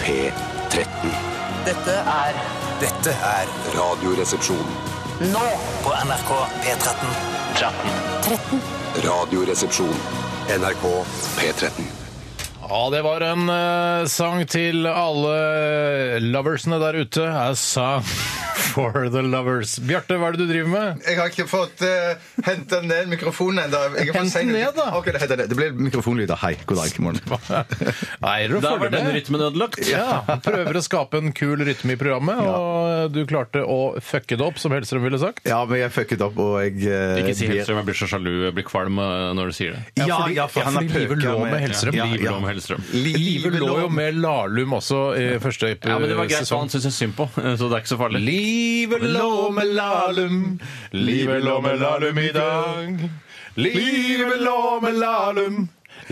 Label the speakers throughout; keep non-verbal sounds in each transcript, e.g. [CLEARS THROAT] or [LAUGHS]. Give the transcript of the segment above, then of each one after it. Speaker 1: P13.
Speaker 2: Dette er
Speaker 3: Dette er
Speaker 1: Radioresepsjon.
Speaker 2: nå
Speaker 3: på NRK P13.
Speaker 2: 13.
Speaker 1: Radioresepsjon. NRK P13.
Speaker 4: Ja, det var en eh, sang til alle loversene der ute. A song [LAUGHS] for the lovers. Bjarte, hva er det du driver med?
Speaker 5: Jeg har ikke fått uh, henta ned mikrofonen ennå.
Speaker 4: Hent den ned, da.
Speaker 5: Ok, det, heter det. det blir mikrofonlyder. Hei, god dag. God morgen.
Speaker 4: Nei, du
Speaker 6: Da var
Speaker 4: følger
Speaker 6: den
Speaker 4: med.
Speaker 6: rytmen ødelagt.
Speaker 4: Ja, prøver å skape en kul rytme i programmet, og du klarte å fucke det opp, som Hellstrøm ville sagt.
Speaker 5: Ja, men jeg fucket opp, og jeg eh,
Speaker 6: Ikke si
Speaker 5: blir-
Speaker 6: helt strøm, jeg blir så sjalu, jeg blir kvalm eh, når du sier det.
Speaker 5: Ja, ja, for han har
Speaker 4: fordi livet
Speaker 5: pøka
Speaker 4: lå
Speaker 5: med-
Speaker 4: med Hellstrøm.
Speaker 6: Ja,
Speaker 4: Livet
Speaker 6: ja.
Speaker 4: lå med-
Speaker 6: med Hellstrøm.
Speaker 4: Livet lå jo med Lahlum også i første
Speaker 6: Ja, men det var greit,
Speaker 4: sesong.
Speaker 6: for han syns Eh, jeg synd på, eh, så det er ikke så farlig.
Speaker 4: Livet lå med Lahlum, livet lå med Lahlum i dag. Livet lå med Lahlum,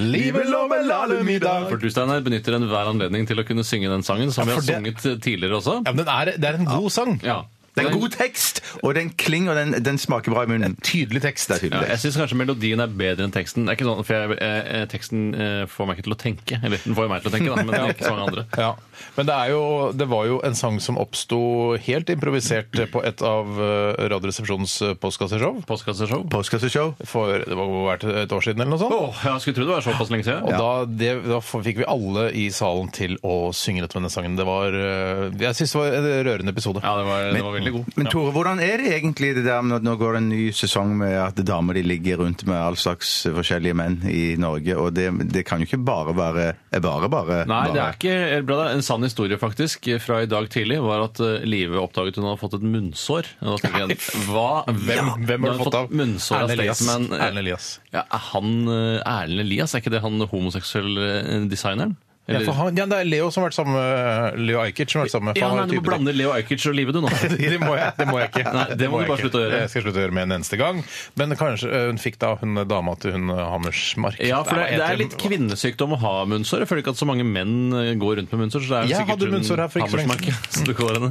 Speaker 4: livet lå med Lahlum i dag.
Speaker 6: For du, Steinar, benytter enhver anledning til å kunne synge den sangen, som
Speaker 4: Ja,
Speaker 6: vi
Speaker 4: for
Speaker 6: har
Speaker 4: det-
Speaker 6: sunget eh, tidligere også.
Speaker 4: Ja, men den er, det er en god sang.
Speaker 6: Ja.
Speaker 5: Det er en god tekst, og den klinger, og den, den smaker bra i munnen.
Speaker 4: Tydelig tekst.
Speaker 5: Det er
Speaker 6: Ja,
Speaker 5: tydelig.
Speaker 6: jeg syns kanskje melodien er bedre enn teksten. Det er ikke sånn, for jeg, eh, eh, Teksten eh, får meg ikke til å tenke. Eller den får jo meg til å tenke, da, men ikke så mange andre.
Speaker 4: [LAUGHS] Ja, Men det, er jo, det var jo en sang som oppsto helt improvisert på et av eh, Radioresepsjonens eh, postkasseshow.
Speaker 6: Postkasseshow.
Speaker 5: Postkasseshow.
Speaker 4: For det var hvert et år siden, eller noe sånt.
Speaker 6: Åh, jeg skulle tro det var såpass lenge
Speaker 4: Og
Speaker 6: siden.
Speaker 4: da, det, da fikk vi alle i salen til å synge dette med denne sangen. Det var, eh, jeg syns det var en rørende episode.
Speaker 6: Ja, det var, det var veldig god.
Speaker 5: Men Tore, hvordan er det egentlig det der med at nå går det en ny sesong med at damer de ligger rundt med all slags forskjellige menn i Norge, og det, det kan jo ikke bare være eh, bare, bare
Speaker 6: Nei,
Speaker 5: bare.
Speaker 6: det er ikke helt bra. Det er en sann historie, faktisk, fra i dag tidlig, var at eh, Live oppdaget hun hadde fått et munnsår. Og da tenker jeg, hva?
Speaker 4: Hvem, hvem har du fått av?
Speaker 6: Munnsår av
Speaker 4: Erlend Elias.
Speaker 6: Staysman. Eh,
Speaker 4: Erlend Elias.
Speaker 6: Ja, er han eh, Erlend Elias, er ikke det han homoseksuelle eh, designeren?
Speaker 4: Ja, for han, ja, det er Leo som har vært sammen med Leo Ajkic. som har vært sammen med
Speaker 6: ja,
Speaker 4: for han
Speaker 6: nei,
Speaker 4: er
Speaker 6: du må
Speaker 4: typen-
Speaker 6: blande Leo Ajkic og Live, du, nå.
Speaker 4: [LAUGHS] det må jeg, det må jeg ikke.
Speaker 6: Nei, det må du
Speaker 4: jeg
Speaker 6: bare
Speaker 4: ikke.
Speaker 6: slutte å gjøre.
Speaker 4: Jeg skal slutte å gjøre med en eneste gang. Men kanskje eh, hun fikk da hun dama til hun eh, Hammersmark.
Speaker 6: Ja, for
Speaker 4: Nei, hva
Speaker 6: det, det
Speaker 4: heter
Speaker 6: er
Speaker 4: hun?
Speaker 6: litt kvinnesykdom å ha munnsår. Jeg føler ikke at så mange menn eh, går rundt med munnsår. Så det er
Speaker 4: Jeg
Speaker 6: sikkert
Speaker 4: hadde
Speaker 6: hun
Speaker 4: munnsår her for ikke så lenge
Speaker 6: Hammersmark, [LAUGHS] så du går henne.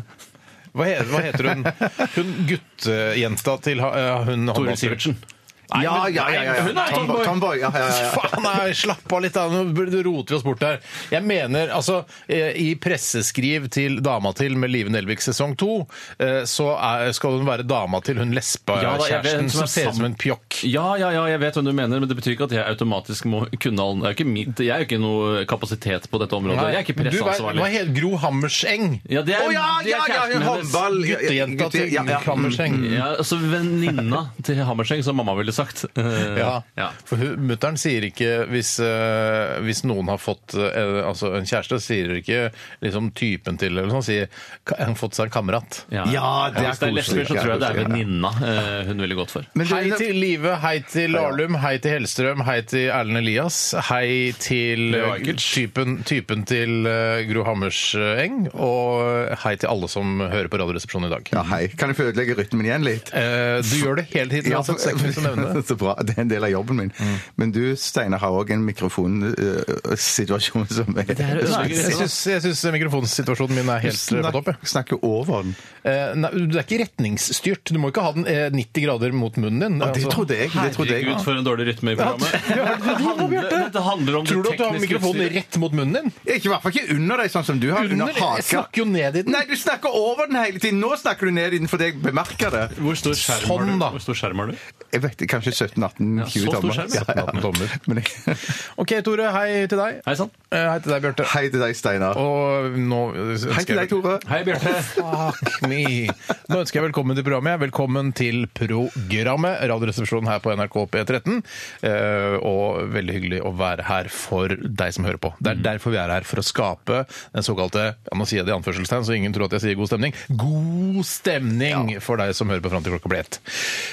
Speaker 4: Hva heter, hva heter hun? Hun guttejenta til ha- eh, hun
Speaker 6: Toril Sivertsen.
Speaker 5: Ja, ja, ja. ja,
Speaker 6: Hun
Speaker 5: ja.
Speaker 6: er
Speaker 5: Tomboy. Tomboy. Ja, ja, ja, ja.
Speaker 4: Faen, nei, slapp av litt, da. Nå burde- roter vi oss bort der. Jeg mener, altså, eh, i presseskriv til dama til med Live Nelvik sesong to, eh, så er, skal hun være dama til hun lesba
Speaker 6: Ja, da, jeg vet
Speaker 4: kjæresten
Speaker 6: hun som er
Speaker 4: som ser ut som en pjokk.
Speaker 6: Ja, ja, ja, jeg vet hvem du mener, men det betyr ikke at jeg automatisk må kunne all Det er jo ikke mitt, Jeg er jo ikke noe kapasitet på dette området. jeg er ikke
Speaker 4: Men du, hva- Hva
Speaker 6: presseansvarlig.
Speaker 4: heter Gro Hammerseng?
Speaker 6: Ja, det
Speaker 5: Å
Speaker 6: er,
Speaker 5: ja,
Speaker 6: det
Speaker 5: ja, ja,
Speaker 6: er
Speaker 5: ja,
Speaker 6: kjæresten hennes.
Speaker 5: håndball. ja, ja,
Speaker 4: Guttejenta til
Speaker 5: ja, ja.
Speaker 4: Hammerseng.
Speaker 6: Ja, altså venninna til Hammerseng, som mamma ville sagt. Eh,
Speaker 4: Ja.
Speaker 6: ja.
Speaker 4: For mutter'n sier ikke hvis, eh, hvis noen har fått eh, altså en kjæreste, sier ikke liksom typen til eller sånn, sier "Ka- han har fått seg en kamerat.
Speaker 5: Ja, det er
Speaker 6: Hvis det er lesber,
Speaker 5: koselig.
Speaker 6: så tror jeg det er
Speaker 5: Ja, koselig,
Speaker 6: venninna eh, hun ville gått for.
Speaker 5: Men du,
Speaker 4: Hei til Live, hei til Lahlum, hei til Hellstrøm, hei til Erlend Elias. Hei til
Speaker 6: Leo
Speaker 4: eh,
Speaker 6: Ajkic.
Speaker 4: typen, typen til eh, Gro Hammerseng, og hei til alle som hører på Radioresepsjonen i dag.
Speaker 5: ja, Ah, hei. Kan jeg få ødelegge rytmen ign litt?
Speaker 4: Eh, Du gjør det hele tiden.
Speaker 6: altså
Speaker 4: uansett, så jeg kan ikke
Speaker 5: [LAUGHS]
Speaker 4: nevne det.
Speaker 5: så bra. Det er en del av jobben min.
Speaker 6: Mm.
Speaker 5: Men du, Steinar, har òg en mikrofonsituasjon som er,
Speaker 6: er ødeleggende.
Speaker 5: Nei,
Speaker 4: Jeg syns- Jeg syns mikrofonsituasjonen min er
Speaker 5: Du
Speaker 4: helt eh, på topp. jeg.
Speaker 5: snak- snakker over den.
Speaker 4: Eh, Nei, det er ikke retningsstyrt. Du må ikke ha den eh, 90 grader mot munnen din. Altså.
Speaker 5: Ja, det trodde jeg. Det trodde jeg.
Speaker 6: Herregud, for en dårlig rytme i programmet. Dette handler om
Speaker 4: Tror du at du har mikrofonen
Speaker 6: utstyret.
Speaker 4: rett mot munnen din?
Speaker 5: Ikke, I hvert fall ikke under deg, sånn som du har. Under,
Speaker 4: Under, jeg
Speaker 5: haka.
Speaker 4: snakker jo ned i den.
Speaker 5: Nei, du snakker over den hele tiden. Nå snakker du ned i den fordi jeg bemerker det.
Speaker 6: Hvor stor skjerm har
Speaker 4: Sånn,
Speaker 6: du?
Speaker 4: da.
Speaker 6: Hvor stor skjerm har du?
Speaker 5: Jeg vet ikke, Kanskje 17-18-20
Speaker 6: Ja, så stor
Speaker 5: tommer.
Speaker 6: skjerm,
Speaker 5: Ja, ja.
Speaker 4: 17-18 tommer.
Speaker 5: [LAUGHS] Men jeg,
Speaker 4: OK, Tore. Hei til deg.
Speaker 6: Hei sånn. sann.
Speaker 4: Eh, Hei til deg, Bjarte.
Speaker 5: hei til deg, Steinar.
Speaker 4: Og nå
Speaker 5: Hei til deg, Tore.
Speaker 6: Hei, Bjarte.
Speaker 4: Fuck me. Nå ønsker jeg velkommen til programmet. Velkommen til programmet Radioresepsjonen her på NRK P13. Eh, Og veldig hyggelig å være her for deg som hører på. Det er derfor vi er her, for å skape den såkalte ja, Nå sier jeg det i anførselstegn, så ingen tror at jeg sier god stemning. God stemning for deg som hører på fram til klokka blir ett.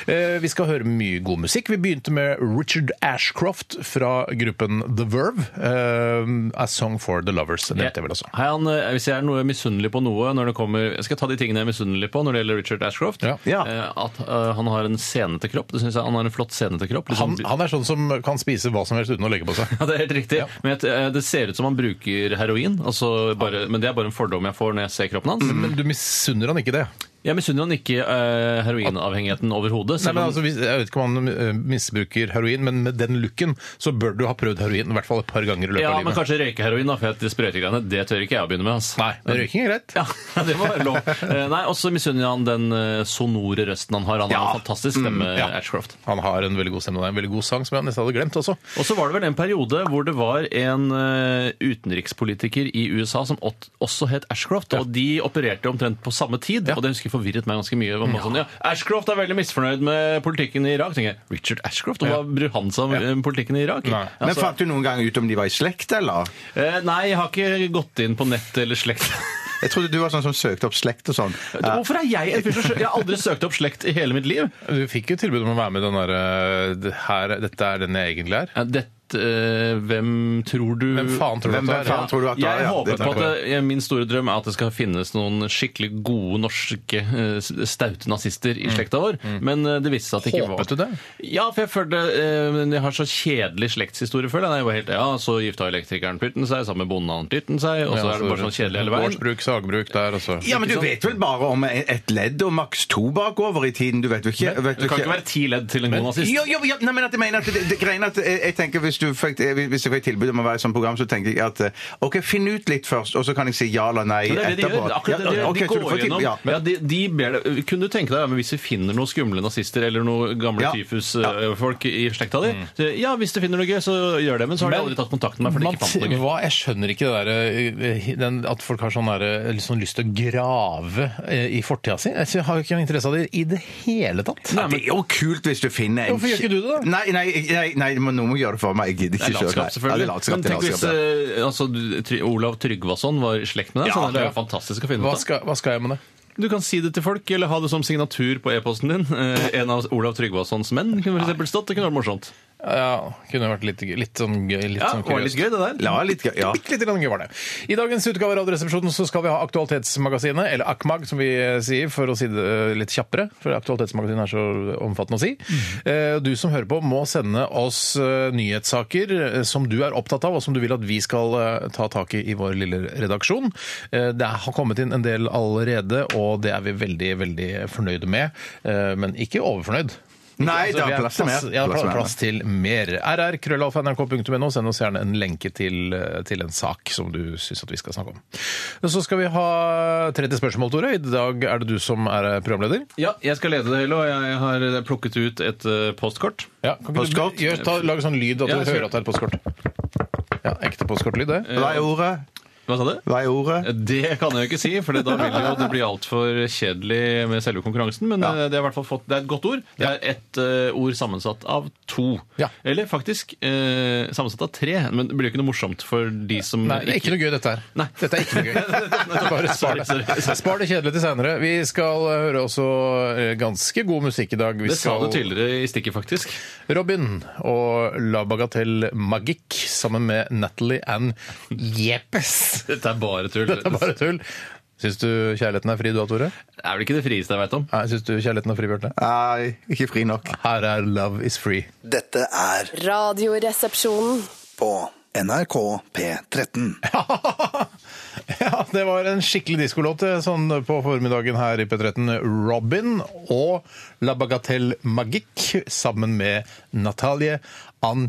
Speaker 4: Eh, Vi skal høre mye god musikk. Vi begynte med Richard Ashcroft fra gruppen The Verve. eh, A Song for the Lovers. Det nevnte jeg vel også.
Speaker 6: Hei, han, eh, hvis jeg er noe misunnelig på noe når det kommer, Jeg skal ta de tingene jeg er misunnelig på når det gjelder Richard Ashcroft.
Speaker 4: Ja.
Speaker 5: Ja.
Speaker 6: Eh, At eh, han har en senete kropp. Det synes jeg Han har en flott senete kropp. Litt
Speaker 4: Han,
Speaker 6: sånn-
Speaker 4: han er sånn som kan spise hva som helst uten å legge på seg.
Speaker 6: ja, det er helt riktig. Men jeg- eh, det ser ut som han
Speaker 4: Mm.
Speaker 6: bruker heroin. Altså bare, men det er bare en fordom jeg får når jeg ser kroppen hans.
Speaker 4: Men du misunner han ikke det?
Speaker 6: Jeg misunner han ikke eh, heroinavhengigheten
Speaker 4: Nei,
Speaker 6: overhodet. selv
Speaker 4: men
Speaker 6: om-
Speaker 4: altså, hvis, jeg vet ikke om han eh, misbruker heroin, men med den looken så bør du ha prøvd heroin i hvert fall et par ganger i løpet
Speaker 6: Ja,
Speaker 4: av
Speaker 6: men
Speaker 4: livet.
Speaker 6: kanskje røykeheroin, da, for at de sprøytegreiene det tør ikke jeg å begynne med. ass.
Speaker 4: Nei, men røyking er greit.
Speaker 6: Ja, [LAUGHS] det må være lov. Eh, Nei, Og så misunner jeg han den eh, sonore røsten han har. Han har en fantastisk stemme,
Speaker 4: ja.
Speaker 6: Ashcroft.
Speaker 4: Han har en veldig god stemme og det er en veldig god sang som jeg nesten hadde glemt også.
Speaker 6: Og så var det vel en periode hvor det var en eh, utenrikspolitiker i USA som ot- også het Ashcroft, og de opererte omtrent på samme tid, og det husker jeg forvirret meg ganske mye. Det Var bare sånn, ja, Ashcroft er veldig misfornøyd med politikken i Irak. tenker jeg, Richard Ashcroft, og hva bryr han seg om eh, politikken i Irak?
Speaker 4: Nei.
Speaker 5: Men
Speaker 6: Altså,
Speaker 5: fant du noen gang ut om de var i slekt, eller?
Speaker 6: eh, nei, jeg har ikke gått inn på nett eller [LAUGHS] slekt.
Speaker 5: Jeg trodde du var sånn som søkte opp slekt og sånn. Ja.
Speaker 6: Hvorfor er jeg en fyr som sø- Jeg har aldri søkt opp slekt i hele mitt liv.
Speaker 4: Du fikk jo tilbud om å være med i den derre det her- Dette er den jeg egentlig er.
Speaker 6: Ja, Dette eh, Hvem tror du
Speaker 4: Hvem faen tror du at
Speaker 5: Hvem- hvem
Speaker 4: det
Speaker 5: faen
Speaker 4: er?
Speaker 5: tror du at det er?
Speaker 6: Jeg
Speaker 5: Ja,
Speaker 6: håper
Speaker 5: det
Speaker 6: på
Speaker 5: tror
Speaker 6: at det, jeg- Min store drøm er at det skal finnes noen skikkelig gode norske eh, staute nazister
Speaker 5: Mm.
Speaker 6: i slekta vår, men eh, det viste seg at det ikke var
Speaker 4: Håpet du det?
Speaker 6: Ja, for jeg følte eh, men Jeg har så kjedelig slektshistorie før. Jeg var helt, ja, Så gifta elektrikeren pyrten seg, sammen med bonden pyrten seg, og så er det bare sånn kjedelig hele veien.
Speaker 4: Gårdsbruk, sagbruk der, altså. og så
Speaker 5: Ja, men du vet
Speaker 6: sånn?
Speaker 5: vel bare om et ledd og maks to bakover i tiden. Du vet jo ikke vet jo
Speaker 6: Det kan ikke være ti ledd til en god nazist.
Speaker 5: Jo, jo, jo, nei, men at jeg mener at det, det greiene at eh, jeg, jeg tenker hvis, du fikk, eh, hvis jeg fikk tilbud om å være i sånt program, så tenker jeg at eh, OK, finn ut litt først, og så kan jeg si ja eller nei
Speaker 6: Men det er det de
Speaker 5: etterpå.
Speaker 6: gjør. Akkurat det de,
Speaker 5: Ja,
Speaker 6: gjør.
Speaker 5: ok,
Speaker 6: de
Speaker 5: så du
Speaker 6: går
Speaker 5: får til-
Speaker 6: gjennom.
Speaker 5: ja.
Speaker 6: Ja, de, de ber deg, kunne du tenke deg, ja, men hvis vi finner noen skumle nazister eller noen gamle
Speaker 5: Ja. Mm.
Speaker 6: tyfusfolk i slekta di så, Ja, hvis du finner noe gøy, så gjør det. Men så har de aldri tatt kontakt med meg. fordi de
Speaker 4: Man,
Speaker 6: ikke fant noe gøy.
Speaker 4: hva, jeg skjønner ikke det der, eh, den, at folk har sånn, der, eh, litt sånn lyst til å grave eh, i fortida si. Jeg har jo ikke noe interesse av det i det hele tatt.
Speaker 5: Ja, det er jo kult hvis du finner en
Speaker 4: Hvorfor gjør ikke du det da?
Speaker 5: Nei, nei, nei, nei men noen må gjøre det for meg. Jeg gidder
Speaker 6: Det er
Speaker 5: ikke selv.
Speaker 6: latskap,
Speaker 5: Nei. Ja, det
Speaker 6: selvfølgelig.
Speaker 5: er latskap,
Speaker 6: men
Speaker 5: det er
Speaker 6: tenk hvis
Speaker 5: latskap, ja.
Speaker 6: eh, altså, du- Try- Olav Tryggvason var i slekt med deg.
Speaker 4: Ja,
Speaker 6: så det er
Speaker 4: ja.
Speaker 6: jo fantastisk å finne
Speaker 4: Hva
Speaker 6: ut av.
Speaker 4: skal, hva skal jeg med det?
Speaker 6: Du kan si det til folk, eller ha det som signatur på e-posten din. [LAUGHS] Eh, En av Olav Tryggvasons menn kunne for eksempel stått. Det kunne vært morsomt.
Speaker 4: Ja, kunne vært litt, gøy- litt sånn gøy. Litt
Speaker 6: Ja,
Speaker 4: sånn
Speaker 6: det var litt
Speaker 4: kuriøst.
Speaker 6: gøy, det der.
Speaker 5: La litt gøy. Ja.
Speaker 4: Bitte lite grann gøy var det. I dagens utgave av Radioresepsjonen så skal vi ha Aktualitetsmagasinet, eller AKMAG som vi eh, sier, for å si det eh, litt kjappere, for Aktualitetsmagasinet er så omfattende å si.
Speaker 5: Mm.
Speaker 4: Eh, Du som hører på må sende oss eh, nyhetssaker eh, som du er opptatt av, og som du vil at vi skal eh, ta tak i i vår lille redaksjon. Eh, Det har kommet inn en del allerede, og det er vi veldig, veldig fornøyde med, eh, men ikke overfornøyd.
Speaker 5: Nei, det
Speaker 4: Altså, vi
Speaker 5: er plass til mer.
Speaker 4: Ja,
Speaker 5: Plass til mer.
Speaker 4: plass til mer. rr.krøllalfa.nrk.no. Send oss gjerne en lenke til, eh, til en sak som du syns at vi skal snakke om. Så skal vi ha 30 spørsmål, Tore. I dag er det du som er eh, programleder.
Speaker 6: Ja, jeg skal lede det hele, og jeg har plukket ut et eh, postkort.
Speaker 4: Ja, kan ikke
Speaker 5: Postkort.
Speaker 4: du gjør, ta, lag sånn lyd at
Speaker 6: Ja,
Speaker 4: du
Speaker 6: jeg skal-
Speaker 4: hører at det er et postkort. Ja, ekte postkortlyd, det.
Speaker 5: Hva er ordet?
Speaker 6: Hva sa du?
Speaker 5: Hva er ordet?
Speaker 6: Det kan jeg jo ikke si, for da vil jo det bli altfor kjedelig med selve konkurransen. Men eh, det, er i hvert fall fått, det er et godt ord. Det er ett eh, ord sammensatt av to.
Speaker 4: Ja.
Speaker 6: Eller faktisk eh, sammensatt av tre. Men det blir jo ikke noe morsomt for de som
Speaker 4: Nei, det er Mm, ikke noe gøy dette her.
Speaker 6: Nei.
Speaker 4: Dette er ikke noe [LAUGHS] gøy. Bare spar det.
Speaker 6: Sorry, sorry, sorry.
Speaker 4: Spar det kjedelig til seinere. Vi skal eh, høre også eh, ganske god musikk i dag. Vi
Speaker 6: Det sa
Speaker 4: skal-
Speaker 6: du tidligere i stikket, faktisk.
Speaker 4: Robin og La Bagatelle Magique sammen med Natalie Ann Jeppes.
Speaker 6: Dette er bare tull.
Speaker 4: [LAUGHS] Det er bare tull. Syns du kjærligheten er fri, du da, Tore?
Speaker 6: Det er vel ikke det frieste jeg veit om.
Speaker 4: Nei, syns du kjærligheten er fri, Bjarte?
Speaker 5: Nei, ikke fri nok.
Speaker 4: Her er Love is free. [LAUGHS]
Speaker 7: Dette er
Speaker 8: Radioresepsjonen.
Speaker 7: på NRK P13.
Speaker 4: Ja, det var en skikkelig diskolåt eh, sånn på formiddagen her i P13. Robin og La Bagatelle Magique sammen med Natalie Ann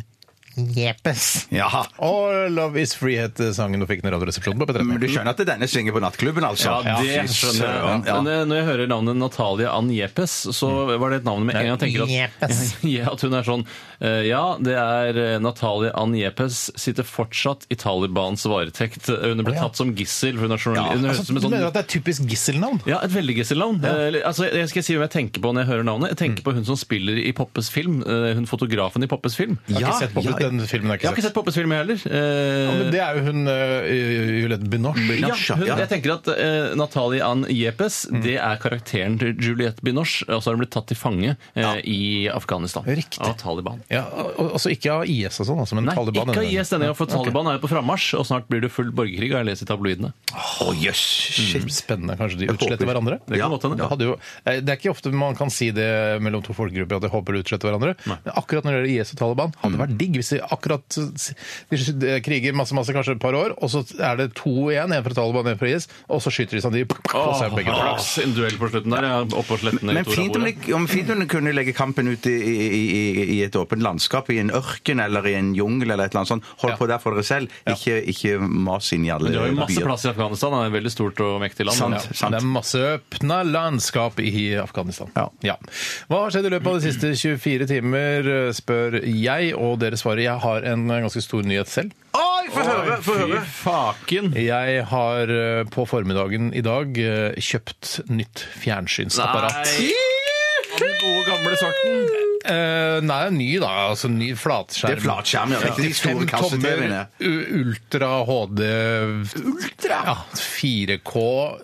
Speaker 4: Jeppes.
Speaker 5: Jaha.
Speaker 4: Og Love is free het sangen du fikk den i Radioresepsjonen på P13.
Speaker 6: Mm,
Speaker 5: Men du skjønner at det er denne svinger på nattklubben, altså?
Speaker 6: Ja, det skjønner jeg.
Speaker 5: Ja.
Speaker 6: Men eh, når jeg hører navnet Natalia Ann Jepes, så var det et navn med en gang jeg tenker at,
Speaker 4: Jepes.
Speaker 6: [LAUGHS] ja, at hun er sånn eh, Ja, det er eh, Natalia Ann Jepes sitter fortsatt i Talibans varetekt. Eh, Hun ble
Speaker 4: ja.
Speaker 6: tatt som gissel, for hun er journalist. hun høres ut
Speaker 4: Altså,
Speaker 6: som
Speaker 4: du
Speaker 6: en sånn
Speaker 4: mener at det er typisk gisselnavn?
Speaker 6: ja, et veldig gisselnavn. Eh, eller, altså, jeg skal si hva jeg tenker på når jeg hører navnet. Jeg tenker på hun som spiller i Poppes film. eh, hun fotografen i Poppes film.
Speaker 4: Jeg har
Speaker 5: Ja,
Speaker 4: ikke sett Poppet,
Speaker 5: ja.
Speaker 4: den filmen har jeg
Speaker 6: Jeg
Speaker 4: ikke
Speaker 6: har ikke
Speaker 4: sett.
Speaker 6: sett Poppes film, jeg heller. Eh,
Speaker 4: Men det er jo hun uh, Juliette Binoche.
Speaker 6: Ja, hun,
Speaker 5: ja. Mm.
Speaker 6: jeg tenker at eh, Natalie Ann Jepes det er karakteren til Juliette Binoche. Og så har hun blitt tatt til fange eh, i Afghanistan
Speaker 4: Riktig.
Speaker 6: av Taliban.
Speaker 4: Ja, al- altså ikke av IS og sånn, altså, men
Speaker 6: Nei,
Speaker 4: Taliban.
Speaker 6: ikke
Speaker 4: denne
Speaker 6: IS denne gangen, for Taliban er jo på frammarsj, og snart blir det full borgerkrig, har jeg lest i tabloidene.
Speaker 4: gangen. Åh,
Speaker 5: Å, jøss!
Speaker 6: Mm.
Speaker 5: Shit.
Speaker 4: Spennende. Kanskje de
Speaker 5: Jeg
Speaker 4: utsletter
Speaker 5: håper.
Speaker 4: hverandre?
Speaker 6: Det kan
Speaker 5: Ja,
Speaker 6: godt hende.
Speaker 4: Det hadde jo, eh, det er ikke ofte man kan si det mellom to folkegrupper at de håper de utsletter hverandre. Men akkurat når det gjelder IS og Taliban, hadde det
Speaker 6: Mm.
Speaker 4: vært digg hvis de akkurat de kriger masse, masse, kanskje et par år, og så er det to igjen, en fra Taliban, en fra IS, og så skyter de samtidig på seg begge to.
Speaker 6: Flaks en duell på slutten der. ja, Oppå sletten
Speaker 5: Men fint om, de, om fint om de kunne legge kampen ut i, i, i, i et åpent landskap, i en ørken eller i en jungel eller et eller annet sånt. Hold
Speaker 4: Ja.
Speaker 5: på der for dere selv. Ikke, ikke mas inn i alle
Speaker 6: Du har jo masse
Speaker 5: byer.
Speaker 6: plass i Afghanistan. Det er et veldig stort og mektig land.
Speaker 5: [LAUGHS] Sant.
Speaker 4: Ja, Det er masse åpna landskap i Afghanistan.
Speaker 5: Ja.
Speaker 4: Hva har skjedd i løpet av de siste 24 timer, eh, spør jeg, og dere svarer. Jeg har en eh, ganske stor nyhet selv.
Speaker 5: Oi, få høre! Få høre!
Speaker 6: Faken!
Speaker 4: Jeg har eh, på formiddagen i dag eh, kjøpt nytt fjernsynsapparat.
Speaker 6: Nei. Av Den gode, gamle sorten.
Speaker 4: Eh, nei, ny da. Altså ny flatskjerm.
Speaker 5: Det er flatskjerm, ja. Ikke de store
Speaker 4: Fem tommer,
Speaker 5: kasse-TV-ene.
Speaker 4: u- ultra HD Ultra? Ja, 4K,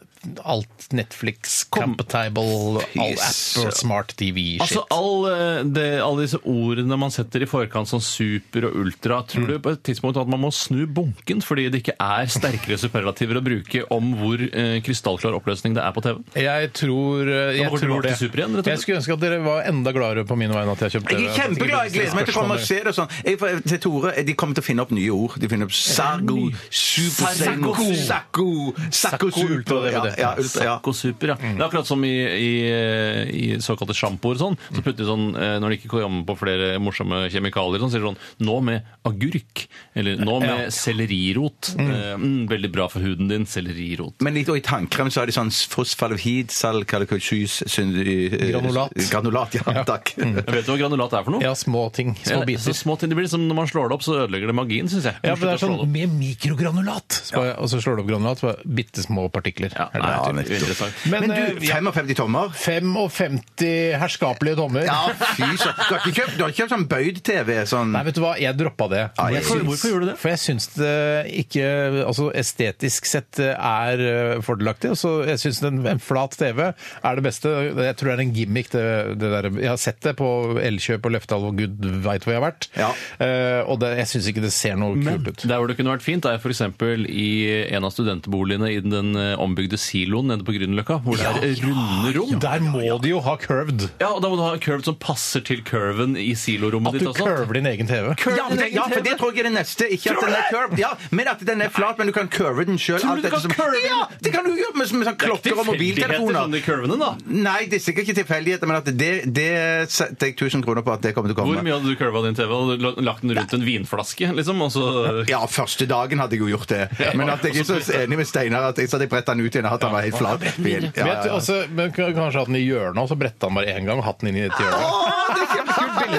Speaker 4: alt Netflix, Comptable, all Apple, Smart TV, shit.
Speaker 6: Altså, all, eh, det, Alle disse ordene man setter i forkant, sånn super og ultra Tror
Speaker 5: Mm.
Speaker 6: du på et tidspunkt at man må snu bunken fordi det ikke er sterkere superlativer å bruke om hvor eh, krystallklar oppløsning det er på TV?
Speaker 4: Jeg tror, eh, jeg
Speaker 6: går
Speaker 4: tror
Speaker 6: tilbake
Speaker 4: det.
Speaker 6: til Super igjen, rett og slett.
Speaker 4: jeg skulle ønske at dere var enda gladere på mine vegne. at Jeg kjøpte
Speaker 5: Jeg er
Speaker 4: det.
Speaker 5: kjempeglad. Jeg gleder meg til å komme og se det. og Sånn. Jeg, for- til Tore, De kommer til å finne opp nye ord. De finner opp Sargo, Supersengo, Sakko, Sakko
Speaker 4: Sakko Ultra,
Speaker 5: Super.
Speaker 4: det
Speaker 5: Ja,
Speaker 4: var det.
Speaker 5: ja, ultra, ja. Mm.
Speaker 6: Sakko super, ja. Det er akkurat som i, i, eh, i såkalte sjampoer og sånn.
Speaker 5: Mm.
Speaker 6: Så putter de sånn, eh, når de ikke kommer på flere morsomme kjemikalier, sånn, sier de sånn Nå med agurk. Eller nå med sellerirot. Eh, Mm, veldig bra for huden din, sellerirot.
Speaker 5: Men litt, og i tannkrem så har de sånn fosfalvhid, salkalkulsys
Speaker 4: Granulat.
Speaker 5: eh, Granulat, ja, takk.
Speaker 6: Jeg vet du hva granulat er for noe?
Speaker 4: Ja, små ting. Små
Speaker 6: Ja, så
Speaker 4: biter.
Speaker 6: små ting. Det blir liksom, Når man slår det opp, så ødelegger det magien, syns jeg.
Speaker 4: Ja, for det er
Speaker 6: Slutt å slå
Speaker 4: sånn med mikrogranulat. Så bare- Og så slår du opp granulat, så bare bitte små partikler.
Speaker 6: Ja,
Speaker 4: Er det
Speaker 6: nei,
Speaker 4: det
Speaker 6: det
Speaker 4: heter?
Speaker 6: er interessant.
Speaker 4: Men,
Speaker 5: Men
Speaker 4: eh,
Speaker 5: du,
Speaker 4: ja,
Speaker 5: 55 tommer?
Speaker 4: 55 herskapelige dommer.
Speaker 5: Ja, fy søren. Du, har ikke kjøpt- du har ikke kjøpt sånn bøyd-TV? Sånn.
Speaker 4: Nei, vet du hva, jeg droppa det.
Speaker 5: Ai.
Speaker 4: Jeg syns-
Speaker 6: Hvorfor gjorde du det?
Speaker 4: For jeg syns det ikke altså estetisk sett er eh, fordelaktig. Så jeg syns en, en flat TV er det beste. Jeg tror det er en gimmick, det, det der. Jeg har sett det på Elkjøp og Løftehalv og gud veit hvor jeg har vært.
Speaker 5: Ja.
Speaker 4: Eh, og det, jeg syns ikke det ser noe kult ut.
Speaker 6: Der hvor det kunne vært fint, er f.eks. i en av studentboligene i den eh, ombygde siloen nede på Grünerløkka, hvor det er runde rom.
Speaker 4: Der må de jo ha curved.
Speaker 6: Ja, og da må du ha en curve som passer til curven i silorommet
Speaker 4: At
Speaker 6: ditt
Speaker 4: du
Speaker 6: også.
Speaker 4: curver din egen TV.
Speaker 5: Ja, men det, ja, for det tror jeg er det neste. Ikke at den er curved, ja, men at den er flat, men du kan curve den sjøl.
Speaker 6: Tror du du kan curve den?
Speaker 5: Ja, det kan du gjøre med, med sånn klokker og mobiltelefoner.
Speaker 6: sånn de curvene, da.
Speaker 5: Nei, det er sikkert ikke tilfeldigheter, men at det, det setter jeg 1000 kroner på at det kommer til å
Speaker 6: Hvor
Speaker 5: komme.
Speaker 6: mye hadde du curva din TV? Hadde du la- lagt den rundt en vinflaske, liksom? Og så
Speaker 5: Ja, første dagen hadde jeg jo gjort det. Men at jeg er så enig med Steinar at jeg så hadde jeg bretta den ut igjen. At han var helt flat. Ja,
Speaker 4: Vet,
Speaker 5: ja, ja.
Speaker 4: altså, men k- kanskje hatt den i hjørnet, og så bretta han bare én gang. Hatt den inn i et hjørne. [LAUGHS]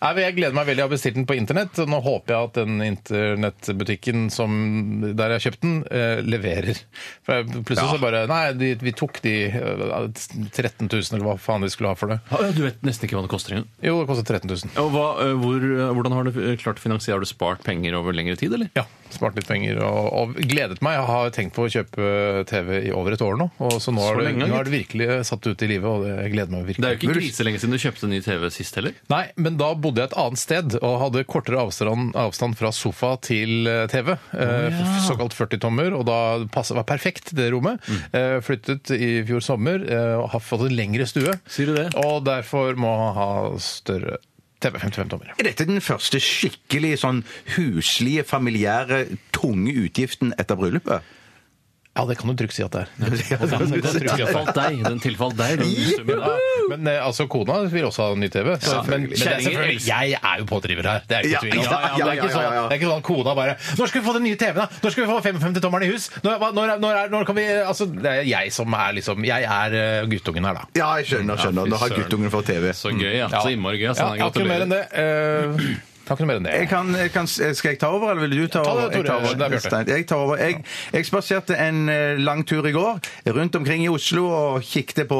Speaker 4: Nei, men Jeg gleder meg veldig. Jeg har bestilt den på internett. og Nå håper jeg at den internettbutikken som, der jeg har kjøpt den, eh, leverer. For jeg, plutselig så bare Nei, de, vi tok de eh, 13 000, eller hva faen de skulle ha for det.
Speaker 6: Ja, Du vet nesten ikke hva det koster engang.
Speaker 4: Jo, det kostet 13 000.
Speaker 6: Og hva, eh, hvor, eh, hvordan har du eh, klart å finansiere? Har du spart penger over lengre tid, eller?
Speaker 4: Ja. Spart litt penger og, og gledet meg. Jeg har tenkt på å kjøpe TV i over et år nå. Og så nå
Speaker 6: Så
Speaker 4: er det,
Speaker 6: lenge,
Speaker 4: nå er det virkelig satt ut i livet, og det jeg gleder meg virkelig.
Speaker 6: Det er jo ikke krise lenge siden du kjøpte en ny TV sist heller.
Speaker 4: Nei, men da bodde jeg et annet sted og hadde kortere avstand, avstand fra sofa til eh, TV. eh, Såkalt 40-tommer, og da passet, var perfekt det rommet. Eh, Flyttet i fjor sommer eh, og har fått en lengre stue.
Speaker 6: Sier du det?
Speaker 4: Og derfor må jeg ha større TV. 55-tommer.
Speaker 5: Er dette den første skikkelig sånn huslige, familiære, tunge utgiften etter bryllupet?
Speaker 4: Ja, det kan du trygt si at det er.
Speaker 6: Den tilfalt deg. Den tilfalt deg. Den summen.
Speaker 4: Ja, men eh, altså, kona vil også ha en ny TV. Så, men, men det er
Speaker 6: Kjerringer
Speaker 4: selvfølgelig, jeg er jo pådriver her. Det er ikke
Speaker 5: Ja,
Speaker 4: tvil om.
Speaker 5: ja, ja,
Speaker 4: det, er ikke
Speaker 5: ja, ja,
Speaker 4: sånn,
Speaker 5: ja.
Speaker 4: det er ikke sånn at kona bare 'Når skal vi få den nye TV-en, da? Når skal vi få 55-tommeren i hus?' Når, hva- når, er- når, er- når kan vi Altså, det er jeg som er liksom Jeg er eh, guttungen her, da.
Speaker 5: Ja, jeg skjønner. skjønner. Nå har guttungen fått TV.
Speaker 6: Så gøy, ja. Sånn Så innmari gøy.
Speaker 4: Ja, jeg har ikke noe mer enn det. Eh, jeg har ikke noe mer enn det.
Speaker 5: Jeg kan, jeg kan, skal jeg ta over, eller vil du ta
Speaker 4: det,
Speaker 5: over? Jeg
Speaker 4: Tore.
Speaker 5: tar over.
Speaker 4: Det er Bjarte.
Speaker 5: Stein, Jeg, tar over. jeg, jeg spaserte en eh, lang tur i går rundt omkring i Oslo og kikket på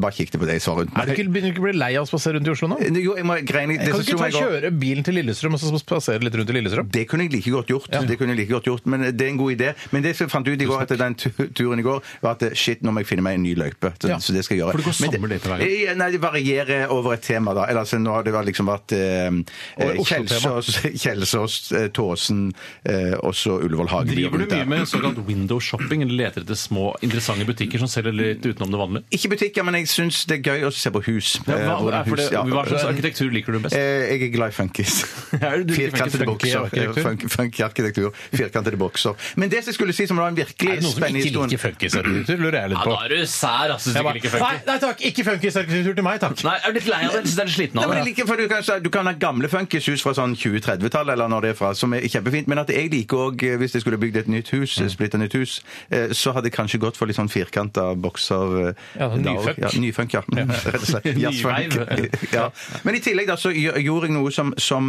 Speaker 5: Bare kikket på det jeg så rundt
Speaker 4: Er du ikke, begynner du ikke å bli lei av å spasere rundt i Oslo nå?
Speaker 5: Jo, jeg må greie litt.
Speaker 4: Kan du ikke
Speaker 5: som slo
Speaker 4: ta
Speaker 5: meg i går-
Speaker 4: kjøre bilen til Lillestrøm og så spasere litt rundt i Lillestrøm?
Speaker 5: Det kunne jeg like godt gjort. Det kunne jeg like godt gjort, Men eh, det er en god idé. Men det som jeg fant ut i går etter den tu- turen i går, var at eh, shit, nå må jeg finne meg en ny løype. Så,
Speaker 4: Ja.
Speaker 5: så det skal jeg gjøre.
Speaker 6: For det går
Speaker 5: Men
Speaker 6: samme løype hver gang.
Speaker 5: Eh, Nei, det varierer over et tema, da. Eller altså, nå har det vel liksom vært eh, eh,
Speaker 4: Oslo tema.
Speaker 5: Kjelsås, [LAUGHS] Kjelsås eh, Tåsen eh, og så Ullevål Hage.
Speaker 6: Driver du mye med såkalt window shopping, eller leter etter små, interessante butikker som selger litt utenom det vanlige?
Speaker 5: Ikke butikker, men jeg syns det er gøy å se på hus.
Speaker 6: Ja,
Speaker 5: eh,
Speaker 6: hva,
Speaker 5: hvordan
Speaker 6: er for det,
Speaker 5: hus- ja.
Speaker 6: hva slags arkitektur liker du best?
Speaker 5: Eh, Jeg er glad i
Speaker 4: [LAUGHS]
Speaker 5: funkis.
Speaker 6: Er du- du liker
Speaker 5: Firkantede
Speaker 6: funky
Speaker 5: bokser.
Speaker 4: arkitektur?
Speaker 5: Funky, funky arkitektur. Firkantede bokser. Men det som jeg skulle si, som var en
Speaker 4: Er det
Speaker 5: virkelig
Speaker 4: noen som
Speaker 5: spennende
Speaker 4: ikke
Speaker 5: historie
Speaker 4: liker funkisarkitektur? Lurer jeg litt
Speaker 6: Ja,
Speaker 4: på.
Speaker 6: da er du sær, ass, hvis
Speaker 4: Jeg
Speaker 6: du
Speaker 4: bare,
Speaker 6: ikke liker funky.
Speaker 4: nei, nei takk! Ikke funkisarkitektur til meg, takk!
Speaker 6: Nei, jeg er litt lei av det. Jeg synes det er litt sliten
Speaker 5: Nei,
Speaker 6: av
Speaker 5: men jeg
Speaker 6: det.
Speaker 5: liker, for du, kan, du kan ha gamle funkishus fra sånn 20-30-tallet, eller når det er fra, som er kjempefint. Men at jeg liker òg, hvis jeg skulle bygd et nytt hus,
Speaker 4: Mm.
Speaker 5: splitta nytt hus, eh, så hadde jeg kanskje gått for litt sånn firkanta bokser. eh,
Speaker 4: Ja, sånn
Speaker 5: da også.
Speaker 4: nyfunk.
Speaker 5: Ja, nyfunk, ja. Mm, [LAUGHS] Rett og slett.
Speaker 4: [LAUGHS]
Speaker 5: Jazzfunk. [LAUGHS]
Speaker 6: Nyveiv.
Speaker 5: ja. Men i tillegg da, så gjør- gjorde jeg noe som, som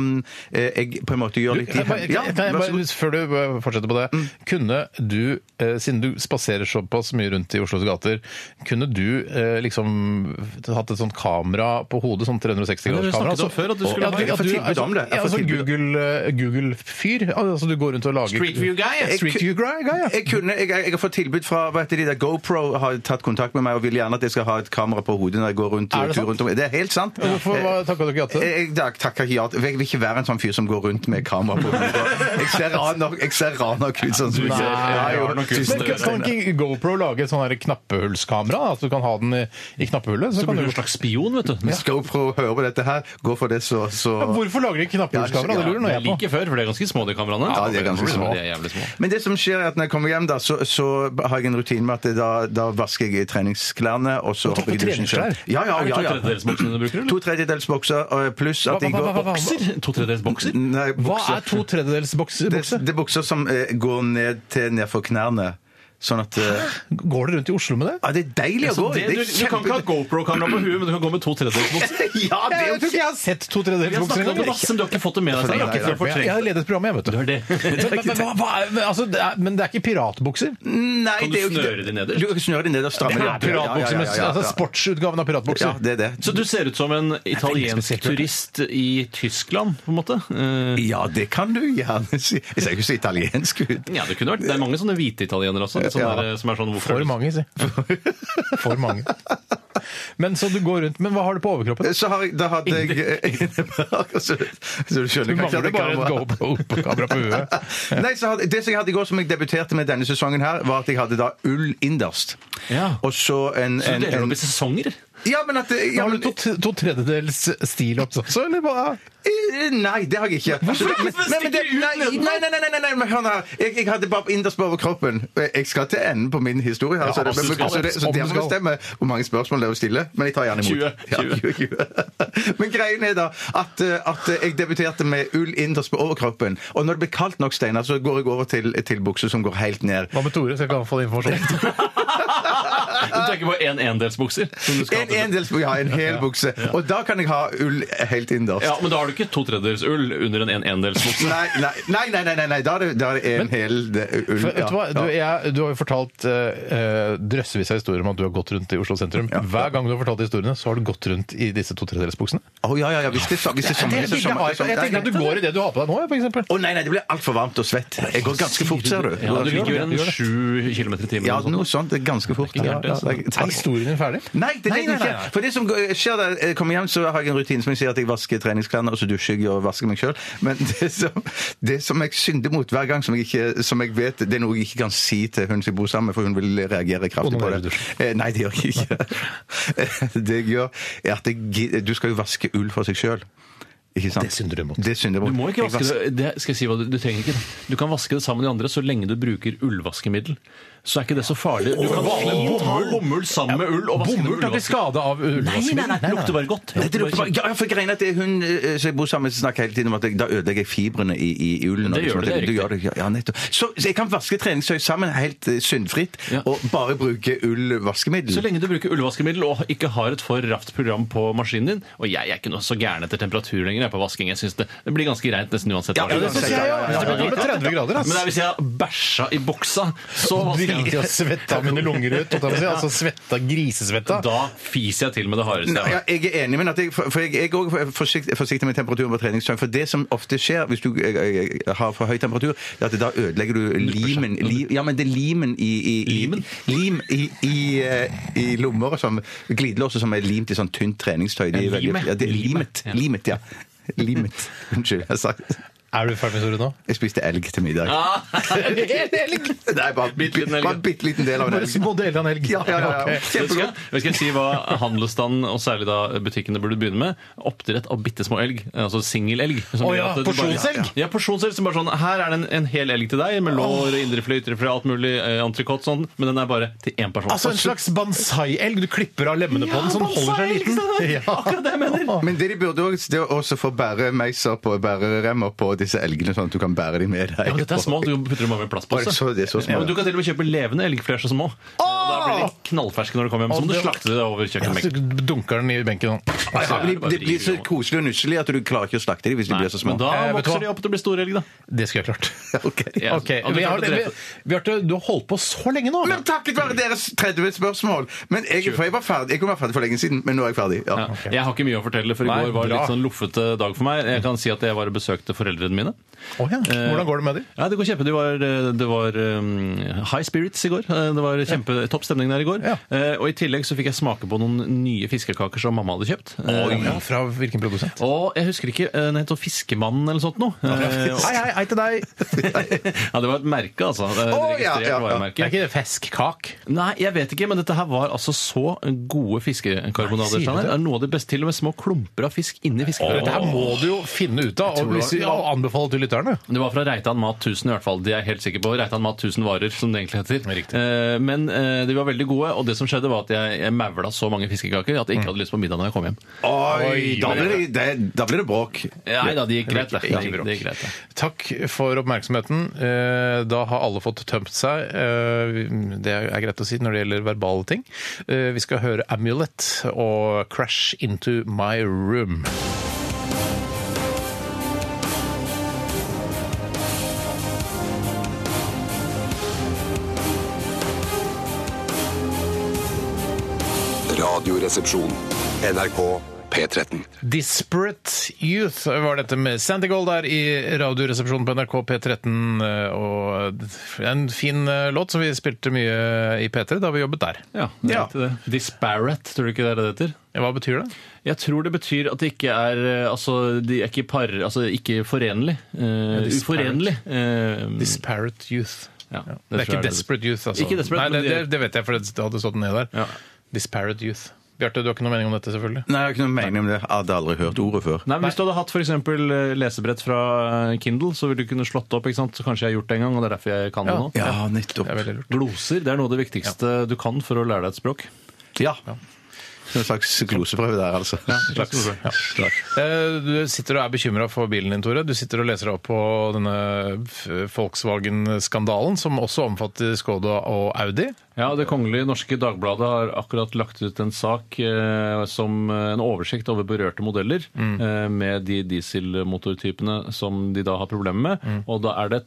Speaker 5: eh, jeg på en måte gjør litt
Speaker 4: Jeg bare-
Speaker 5: Ja,
Speaker 4: kan jeg
Speaker 5: vær så god.
Speaker 4: bare, før du eh, fortsetter på det, kunne du, eh, siden du spaserer såpass mye rundt i Oslos gater, kunne du eh, liksom hatt et sånt kamera på hodet, sånn 360-graders
Speaker 6: Ja, det har vi
Speaker 4: kamera?
Speaker 6: snakket om før, at du skulle
Speaker 4: ja,
Speaker 6: ha-
Speaker 4: du,
Speaker 5: Jeg får
Speaker 4: at du,
Speaker 5: tilbud om det. Jeg
Speaker 4: Ja,
Speaker 5: får
Speaker 4: sånn
Speaker 5: tilbud.
Speaker 4: Google, eh, Google-fyr? altså du går rundt og lager
Speaker 6: Street view guy, jeg.
Speaker 4: Street view guy, guy, ja.
Speaker 5: Jeg, kunne, jeg, jeg har fått tilbud fra hva heter de der GoPro har tatt kontakt med meg og vil gjerne at jeg skal ha et kamera på hodet når jeg går rundt eh,
Speaker 4: Er det
Speaker 5: tur
Speaker 4: sant?
Speaker 5: rundt om. Det er helt sant. Eh,
Speaker 4: Hvorfor hva- takket du ikke ja til det?
Speaker 5: Jeg, jeg, tak- takker ikke ja til Jeg vil ikke være en sånn fyr som går rundt med kamera på hodet. Jeg
Speaker 4: [LAUGHS]
Speaker 5: ser rar nok, jeg ser rar nok ut sånn som jeg
Speaker 6: Nei,
Speaker 5: ser. Ja, jo,
Speaker 6: rar nok ut.
Speaker 5: tusen
Speaker 4: Men
Speaker 5: takk.
Speaker 4: kan ikke GoPro lage et sånn her knappehullskamera? da? At du kan ha den i, i knappehullet? Så
Speaker 6: Så
Speaker 4: kan
Speaker 6: blir
Speaker 4: du...
Speaker 6: du en slags spion, vet du.
Speaker 5: Hvis GoPro hører dette her, gå for det, så, så
Speaker 4: Ja, Hvorfor lager de ikke knappehullskamera? Det lurer nå
Speaker 6: Jeg
Speaker 4: jeg på.
Speaker 6: liker før, for det er ganske små, de kameraene.
Speaker 5: Ja, de er ganske små.
Speaker 6: De er jævlig små.
Speaker 5: Men det som skjer er at når jeg kommer hjem, da, så, så har jeg en rutine med at da, da vasker jeg treningsklærne, og så
Speaker 4: Og tar
Speaker 5: hopper
Speaker 4: på
Speaker 5: jeg i dusjen selv.
Speaker 4: treningsklær?
Speaker 5: Ja, ja,
Speaker 6: Er det
Speaker 5: ja,
Speaker 6: to
Speaker 5: ja.
Speaker 6: tredjedelsboksene du bruker, eller?
Speaker 5: To tredjedels bokser, og pluss at
Speaker 4: Hva-
Speaker 5: jeg
Speaker 4: hva-
Speaker 5: går
Speaker 4: hva- hva- hva-
Speaker 6: Bokser? To tredjedelsbokser?
Speaker 5: Nei,
Speaker 4: Hva
Speaker 5: bukser.
Speaker 4: er to tredjedels bokse?
Speaker 5: Det, det er bukser som eh, går ned til nedfor knærne. Sånn at eh,
Speaker 4: Går dere rundt i Oslo med det?
Speaker 5: Ja, det er deilig å
Speaker 6: Så
Speaker 5: gå i!
Speaker 6: Altså, det, du, du kan ikke ha GoPro-kamera på huet, men du kan gå med to tredjedelsbokser.
Speaker 5: Ja, det er
Speaker 4: Jeg tror
Speaker 5: jo
Speaker 4: ikke jeg har sett to
Speaker 6: Vi har snakket om det, ass, men du har ikke fått det med deg. selv. Du har ikke
Speaker 4: Jeg jeg
Speaker 6: fortrengt
Speaker 4: har ledet programmet, jeg, vet du.
Speaker 6: det.
Speaker 4: Men, men, men, hva- hva er- men, altså, det er, men det er ikke piratbukser? Det
Speaker 5: Nei,
Speaker 6: Kan du
Speaker 5: det er jo ikke
Speaker 6: snøre de nederst?
Speaker 5: Du kan snøre de nederst. stramme de
Speaker 4: er
Speaker 5: opp.
Speaker 4: piratbukser, men
Speaker 5: Ja, ja, ja, ja,
Speaker 4: altså
Speaker 5: ja.
Speaker 4: sportsutgaven av piratbukser.
Speaker 5: Ja, det er det.
Speaker 6: Så du ser ut som en italiensk
Speaker 4: spesielt, vet du.
Speaker 6: turist i Tyskland, på en måte? Eh,
Speaker 5: Ja, det kan du gjerne si. Jeg ser jo ikke så italiensk ut.
Speaker 6: Ja, det kunne vært. Det er mange sånne hvite italienere også. Sånne
Speaker 5: Ja.
Speaker 6: der, som er sånn, hvorfor?
Speaker 4: For mange,
Speaker 5: [LAUGHS]
Speaker 4: si. For mange. Men så du går rundt Men hva har du på overkroppen?
Speaker 5: Så har jeg, da hadde jeg [LAUGHS] Inneberg. Så, så du
Speaker 4: Du
Speaker 5: skjønner kanskje
Speaker 4: mangler
Speaker 5: at det
Speaker 4: bare et
Speaker 5: kamera-
Speaker 4: GoPro-kamera på huet.
Speaker 5: [LAUGHS] Nei, så hadde, Det som jeg hadde i går, som jeg debuterte med denne sesongen, her, var at jeg hadde da ull innerst.
Speaker 6: Ja.
Speaker 5: Og så en,
Speaker 6: Så
Speaker 5: en,
Speaker 6: du deler
Speaker 5: en
Speaker 6: opp i sesonger?
Speaker 5: Ja, men at det- ja,
Speaker 4: Har
Speaker 5: men-
Speaker 4: du to, to tredjedels stil opp også, eller hva?
Speaker 5: Eh, Nei, det har jeg ikke.
Speaker 6: Hvorfor ikke?
Speaker 5: Men- men- men det-
Speaker 6: Stikker ut
Speaker 5: nei, nei, nei, nei, nei, nei, nei, men hør her. Jeg, jeg hadde bare innerst på overkroppen. Jeg skal til enden på min historie her, så det,
Speaker 4: om du skal.
Speaker 5: så det, så
Speaker 4: Om
Speaker 5: det
Speaker 4: du
Speaker 5: må
Speaker 4: skal.
Speaker 5: bestemme hvor mange spørsmål dere stiller. Men jeg tar gjerne imot.
Speaker 6: 20.
Speaker 5: Ja, 20, 20. [LAUGHS] Men greien er da at, eh, at jeg debuterte med ull innerst på overkroppen. Og når det blir kaldt nok, Steinar, så går jeg over til, til bukser som går helt ned.
Speaker 4: Hva med Tore? Skal ikke han få den informasjonen?
Speaker 6: Du tenker på en endelsbukser? som du skal ha
Speaker 5: En
Speaker 6: til-
Speaker 5: endels, ja, en hel bukse. Og da kan jeg ha ull helt innerst.
Speaker 6: Ja, Men da har du ikke to tredjedels ull under en en endelsbukse?
Speaker 5: Nei, nei, nei, nei, nei, nei, da er det, da er det en hel eh, ull.
Speaker 4: Vet
Speaker 5: ja,
Speaker 4: du, hva? Du,
Speaker 5: ja.
Speaker 4: jeg, du har jo fortalt eh, eh, drøssevis av historier om at du har gått rundt i Oslo sentrum. Hver gang du har fortalt de historiene, så har du gått rundt i disse to tredjedelsbuksene.
Speaker 5: Å, ja, ja, ja, hvis det er så- hvis det er sommer,
Speaker 4: Jeg
Speaker 5: hvis det er sommer. hvis det er sommer.
Speaker 4: tenker at du går i det du har på deg nå, for eksempel.
Speaker 5: Å nei, nei, det blir altfor varmt og svett. Jeg går ganske fort, ser du.
Speaker 6: Ja, du ligger jo
Speaker 4: Gjør
Speaker 6: en
Speaker 4: det.
Speaker 6: sju kilometer i timen.
Speaker 5: Ja,
Speaker 6: eller noe
Speaker 5: noe
Speaker 6: sånt.
Speaker 5: sånt. Det er ganske fort.
Speaker 6: ikke
Speaker 5: Ja,
Speaker 6: gærent,
Speaker 5: ja,
Speaker 6: det,
Speaker 5: det er-
Speaker 4: Er historien din ferdig?
Speaker 5: Nei, det er det
Speaker 4: Nei, nei,
Speaker 5: ikke.
Speaker 4: nei.
Speaker 5: For det som går- skjer da jeg kommer hjem, så har jeg en rutine som jeg sier at jeg vasker treningsklærne, og så dusjer jeg og vasker meg sjøl. Men [LAUGHS] det som, det som jeg synder mot hver gang, som jeg, ikke, som jeg vet Det er noe jeg ikke kan si til hun som jeg bor sammen med, for hun vil reagere kraftig på
Speaker 4: Onanerer du?
Speaker 5: det. Eh, Nei, det gjør jeg ikke. [LAUGHS] Det jeg gjør, er at jeg, gid- du skal jo vaske ull for seg sjøl. Ikke sant?
Speaker 4: Det synder du mot.
Speaker 5: Det synder jeg
Speaker 6: Du
Speaker 5: mot.
Speaker 6: må ikke
Speaker 5: Jeg
Speaker 6: vaske det. det skal jeg si hva du, du trenger ikke det. Du kan vaske det sammen med de andre så lenge du bruker ullvaskemiddel. Så er ikke det så farlig. Du kan fint ha bomull sammen med ull og vaske det med
Speaker 4: Bomull tar ikke
Speaker 6: ullvaske.
Speaker 4: skade av
Speaker 6: Nei,
Speaker 4: ullvaskemiddel.
Speaker 6: nei, nei, det lukter bare godt.
Speaker 5: Nei, det lukter bare, ja, ja, for greien er at det er hun eh, som jeg bor sammen med, som snakker hele tiden om at jeg, da ødelegger jeg fibrene i, i, i ullen. og
Speaker 6: Det gjør
Speaker 5: liksom, at
Speaker 6: det, det er
Speaker 5: jeg- gjør det, ja, ja, nettopp. Så, så jeg kan vaske treningstøy sammen helt eh, syndfritt,
Speaker 6: Ja.
Speaker 5: og bare bruke ullvaskemiddel.
Speaker 6: Så lenge du bruker ullvaskemiddel og ikke har et for raft program på maskinen din Og jeg er ikke noe så gæren etter temperatur lenger jeg, på vasking. Jeg synes det, det blir ganske reint nesten uansett. hva
Speaker 5: ja,
Speaker 6: slags
Speaker 5: det synes jeg, ja, ja, ja,
Speaker 4: ja, ja. Det
Speaker 6: temperatur.
Speaker 4: er 30 grader, ass.
Speaker 6: Men det er hvis jeg har bæsja i boksa, så vasker
Speaker 4: Drit i
Speaker 6: jeg.
Speaker 4: å svette av mine lunger ut. holdt jeg på å si. Altså svetta, grisesvetta.
Speaker 6: Da fiser jeg til med det hardeste.
Speaker 5: Nei,
Speaker 6: jeg
Speaker 5: ja,
Speaker 6: har.
Speaker 5: jeg er enig, men at jeg, for for jeg, jeg er også forsiktig, forsiktig med temperaturen på treningstøy. For det som ofte skjer hvis du eh, eh, har for høy temperatur, er at da ødelegger du limen li, Ja, men det er limen i, i, i
Speaker 6: Limen?
Speaker 5: Lim i, i, eh, i lommer og sånn. Glidelåser som er limt i sånn tynt treningstøy. De er
Speaker 6: Ja,
Speaker 5: veldig-
Speaker 6: limet.
Speaker 5: Ja, det er limet.
Speaker 6: Limet, ja.
Speaker 5: Limet, ja. Limet. Unnskyld, jeg har sagt
Speaker 4: Er du ferdig med historien nå?
Speaker 5: Jeg spiste elg til middag. [LAUGHS]
Speaker 6: En hel elg!
Speaker 5: Nei, bare en
Speaker 6: Bitte liten elg.
Speaker 5: bitte liten del av en
Speaker 4: Bare
Speaker 5: elg.
Speaker 4: små deler av en elg.
Speaker 5: Ja, ja, ja, ja.
Speaker 4: Ok.
Speaker 6: Vet du hva?
Speaker 5: Kjempegodt.
Speaker 6: Vet du hva jeg si hva handelsstanden, og særlig da butikkene, burde begynne med? Oppdrett av bitte små elg. Altså singelelg. som
Speaker 4: Å
Speaker 6: gjør
Speaker 4: ja,
Speaker 6: at du bare-
Speaker 4: porsjonselg?
Speaker 6: Ja, porsjonselg som bare sånn Her er det en, en hel elg til deg, med lår, indrefløy, ytrefløy, alt mulig, eh, entrecôte, sånn, men den er bare til én person.
Speaker 4: Altså en slags bonsai-elg. Du klipper av lemmene på den, så den holder seg liten.
Speaker 6: Ja. Akkurat det jeg mener!
Speaker 5: Men det de burde også, det er også få bæremeiser på bæreremmer på disse elgene, sånn at du kan bære dem med deg.
Speaker 6: Ja, men dette er små, du putter dem over i en
Speaker 5: Å, det er
Speaker 6: plastpose.
Speaker 5: så- det er så små,
Speaker 6: ja,
Speaker 5: ja.
Speaker 6: men du kan til og med kjøpe levende elgflesj og små. Og da blir de knallferske når du kommer hjem. Som
Speaker 4: Å,
Speaker 6: du
Speaker 4: det var-
Speaker 6: slakter det over
Speaker 4: Så
Speaker 6: kjøkkenbenken.
Speaker 4: du dunker den i benken sånn.
Speaker 5: Ja, men
Speaker 6: Bare
Speaker 5: de, de blir så
Speaker 6: river over.
Speaker 5: koselige og nusselige at du klarer ikke å slakte dem hvis de blir så små.
Speaker 6: Men da
Speaker 4: Eh, vet du hva?
Speaker 6: vokser de opp til å bli store elg, da.
Speaker 4: Det skulle jeg klart.
Speaker 5: Ok.
Speaker 6: Ja,
Speaker 4: [LAUGHS] Ok,
Speaker 6: og du
Speaker 4: vi har,
Speaker 6: klarte å
Speaker 4: vi,
Speaker 6: drepe-
Speaker 4: Bjarte, du har holdt på så lenge nå.
Speaker 5: Men takket være deres 30 spørsmål! Men jeg, for jeg var ferdig Jeg kunne være ferdig for lenge siden, men nå er jeg ferdig. Ja.
Speaker 6: Ja. Jeg har ikke mye å fortelle, for i
Speaker 4: Nei,
Speaker 6: går var det
Speaker 4: bra.
Speaker 6: litt sånn loffete dag for meg. Jeg kan si at jeg var og besøkte foreldrene mine. Eh,
Speaker 4: Å ja. Hvordan går det med dem?
Speaker 6: Ja, det går kjempe. Det var, eh, det var um, high spirits i går. Eh, Det var kjempe topp stemning der i går.
Speaker 4: Ja.
Speaker 6: Eh, Og i tillegg så fikk jeg smake på noen nye fiskekaker som mamma hadde kjøpt. Eh,
Speaker 4: Ja, fra hvilken produsent?
Speaker 6: Og jeg husker ikke, eh, den het sånn Fiskemannen eller sånt noe. Eh, og- [LAUGHS]
Speaker 4: Hei, hei, hei til [LAUGHS] deg!
Speaker 6: Ja, det var et merke, altså. Det er et
Speaker 5: Å, ja,
Speaker 6: registrert
Speaker 5: ja, ja.
Speaker 4: Er
Speaker 6: varemerke.
Speaker 4: ikke det feskkak?
Speaker 6: Nei, jeg vet ikke, men dette her var altså så gode fiskekarbonader.
Speaker 4: Nei, sier du
Speaker 6: Steiner.
Speaker 4: det?
Speaker 6: Det er noe av det beste, til og med små klumper av fisk inni fiskekaker.
Speaker 4: Dette her må du jo finne ut av, og,
Speaker 6: tror det
Speaker 4: hvis vi- og anbefale til lytterne.
Speaker 6: Det var fra Reitan Mat 1000 i hvert fall. De er jeg helt sikker på. Reitan Mat 1000 varer, som det egentlig heter.
Speaker 4: Riktig.
Speaker 6: Eh, Men eh, de var veldig gode, og det som skjedde var at jeg, jeg mævla så mange fiskekaker at jeg ikke hadde lyst på middag når jeg kom hjem.
Speaker 5: Oi, da blir det, det, da blir det bråk.
Speaker 6: Nei da, det gikk greit. Det,
Speaker 4: Ja,
Speaker 6: det, gikk, det gikk greit. det.
Speaker 4: Takk for oppmerksomheten. Eh, Da har alle fått tømt seg. Eh, Det er greit å si når det gjelder verbale ting. Eh, Vi skal høre Amulet og Crash Into My Room.
Speaker 1: Radioresepsjon. NRK P13.
Speaker 4: Disparate Youth var dette med Sandy Gold der i Radioresepsjonen på NRK P13. eh, Og en fin eh, låt som vi spilte mye i P3 da vi jobbet der.
Speaker 6: Ja, det er riktig det. Disparate, tror du ikke det er det det heter?
Speaker 4: Hva betyr det?
Speaker 6: Jeg tror det betyr at det ikke er eh, Altså, de er ikke par... Altså, ikke forenlig. Eh,
Speaker 4: disparate.
Speaker 6: uforenlig. Eh,
Speaker 4: Disparate Youth.
Speaker 6: Ja,
Speaker 4: Ja. Det
Speaker 6: det
Speaker 4: er
Speaker 6: tror jeg
Speaker 4: ikke
Speaker 6: det er.
Speaker 4: Desperate Youth, altså.
Speaker 6: Ikke desperate,
Speaker 4: Nei,
Speaker 6: men
Speaker 4: det, det,
Speaker 6: de-
Speaker 4: det vet jeg, for det hadde stått ned der.
Speaker 6: Ja.
Speaker 4: Disparate Youth. Bjarte, du har ikke noe mening om dette, selvfølgelig?
Speaker 5: Nei, jeg har ikke noe mening om det. Jeg hadde aldri hørt ordet før.
Speaker 6: Nei, men Hvis du hadde hatt for eksempel, eh, lesebrett fra eh, Kindle, så ville du kunne slått det opp. ikke sant? Så kanskje jeg har gjort det en gang, og det er derfor jeg kan det nå.
Speaker 5: Ja, nettopp.
Speaker 4: Det er veldig lurt.
Speaker 6: Gloser det er noe av det viktigste du kan for å lære deg et språk.
Speaker 5: Ja. En slags gloseprøve der, altså.
Speaker 4: Ja. Eh, Du sitter og er bekymra for bilen din, Tore. Du sitter og leser deg opp på denne F- Volkswagen-skandalen, som også omfatter Skoda og Audi.
Speaker 6: Ja, Det kongelige norske Dagbladet har akkurat lagt ut en sak eh, som en oversikt over berørte modeller eh, med de dieselmotortypene som de da har problemer med. Og da er det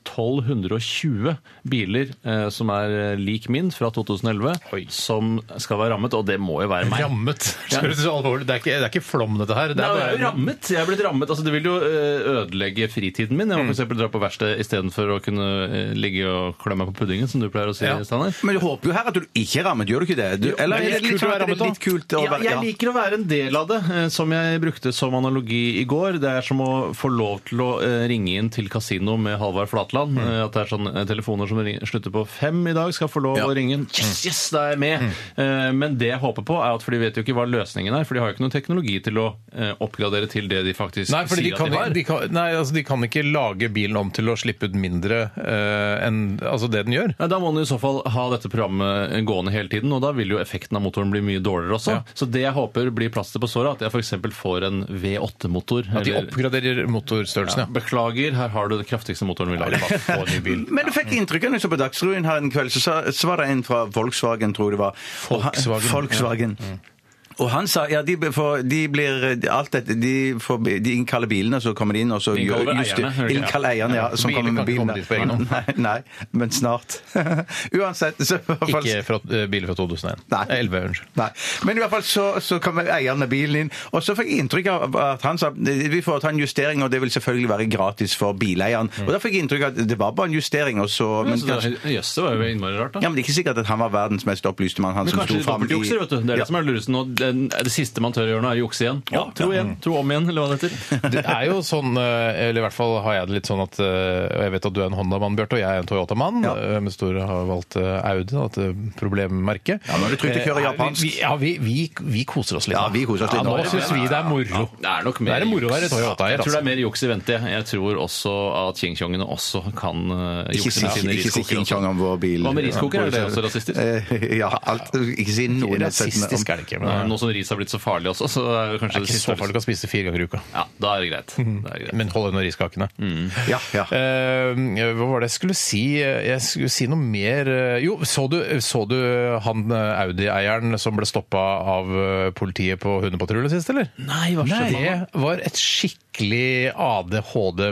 Speaker 6: 1220 biler eh, som er eh, lik min fra 2011,
Speaker 4: Oi.
Speaker 6: som skal være rammet, og det må jo være meg.
Speaker 4: Rammet! Det er, så alvorlig. det er, ikke, det er ikke flom, dette her. Det
Speaker 6: Nei,
Speaker 4: er
Speaker 6: jeg er jo
Speaker 4: bare
Speaker 6: rammet. Jeg er blitt rammet. Altså, det vil jo eh, ødelegge fritiden min. Jeg må for eksempel dra på verksted istedenfor å kunne eh, ligge og klø meg på puddingen, som du pleier å si,
Speaker 4: Ja.
Speaker 6: Steinar.
Speaker 5: Men du håper jo her at du ikke er rammet, gjør du ikke det? Du, eller
Speaker 4: det er
Speaker 5: er det
Speaker 4: litt
Speaker 5: litt,
Speaker 4: kult å være rammet,
Speaker 5: sånn at det er litt kult å
Speaker 6: Ja,
Speaker 5: være
Speaker 6: jeg liker å være en del av det, eh, som jeg brukte som analogi i går. Det er som å få lov til å eh, ringe inn til kasino med Halvard Flatland. Eh, At det er sånn eh, telefoner som ring- slutter på fem i dag, skal få lov å ringe inn. Yes, yes, da er jeg med! Eh, Men det jeg håper på, er at for de vet jo ikke hva løsningen er, for de har jo ikke noen teknologi til å eh, oppgradere til det de faktisk
Speaker 4: Nei, fordi de
Speaker 6: sier
Speaker 4: kan,
Speaker 6: at de har.
Speaker 4: de, kan, nei altså, de kan ikke lage bilen om til å slippe ut mindre eh, enn altså, det den gjør.
Speaker 6: Ja, da må man i så fall ha dette programmet gående hele tiden, og da vil jo effekten av motoren bli mye dårligere også.
Speaker 4: Ja.
Speaker 6: Så det jeg håper blir plaster på såret, at jeg f.eks. får en V8-motor.
Speaker 4: At de oppgraderer motorstørrelsen, ja.
Speaker 6: Beklager, her har du den kraftigste motoren vi lager. Bare få en ny
Speaker 4: [LAUGHS]
Speaker 6: bil.
Speaker 5: Men du fikk inntrykk av noe som på Dagsrevyen her en kveld, så, sa- så var det en fra Volkswagen, tror jeg det var. Og han-
Speaker 4: Volkswagen, Mm.
Speaker 5: Volkswagen. Og han sa ja, de, be- får- de blir alt dette, de, får, de innkaller bilene, så kommer de inn og så
Speaker 6: De innkaller
Speaker 5: gjør-
Speaker 6: vel
Speaker 5: juster-
Speaker 6: eierne, hører du ikke?
Speaker 5: Innkaller eierne, ja. Som
Speaker 4: Bilen
Speaker 5: kommer
Speaker 4: kan
Speaker 5: med
Speaker 4: ikke
Speaker 5: bilen.
Speaker 4: komme dit på egen hånd.
Speaker 5: Nei, [LAUGHS] nei, men snart. [LAUGHS] Uansett, så i hvert fall-
Speaker 4: Ikke fra, eh, biler fra 2001.
Speaker 5: Nei.
Speaker 4: Eh, 11, unnskyld.
Speaker 5: Nei. Men i hvert fall så, så kom eieren av bilen inn, og så fikk jeg inntrykk av at han sa vi får ta en justering, og det vil selvfølgelig være gratis for bileieren.
Speaker 4: Mm.
Speaker 5: Og da fikk jeg inntrykk av at det var bare en justering, og så men
Speaker 6: Jøss,
Speaker 5: kanskje,
Speaker 6: det var jo innmari rart, da.
Speaker 5: ja, men Det er ikke sikkert at han var verdens mest opplyste mann. Han
Speaker 6: Men
Speaker 5: som
Speaker 6: kanskje
Speaker 5: sto
Speaker 6: de
Speaker 5: fram i
Speaker 6: dobbeltjukser, vet du. Det er det som er lurest nå. Det den- det siste man tør å gjøre nå, er å jukse igjen. Ja, tro igjen.
Speaker 4: Mm.
Speaker 6: Tro om igjen, eller hva det heter.
Speaker 4: Det er jo sånn, eh, eller i hvert fall har jeg det litt sånn at eh, Og jeg vet at du er en Honda-mann, Bjarte, og jeg er en Toyota-mann.
Speaker 5: Ja.
Speaker 4: eh, Mens Tore har valgt eh, Audi, da, dette problemmerket.
Speaker 5: Ja, nå er det trygt å
Speaker 4: Eh, er
Speaker 5: kjøre
Speaker 4: vi-
Speaker 5: japansk.
Speaker 4: vi- Ja, vi, vi, vi koser oss litt.
Speaker 5: Ja,
Speaker 4: da.
Speaker 5: vi koser oss
Speaker 4: [LAUGHS]
Speaker 5: litt
Speaker 4: Ja,
Speaker 5: nå.
Speaker 4: nå syns vi det er moro.
Speaker 6: Det er nok mer
Speaker 4: Det er moro å være
Speaker 6: juks.
Speaker 4: Toyota-eier,
Speaker 6: Jeg tror
Speaker 4: altså.
Speaker 6: det er mer juks i vente. jeg. Jeg tror også at Ching-chongene også kan eh,
Speaker 5: Ikke
Speaker 6: jukse
Speaker 5: si,
Speaker 6: med sine
Speaker 5: ikke si King Chong
Speaker 6: riskoker.
Speaker 5: om vår bil.
Speaker 6: Hva med riskoker? Er det også rasistisk?
Speaker 5: Eh, Ja, alt, ikke si noe nedsettende
Speaker 4: Rasistisk er
Speaker 5: om
Speaker 4: det ikke.
Speaker 6: Nå
Speaker 4: Men det
Speaker 6: nå som ris har blitt så farlig også, så er
Speaker 4: er
Speaker 6: det kanskje
Speaker 4: ikke så farlig å spise fire ganger i uka.
Speaker 6: Ja, da er det greit.
Speaker 5: Mhm.
Speaker 6: Da er det greit.
Speaker 4: Men hold unna riskakene.
Speaker 5: Ja, ja.
Speaker 4: Eh, hva var det jeg skulle si? Jeg skulle si noe mer eh, Jo, så du, så du han eh, Audi-eieren som ble stoppa av eh, politiet på hundepatrulje sist, eller?
Speaker 6: Nei, hva skjedde med han da?
Speaker 4: Det var et skikkelig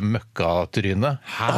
Speaker 4: ADHD-møkkatryne.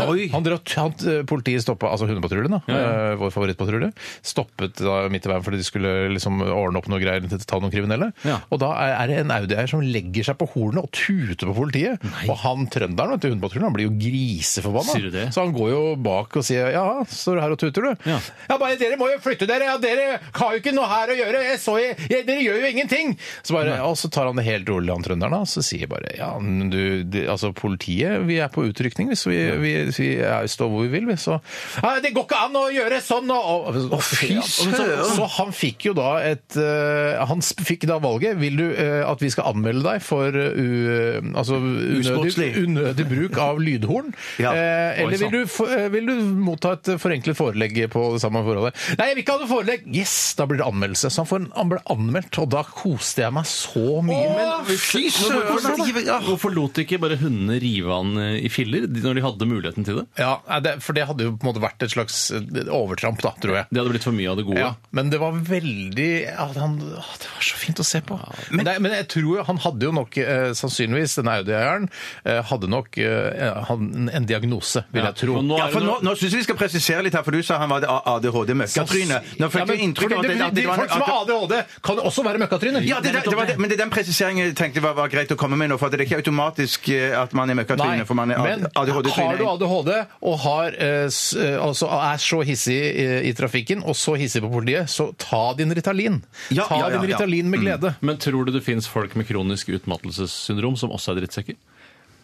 Speaker 6: Oi!
Speaker 4: Han drev, og t- han, eh, politiet stoppa, altså hundepatruljen, da, eh, vår favorittpatrulje, stoppet da midt i veien fordi de skulle liksom ordne opp noe greier til å ta noen kriminelle.
Speaker 6: Ja.
Speaker 4: Og da er er det en Audi-eier som legger seg på hornet og tuter på politiet. Og han trønderen vet du, hundepatruljen, han blir jo griseforbanna.
Speaker 6: Sier du det?
Speaker 4: Så han går jo bak og sier ja, står du her og tuter, du?
Speaker 6: Ja.
Speaker 4: bare dere må jo flytte dere! Ja, dere har jo ikke noe her å gjøre! Jeg så, jeg, jeg, dere gjør jo ingenting! Så bare, og så tar han det helt rolig, han trønderen, da, og så sier bare ja, men du, det, altså politiet, vi er på utrykning hvis vi, vi, vi er, står hvor vi vil, vi, så ja, Det går ikke an å gjøre sånn! Og, og, og,
Speaker 5: fy søren!
Speaker 4: Så han fikk jo da et eh, Han sp- fikk da valget. Vil du eh, at vi skal anmelde deg for eh, u, altså, unødig,
Speaker 5: Usportslig.
Speaker 4: unødig bruk av lydhorn?
Speaker 5: Ja.
Speaker 4: Eh,
Speaker 6: Oi,
Speaker 4: eller vil
Speaker 6: sant.
Speaker 4: du, få- eh, vil du motta et eh, forenklet forelegg på det samme forholdet? Nei, jeg vil ikke ha noe forelegg! Yes! Da blir det anmeldelse. Så han, får en, han ble anmeldt, og da koste jeg meg så mye.
Speaker 5: Men fy søren! at ikke- ah.
Speaker 6: Hvorfor lot ikke bare hundene rive han eh, i filler de- når de hadde muligheten til det?
Speaker 4: Ja, nei, det, For det hadde jo på en måte vært et slags eh, overtramp, da, tror jeg.
Speaker 6: Det hadde blitt for mye av det gode.
Speaker 4: Ja, men det var veldig ja, han, å, Det var så fint å se på. Men, Nei, men jeg tror jo han hadde jo nok, eh, sannsynligvis, denne Audi-eieren, eh, hadde nok eh, han, en diagnose, vil
Speaker 6: Ja,
Speaker 4: jeg tro.
Speaker 6: og nå
Speaker 5: Ja,
Speaker 6: er
Speaker 5: for
Speaker 6: det
Speaker 5: nå,
Speaker 6: noe-
Speaker 5: nå syns jeg vi skal presisere litt her, for du sa han var det ADHD-møkkatryne. Nå
Speaker 4: Ja,
Speaker 5: fikk
Speaker 4: men
Speaker 5: vi inntrykk av
Speaker 4: fordi
Speaker 5: at det,
Speaker 4: det-
Speaker 5: at det
Speaker 4: de
Speaker 5: var
Speaker 4: Folk som har
Speaker 5: at-
Speaker 4: ADHD, kan jo også være møkkatryner.
Speaker 5: ja, det, det, det var det, men det er den presiseringen jeg tenkte var, var greit å komme med nå. For det er ikke automatisk eh, at man er
Speaker 4: Nei,
Speaker 5: møkkatryne, for man er
Speaker 4: men har du
Speaker 5: ADHD-tryne.
Speaker 4: ADHD og har, eh, s- eh, altså er så hissig i, i trafikken og så hissig på politiet, så ta din Ritalin.
Speaker 5: Ja,
Speaker 4: ta
Speaker 5: ja, ja,
Speaker 4: din
Speaker 5: ja. Mm.
Speaker 4: Ritalin med glede.
Speaker 6: Men tror du det finnes folk med kronisk utmattelsessyndrom som også er drittsekker?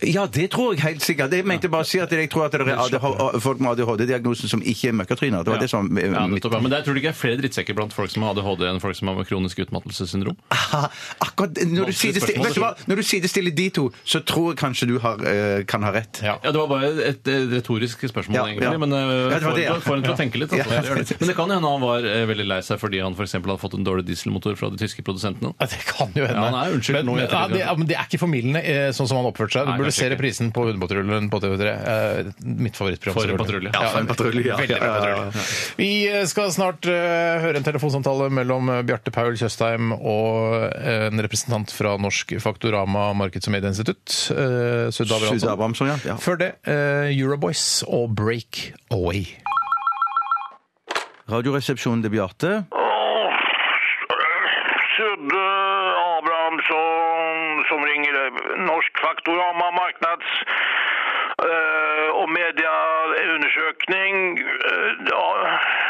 Speaker 5: Ja, det tror jeg helt sikkert. Jeg mente bare å si at jeg tror at det er ADHD, folk med ADHD-diagnosen som ikke er møkkatryner. Det var det som eh,
Speaker 6: Ja,
Speaker 5: mitt-
Speaker 6: nettopp, ja. Men der tror du ikke det er flere drittsekker blant folk som har ADHD enn folk som har kronisk utmattelsessyndrom?
Speaker 5: Aha, akkurat når du,
Speaker 6: Vanskelig
Speaker 5: sidestiller,
Speaker 6: spørsmål,
Speaker 5: vet du hva? når du sidestiller de to, så tror jeg kanskje du har, eh, kan ha rett.
Speaker 6: Ja, Det var bare et, eh, retorisk spørsmål,
Speaker 5: Ja,
Speaker 6: egentlig.
Speaker 5: ja.
Speaker 6: Men
Speaker 5: Ja,
Speaker 6: uh,
Speaker 5: det var
Speaker 6: får
Speaker 5: det, ja.
Speaker 6: en til- får en til å tenke litt. Altså.
Speaker 5: Ja.
Speaker 6: Det gjør det. Men det kan hende han var eh, veldig lei seg fordi han for eksempel hadde fått en dårlig dieselmotor fra de tyske produsentene.
Speaker 4: Ja, det kan jo hende.
Speaker 6: Ja, nei, unnskyld,
Speaker 4: men,
Speaker 6: nå
Speaker 4: men,
Speaker 6: heter det
Speaker 4: ja,
Speaker 6: det.
Speaker 4: det, ja, men det er ikke formildende, eh, sånn som han oppførte seg.
Speaker 6: Nei,
Speaker 4: Du burde
Speaker 6: kanskje
Speaker 4: se
Speaker 6: ikke.
Speaker 4: reprisen på Hundepatruljen på TV3. Eh, mitt favorittprogram.
Speaker 6: For en
Speaker 4: selvfølgelig.
Speaker 6: patrulje. Ja,
Speaker 5: for en patrulje, ja.
Speaker 4: Veldig bra
Speaker 5: Ja, ja, ja.
Speaker 4: patrulje. Vi eh, skal snart eh, høre en telefonsamtale mellom eh, Bjarte Paul Tjøstheim og eh, en representant fra Norsk Faktorama Markeds- og medieinstitutt, eh, Sudda
Speaker 5: Sudde
Speaker 4: Abrahamsson.
Speaker 5: Abrahamsson, ja. ja.
Speaker 4: Før det, eh, Euroboys og Break Away.
Speaker 5: Radioresepsjonen til Bjarte.
Speaker 9: Sudde Abrahamsson som ringer eh, Norsk Faktorama Marknads eh, og medieundersøkning. Eh, ja,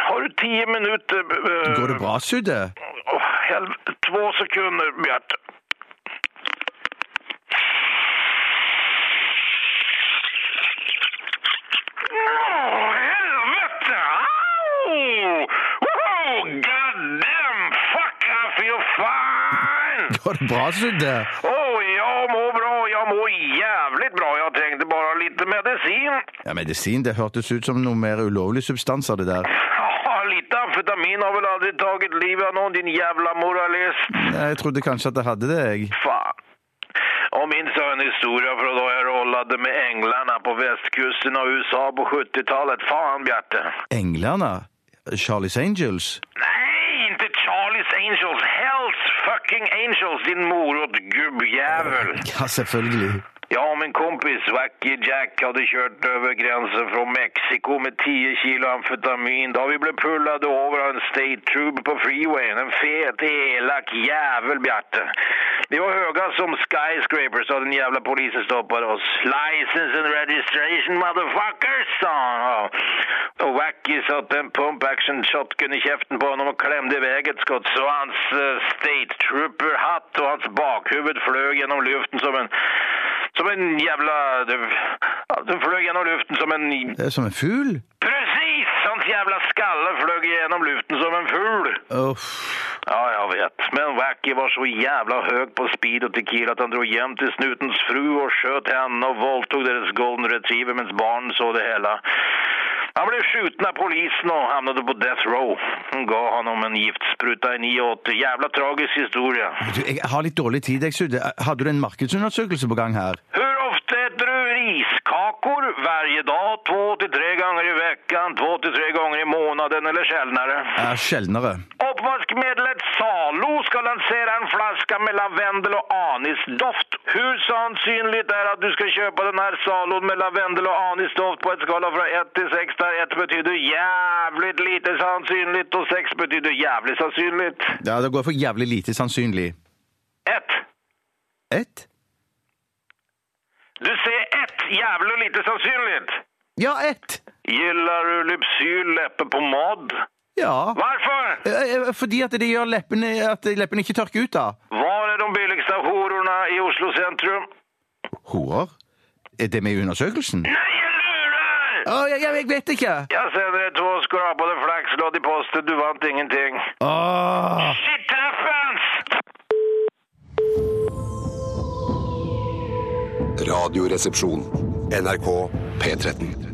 Speaker 9: har du ti minutter? eh,
Speaker 5: Går det bra, Sudde?
Speaker 9: åh, helv- Två sekunder, Bjarte. Åh, helvete! Au! Woho! God damn fuck, I feel fine!
Speaker 5: Går det bra, Sudde?
Speaker 9: Åh, jeg mår bra. Jeg mår jævlig bra. Jeg trengte bare litt medisin.
Speaker 5: Ja, Medisin, det hørtes ut som noe mer ulovlig substans av det der.
Speaker 9: [LAUGHS] Ja, litt amfetamin har vel aldri taget livet av noen, din jævla moralist.
Speaker 5: Jeg trodde kanskje at jeg hadde det, jeg.
Speaker 9: Fan. Jag minns jag en historia från då jag rollade med änglarna på västkusten av USA på 70-talet. Fan, Bjarte.
Speaker 5: Englene? Charlies Angels?
Speaker 9: Nej, inte Charlies Angels. Hells fucking Angels, din morotgubbjävel.
Speaker 5: Ja, selvfølgelig.
Speaker 9: Jag och min kompis Wacky Jack hade kört över gränsen från Mexiko med 10 kilo amfetamin. Då vi blev pullade över av en state trooper på freewayn. En fet, elak jävel, Bjarte. Vi var höga som skyscrapers och den jävla polisen stoppade oss. License and registration, motherfuckers, sa han. Ja. Och Wacky satte en pump action action shotgun i kjeften på honom och klämde iväg ett skott så hans eh, state trooper-hatt och hans bakhuvud flög genom luften som en... Som en jävla... ja, Den flög genom luften som en...
Speaker 5: Det er som en fugl.
Speaker 9: Precis! Hans jävla skalle flög genom luften som en ful.
Speaker 5: Uff.
Speaker 9: Ja, jag vet. Men Wacky var så jävla hög på speed och tequila att han drog jämt till snutens fru och sköt henne och våldtog deras golden retriever medan barnen såg det hela. Han blev skjuten av polisen och hamnade på death row. Hon gav honom en giftspruta i 980. Jävla tragisk historia.
Speaker 5: Du, jeg har litt dårlig tid, jeg, Sudde. Hadde du en markedsundersøkelse på gang her?
Speaker 9: Hur ofta äter du riskakor? Varje dag, två till tre gånger i veckan, två till tre gånger i månaden eller sällanare?
Speaker 5: Er sjeldnere.
Speaker 9: Oppvaskmedlet Salo skal lansere en flaske med lavendel og anisdoft. Hvor sannsynlig er at du skal kjøpe denne Saloen med lavendel og anisdoft på et skala fra 1 til 6, der 1 betyr jævlig lite sannsynlig og 6 betyr jævlig sannsynlig?
Speaker 5: Ja, det går for jævlig lite sannsynlig.
Speaker 9: 1.
Speaker 5: Ett?
Speaker 9: Du ser 1 jævlig lite sannsynlig.
Speaker 5: Ja, ett!
Speaker 9: Gillar du Lypsyl leppepomad?
Speaker 5: Ja.
Speaker 9: Hvorfor?
Speaker 5: Eh, eh, Fordi at det gjør leppene, at leppene ikke tørker ut, da.
Speaker 9: Var er de billigste hororna i Oslo sentrum?
Speaker 5: Horer? Er det med i undersøkelsen?
Speaker 9: Nei, jeg lurer!
Speaker 5: Å, jeg, jeg, jeg vet ikke!
Speaker 9: Jeg sender deg to skrapede flakslodd i posten. Du vant ingenting.
Speaker 5: Åh.
Speaker 9: Shit happens!
Speaker 1: Radioresepsjon. NRK P13.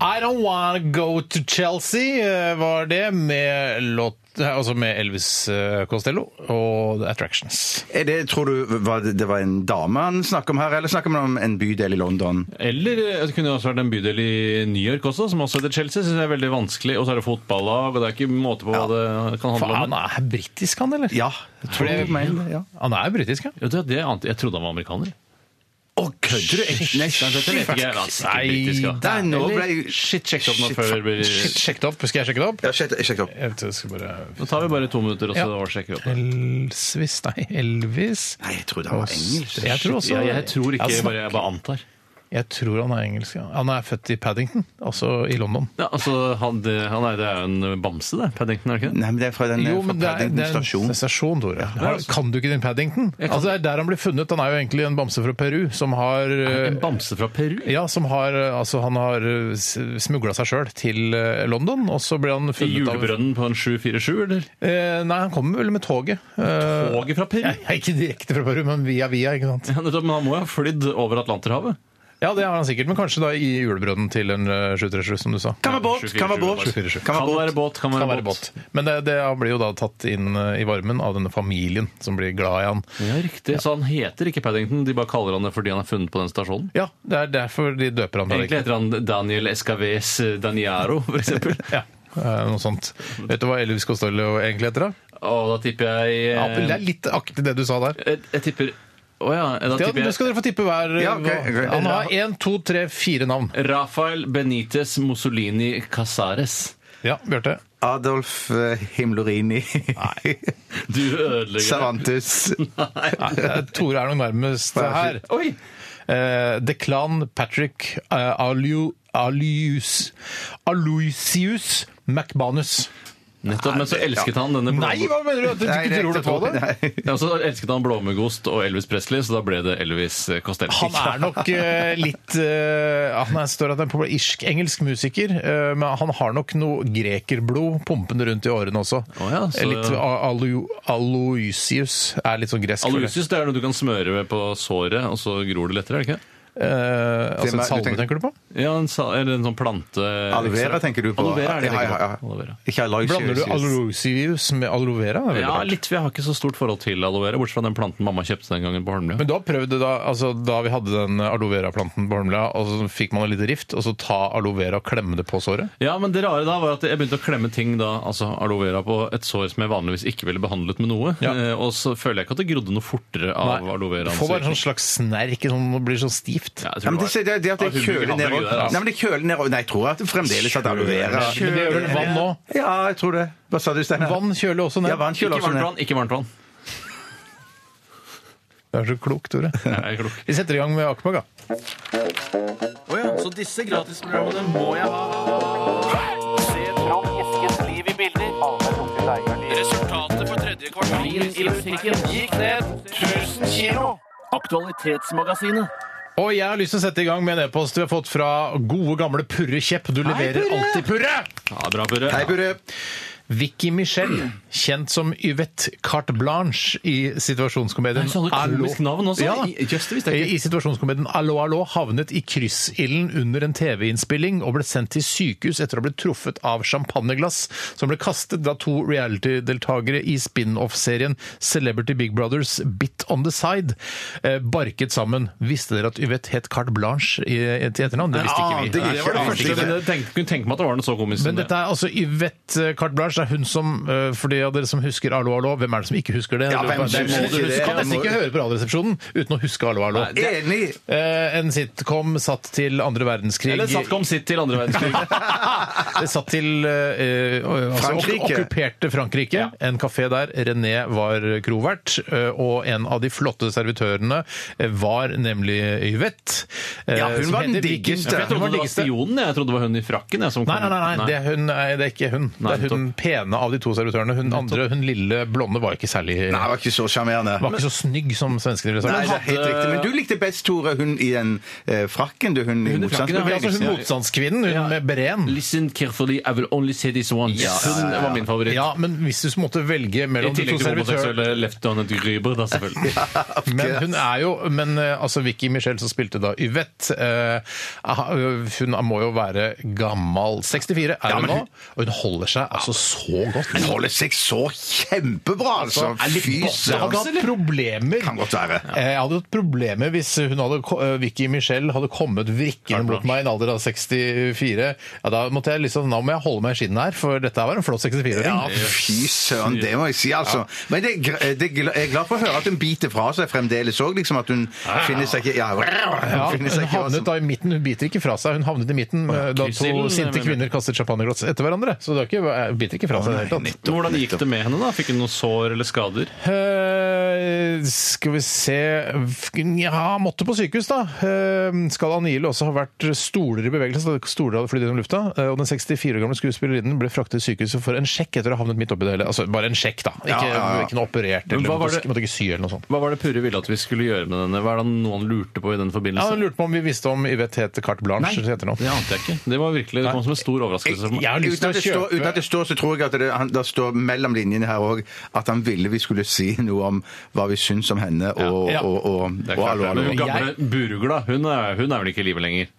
Speaker 4: I Don't Wanna Go To Chelsea eh, var det, med, låt, altså med Elvis eh, Costello og The Attractions.
Speaker 5: Er det, tror du var det, det var en dame han snakket om her, eller snakker man om en bydel i London?
Speaker 6: Eller eh, det kunne jo også vært en bydel i New York også, som også heter Chelsea. Synes jeg er veldig vanskelig. Og så er det fotballag, og det er ikke måte på hva det kan handle
Speaker 4: Faen, han
Speaker 6: om.
Speaker 4: er britisk, han, eller?
Speaker 5: Ja. jeg Tror
Speaker 4: det-
Speaker 5: jeg mener det, ja.
Speaker 4: Han er britisk, ja.
Speaker 6: Jo, det, det ante jeg. Jeg trodde han var amerikaner.
Speaker 5: Å, kødder du?
Speaker 6: Nei, dette vet ikke jeg. Han er sikkert britisk, ja.
Speaker 5: Nei, nå ble
Speaker 6: Eller-
Speaker 5: jeg-
Speaker 6: Shit, sjekk det opp nå
Speaker 5: Shit,
Speaker 6: før det blir
Speaker 4: Shit, sjekk det opp. Skal jeg sjekke det opp?
Speaker 5: Ja, sjekk sjekk det opp.
Speaker 4: Jeg vet, jeg skal bare...
Speaker 6: Nå tar vi bare to minutter, og så
Speaker 4: Ja.
Speaker 6: sjekker vi opp.
Speaker 4: Elvis, nei, Elvis.
Speaker 5: Nei, jeg trodde han var engelsk.
Speaker 4: Jeg tror også...
Speaker 6: Jeg, jeg tror ikke, jeg
Speaker 4: snakker-
Speaker 6: bare, jeg bare antar.
Speaker 4: Jeg tror han er engelsk, ja. Han er født i Paddington, altså i London.
Speaker 6: Ja, altså, han, det, han er, det er jo en bamse, det. Paddington, er det ikke det?
Speaker 5: Nei, men det er fra den fra Paddington stasjon.
Speaker 4: stasjon, Tore. Har- Kan du ikke din Paddington? Altså, det er der han ble funnet. Han er jo egentlig en bamse fra Peru som har eh,
Speaker 6: En bamse fra Peru?
Speaker 4: ja, som har, eh, altså Han har smugla seg sjøl til eh, London, og så ble han
Speaker 6: I
Speaker 4: funnet
Speaker 6: julebrønnen på en 747, eller?
Speaker 4: av eh, Nei, han kommer vel med toget. Eh,
Speaker 6: Toget fra Peru?
Speaker 4: ja, ikke direkte fra Peru, men via via, ikke sant.
Speaker 6: Ja, nettopp, men han må jo ha flydd over Atlanterhavet.
Speaker 4: Ja, det har han sikkert, men kanskje da i julebrønnen til en eh, 737, som du sa.
Speaker 5: Kan være båt, kan være båt.
Speaker 4: 747.
Speaker 5: Kan
Speaker 6: Kan
Speaker 5: være båt.
Speaker 6: være båt, kan være,
Speaker 4: Kan være båt. Men det, det han blir jo da tatt inn eh, i varmen av denne familien som blir glad i han.
Speaker 6: Ja, riktig. Så han heter ikke Paddington, de bare kaller han det fordi han er funnet på den stasjonen.
Speaker 4: Ja, det er derfor de døper han
Speaker 6: Egentlig heter han Daniel Escaves Daniaro, for eksempel.
Speaker 4: [LAUGHS] Ja, eh, noe sånt. Vet du hva Elvis Costello egentlig heter? da?
Speaker 6: Og da tipper jeg
Speaker 4: Ja, men det
Speaker 6: eh,
Speaker 4: er litt aktig det du sa der.
Speaker 6: jeg, jeg tipper Å ja, da
Speaker 4: Ja,
Speaker 6: tipper
Speaker 4: nå
Speaker 6: jeg
Speaker 4: skal dere få tippe hver. eh,
Speaker 5: Ja, ok,
Speaker 4: hva-
Speaker 5: ok.
Speaker 4: Han har én, to, tre, fire navn.
Speaker 6: Rafael Benitez Mussolini Casares.
Speaker 4: Ja, Bjarte.
Speaker 5: Adolf eh, Himlorini.
Speaker 6: Du [LAUGHS]
Speaker 5: [LAUGHS]
Speaker 6: ødelegger
Speaker 5: Cervantes.
Speaker 4: Nei, det er- Eh, Tore er nok nærmest her.
Speaker 6: Oi!
Speaker 4: Eh, Declan Patrick eh, Aliu, Alius Aloysius McBanus.
Speaker 6: Nettopp, men så elsket han denne
Speaker 4: Nei,
Speaker 6: blåmuggosten.
Speaker 4: hva mener du? At du
Speaker 5: Nei,
Speaker 4: ikke
Speaker 5: det-
Speaker 4: tror du på det?
Speaker 6: Ja, så elsket han blåmuggost og Elvis Presley, så da ble det Elvis eh, Costello.
Speaker 4: Han er nok eh, litt eh, Han er står at han er populær irsk-engelsk musiker, eh, men han har nok noe grekerblod pumpende rundt i årene også.
Speaker 6: Å ja, så-
Speaker 4: Eh, litt a- alu, Aloysius er litt sånn gresk. føler jeg.
Speaker 6: [LAUGHS] Aloysius det er noe du kan smøre ved på såret, og så gror det lettere, er det ikke?
Speaker 4: Eh, altså en
Speaker 5: Hvem
Speaker 4: salme,
Speaker 5: er- du tenker-
Speaker 4: tenker du på?
Speaker 6: Ja, en, sa- eller en sånn plante...
Speaker 5: Aloe vera tenker du på?
Speaker 6: Aloe vera er det jeg
Speaker 5: ja, ja,
Speaker 6: tenker på. Aloe vera.
Speaker 5: ja. Ikke Aloysius.
Speaker 4: Blander du Aloysius med aloe vera? Det er veldig
Speaker 6: Ja,
Speaker 4: rart.
Speaker 6: litt, for jeg har ikke så stort forhold til aloe vera, bortsett fra den planten mamma kjøpte den gangen på Holmlia.
Speaker 4: Men da prøvde da, altså da vi hadde den aloe vera-planten på Holmlia, og så fikk man en liten rift, og så ta aloe vera og klemme det på såret?
Speaker 6: Ja, men det rare da var at jeg begynte å klemme ting da, altså aloe vera på et sår som jeg vanligvis ikke ville behandlet med noe,
Speaker 4: Ja.
Speaker 6: eh, og så føler jeg ikke at det grodde noe fortere av
Speaker 4: Nei,
Speaker 6: aloe vera.
Speaker 4: Du får bare en sånn slags snerk, sånn, det blir sånn stivt.
Speaker 6: Ja, jeg
Speaker 5: Ja,
Speaker 6: tror
Speaker 5: men
Speaker 6: det
Speaker 5: det, det,
Speaker 6: var-
Speaker 5: det at det
Speaker 6: Ja, hun
Speaker 5: kjøler
Speaker 6: burde
Speaker 5: ned
Speaker 6: aldri gjøre det, altså.
Speaker 5: Nei, men det kjøler ned Nei, jeg tror at det fremdeles at aloe vera
Speaker 4: Men det gjør vel vann nå?
Speaker 5: Ja, jeg tror det. Hva sa du, Steinar?
Speaker 4: Vann kjøler også ned.
Speaker 5: Ja, vann kjøler
Speaker 6: Ikke
Speaker 5: også
Speaker 6: varmt
Speaker 5: ned.
Speaker 6: vann, ikke varmt vann.
Speaker 4: Du er så klok, Tore.
Speaker 6: Jeg er klok.
Speaker 4: Vi setter i gang med Akmag, da.
Speaker 6: Så disse gratisprogrammene må jeg ha.
Speaker 10: Se Trond Eskens liv
Speaker 9: tredje kvartal i butikken gikk ned 1000 kilo. Aktualitetsmagasinet.
Speaker 4: Og jeg har lyst til å sette i gang med en e-post vi har fått fra gode gamle Purre Kjepp. Du leverer alltid, Purre!
Speaker 6: Ja, bra, Børre.
Speaker 5: Hei, Burre.
Speaker 4: Vicky Michelle, kjent som Yvette Carte Blanche i situasjonskomedien
Speaker 6: Nei, så hadde du komisk navn også.
Speaker 4: Ja,
Speaker 6: I- Jøss, det visste jeg ikke.
Speaker 4: I situasjonskomedien Allo Allo havnet i kryssilden under en TV-innspilling og ble sendt til sykehus etter å ha blitt truffet av champagneglass som ble kastet da to reality-deltakere i spin-off-serien Celebrity Big Brothers Bit on the Side eh, barket sammen. Visste dere at Yvette het Carte Blanche i, til etternavn? Det visste ikke vi.
Speaker 5: Nei,
Speaker 6: Det var det
Speaker 5: jeg
Speaker 6: første
Speaker 5: visste ikke.
Speaker 6: men jeg tenkte- kunne tenke meg at det var noe så komisk. som
Speaker 4: Men dette er altså Yvette Carte Blanche. Det er hun som, eh, for de av dere som husker Hallo, hallo, hvem er det som ikke husker det?
Speaker 5: Ja, hvem
Speaker 4: Det er-
Speaker 5: husker
Speaker 4: må du
Speaker 5: det?
Speaker 4: huske. kan nesten ikke høre på Radioresepsjonen uten å huske Hallo, hallo.
Speaker 6: Nei, det-
Speaker 5: Enig!
Speaker 4: Eh, en sitcom satt til andre verdenskrig.
Speaker 6: Eller Satcom sitt til andre verdenskrig.
Speaker 4: [LAUGHS] Det satt til eh, altså,
Speaker 5: Frankrike.
Speaker 4: ok- okkuperte Frankrike. En kafé der. René var krovert, eh, og en av de flotte servitørene eh, var nemlig Yvette. eh,
Speaker 5: Ja, hun
Speaker 4: som
Speaker 5: var den
Speaker 4: heter
Speaker 5: diggeste.
Speaker 4: Viking-
Speaker 6: Jeg
Speaker 4: Hun
Speaker 6: trodde
Speaker 4: var
Speaker 6: det var
Speaker 4: diggeste.
Speaker 6: spionen. jeg. Jeg trodde det var hun i frakken. Jeg, som
Speaker 4: Nei, nei,
Speaker 6: kom.
Speaker 4: nei, nei. Det, er hun, nei det er ikke hun.
Speaker 6: Nei,
Speaker 4: det er hun pene av de to servitørene. Hun andre, hun lille blonde, var ikke særlig
Speaker 5: Nei, det var ikke så sjarmerende.
Speaker 4: Var ikke så snygg som svenskene ville
Speaker 5: Nei,
Speaker 4: sagt.
Speaker 5: det er helt riktig. Men du likte best, Tore, hun i den eh, frakken, du, hun i
Speaker 6: Hun i frakken, ja.
Speaker 4: Men altså, hun
Speaker 5: motstandsbevegelsen.
Speaker 4: motstandskvinnen, hun
Speaker 6: Ja.
Speaker 4: med beren
Speaker 6: Listen carefully, I will only say this once. Hun var min favoritt.
Speaker 4: Ja, men hvis du måtte velge
Speaker 6: I
Speaker 4: mellom de to
Speaker 6: tillegg til
Speaker 4: servitørene
Speaker 6: homoseksuelle Lieutenant Gruber, da selvfølgelig.
Speaker 4: Men hun er jo Men eh, altså, Vicky Michelle som spilte da Yvette eh, aha, Hun må jo være gammel. 64 er hun nå, og hun holder seg altså så godt.
Speaker 5: Hun holder seg så kjempebra, altså!
Speaker 4: Altså, er litt
Speaker 5: Fy
Speaker 4: boss, Jeg hadde hatt problemer.
Speaker 5: Kan godt være.
Speaker 4: Eh, Jeg hadde hatt problemer hvis hun hadde, ko- eh, Vicky Michelle hadde kommet vrikkende mot meg i en alder av 64. Ja, da måtte jeg liksom, nå må jeg holde meg i skinnet her, for dette her var en flott 64-åring.
Speaker 5: Ja, fy søren, det må jeg si, altså. Men det, er gr- det, er gl- jeg er glad for å høre at hun biter fra seg fremdeles òg, liksom at hun finner seg ikke Ja,
Speaker 4: Ja,
Speaker 5: hun
Speaker 4: hun
Speaker 5: finner seg ikke
Speaker 4: havnet da i midten, hun biter ikke fra seg. Hun havnet i midten eh, da to
Speaker 6: kryssilden,
Speaker 4: sinte
Speaker 6: jeg mener.
Speaker 4: kvinner kastet champagneglass etter hverandre. Så det er ikke, hun biter ikke fra seg i det hele tatt.
Speaker 6: Men Hvordan gikk det med henne? da? Fikk hun noen sår eller skader?
Speaker 4: Eh, skal vi se Ja, måtte på sykehus, da. Eh, skal Anile også ha vært stoler i bevegelse? så Stoler hadde flydd gjennom lufta. Eh, og den 64 år gamle skuespillerinnen ble fraktet til sykehuset for en sjekk etter å ha havnet midt oppi det hele. Altså bare en sjekk, da. Ikke, ikke noe operert
Speaker 6: Men
Speaker 4: eller
Speaker 6: hva var
Speaker 4: måtte,
Speaker 6: det-
Speaker 4: måtte ikke sy eller noe sånt.
Speaker 6: Hva var det Purre ville at vi skulle gjøre med denne? Hva er det noen lurte på i den
Speaker 4: Ja,
Speaker 6: forbindelse?
Speaker 4: Han lurte på om vi visste om Yvette het Carte Blanche.
Speaker 6: Nei,
Speaker 4: som det heter nå.
Speaker 6: Det ante jeg ikke. Det var virkelig, det kom som en stor overraskelse for meg.
Speaker 4: Jeg har lyst
Speaker 5: Uten
Speaker 4: til
Speaker 5: at,
Speaker 4: å
Speaker 5: det står, uten at
Speaker 4: kjøpe
Speaker 5: det står, så tror jeg at det, han, det står mellom linjene her òg at han ville vi skulle si noe om hva vi syns om henne og,
Speaker 4: Ja.
Speaker 5: og, og, og,
Speaker 6: Det er
Speaker 5: og
Speaker 6: klart,
Speaker 5: Hallo, hallo.
Speaker 6: Men hun gamle Burugla, hun er, hun er vel ikke i live lenger?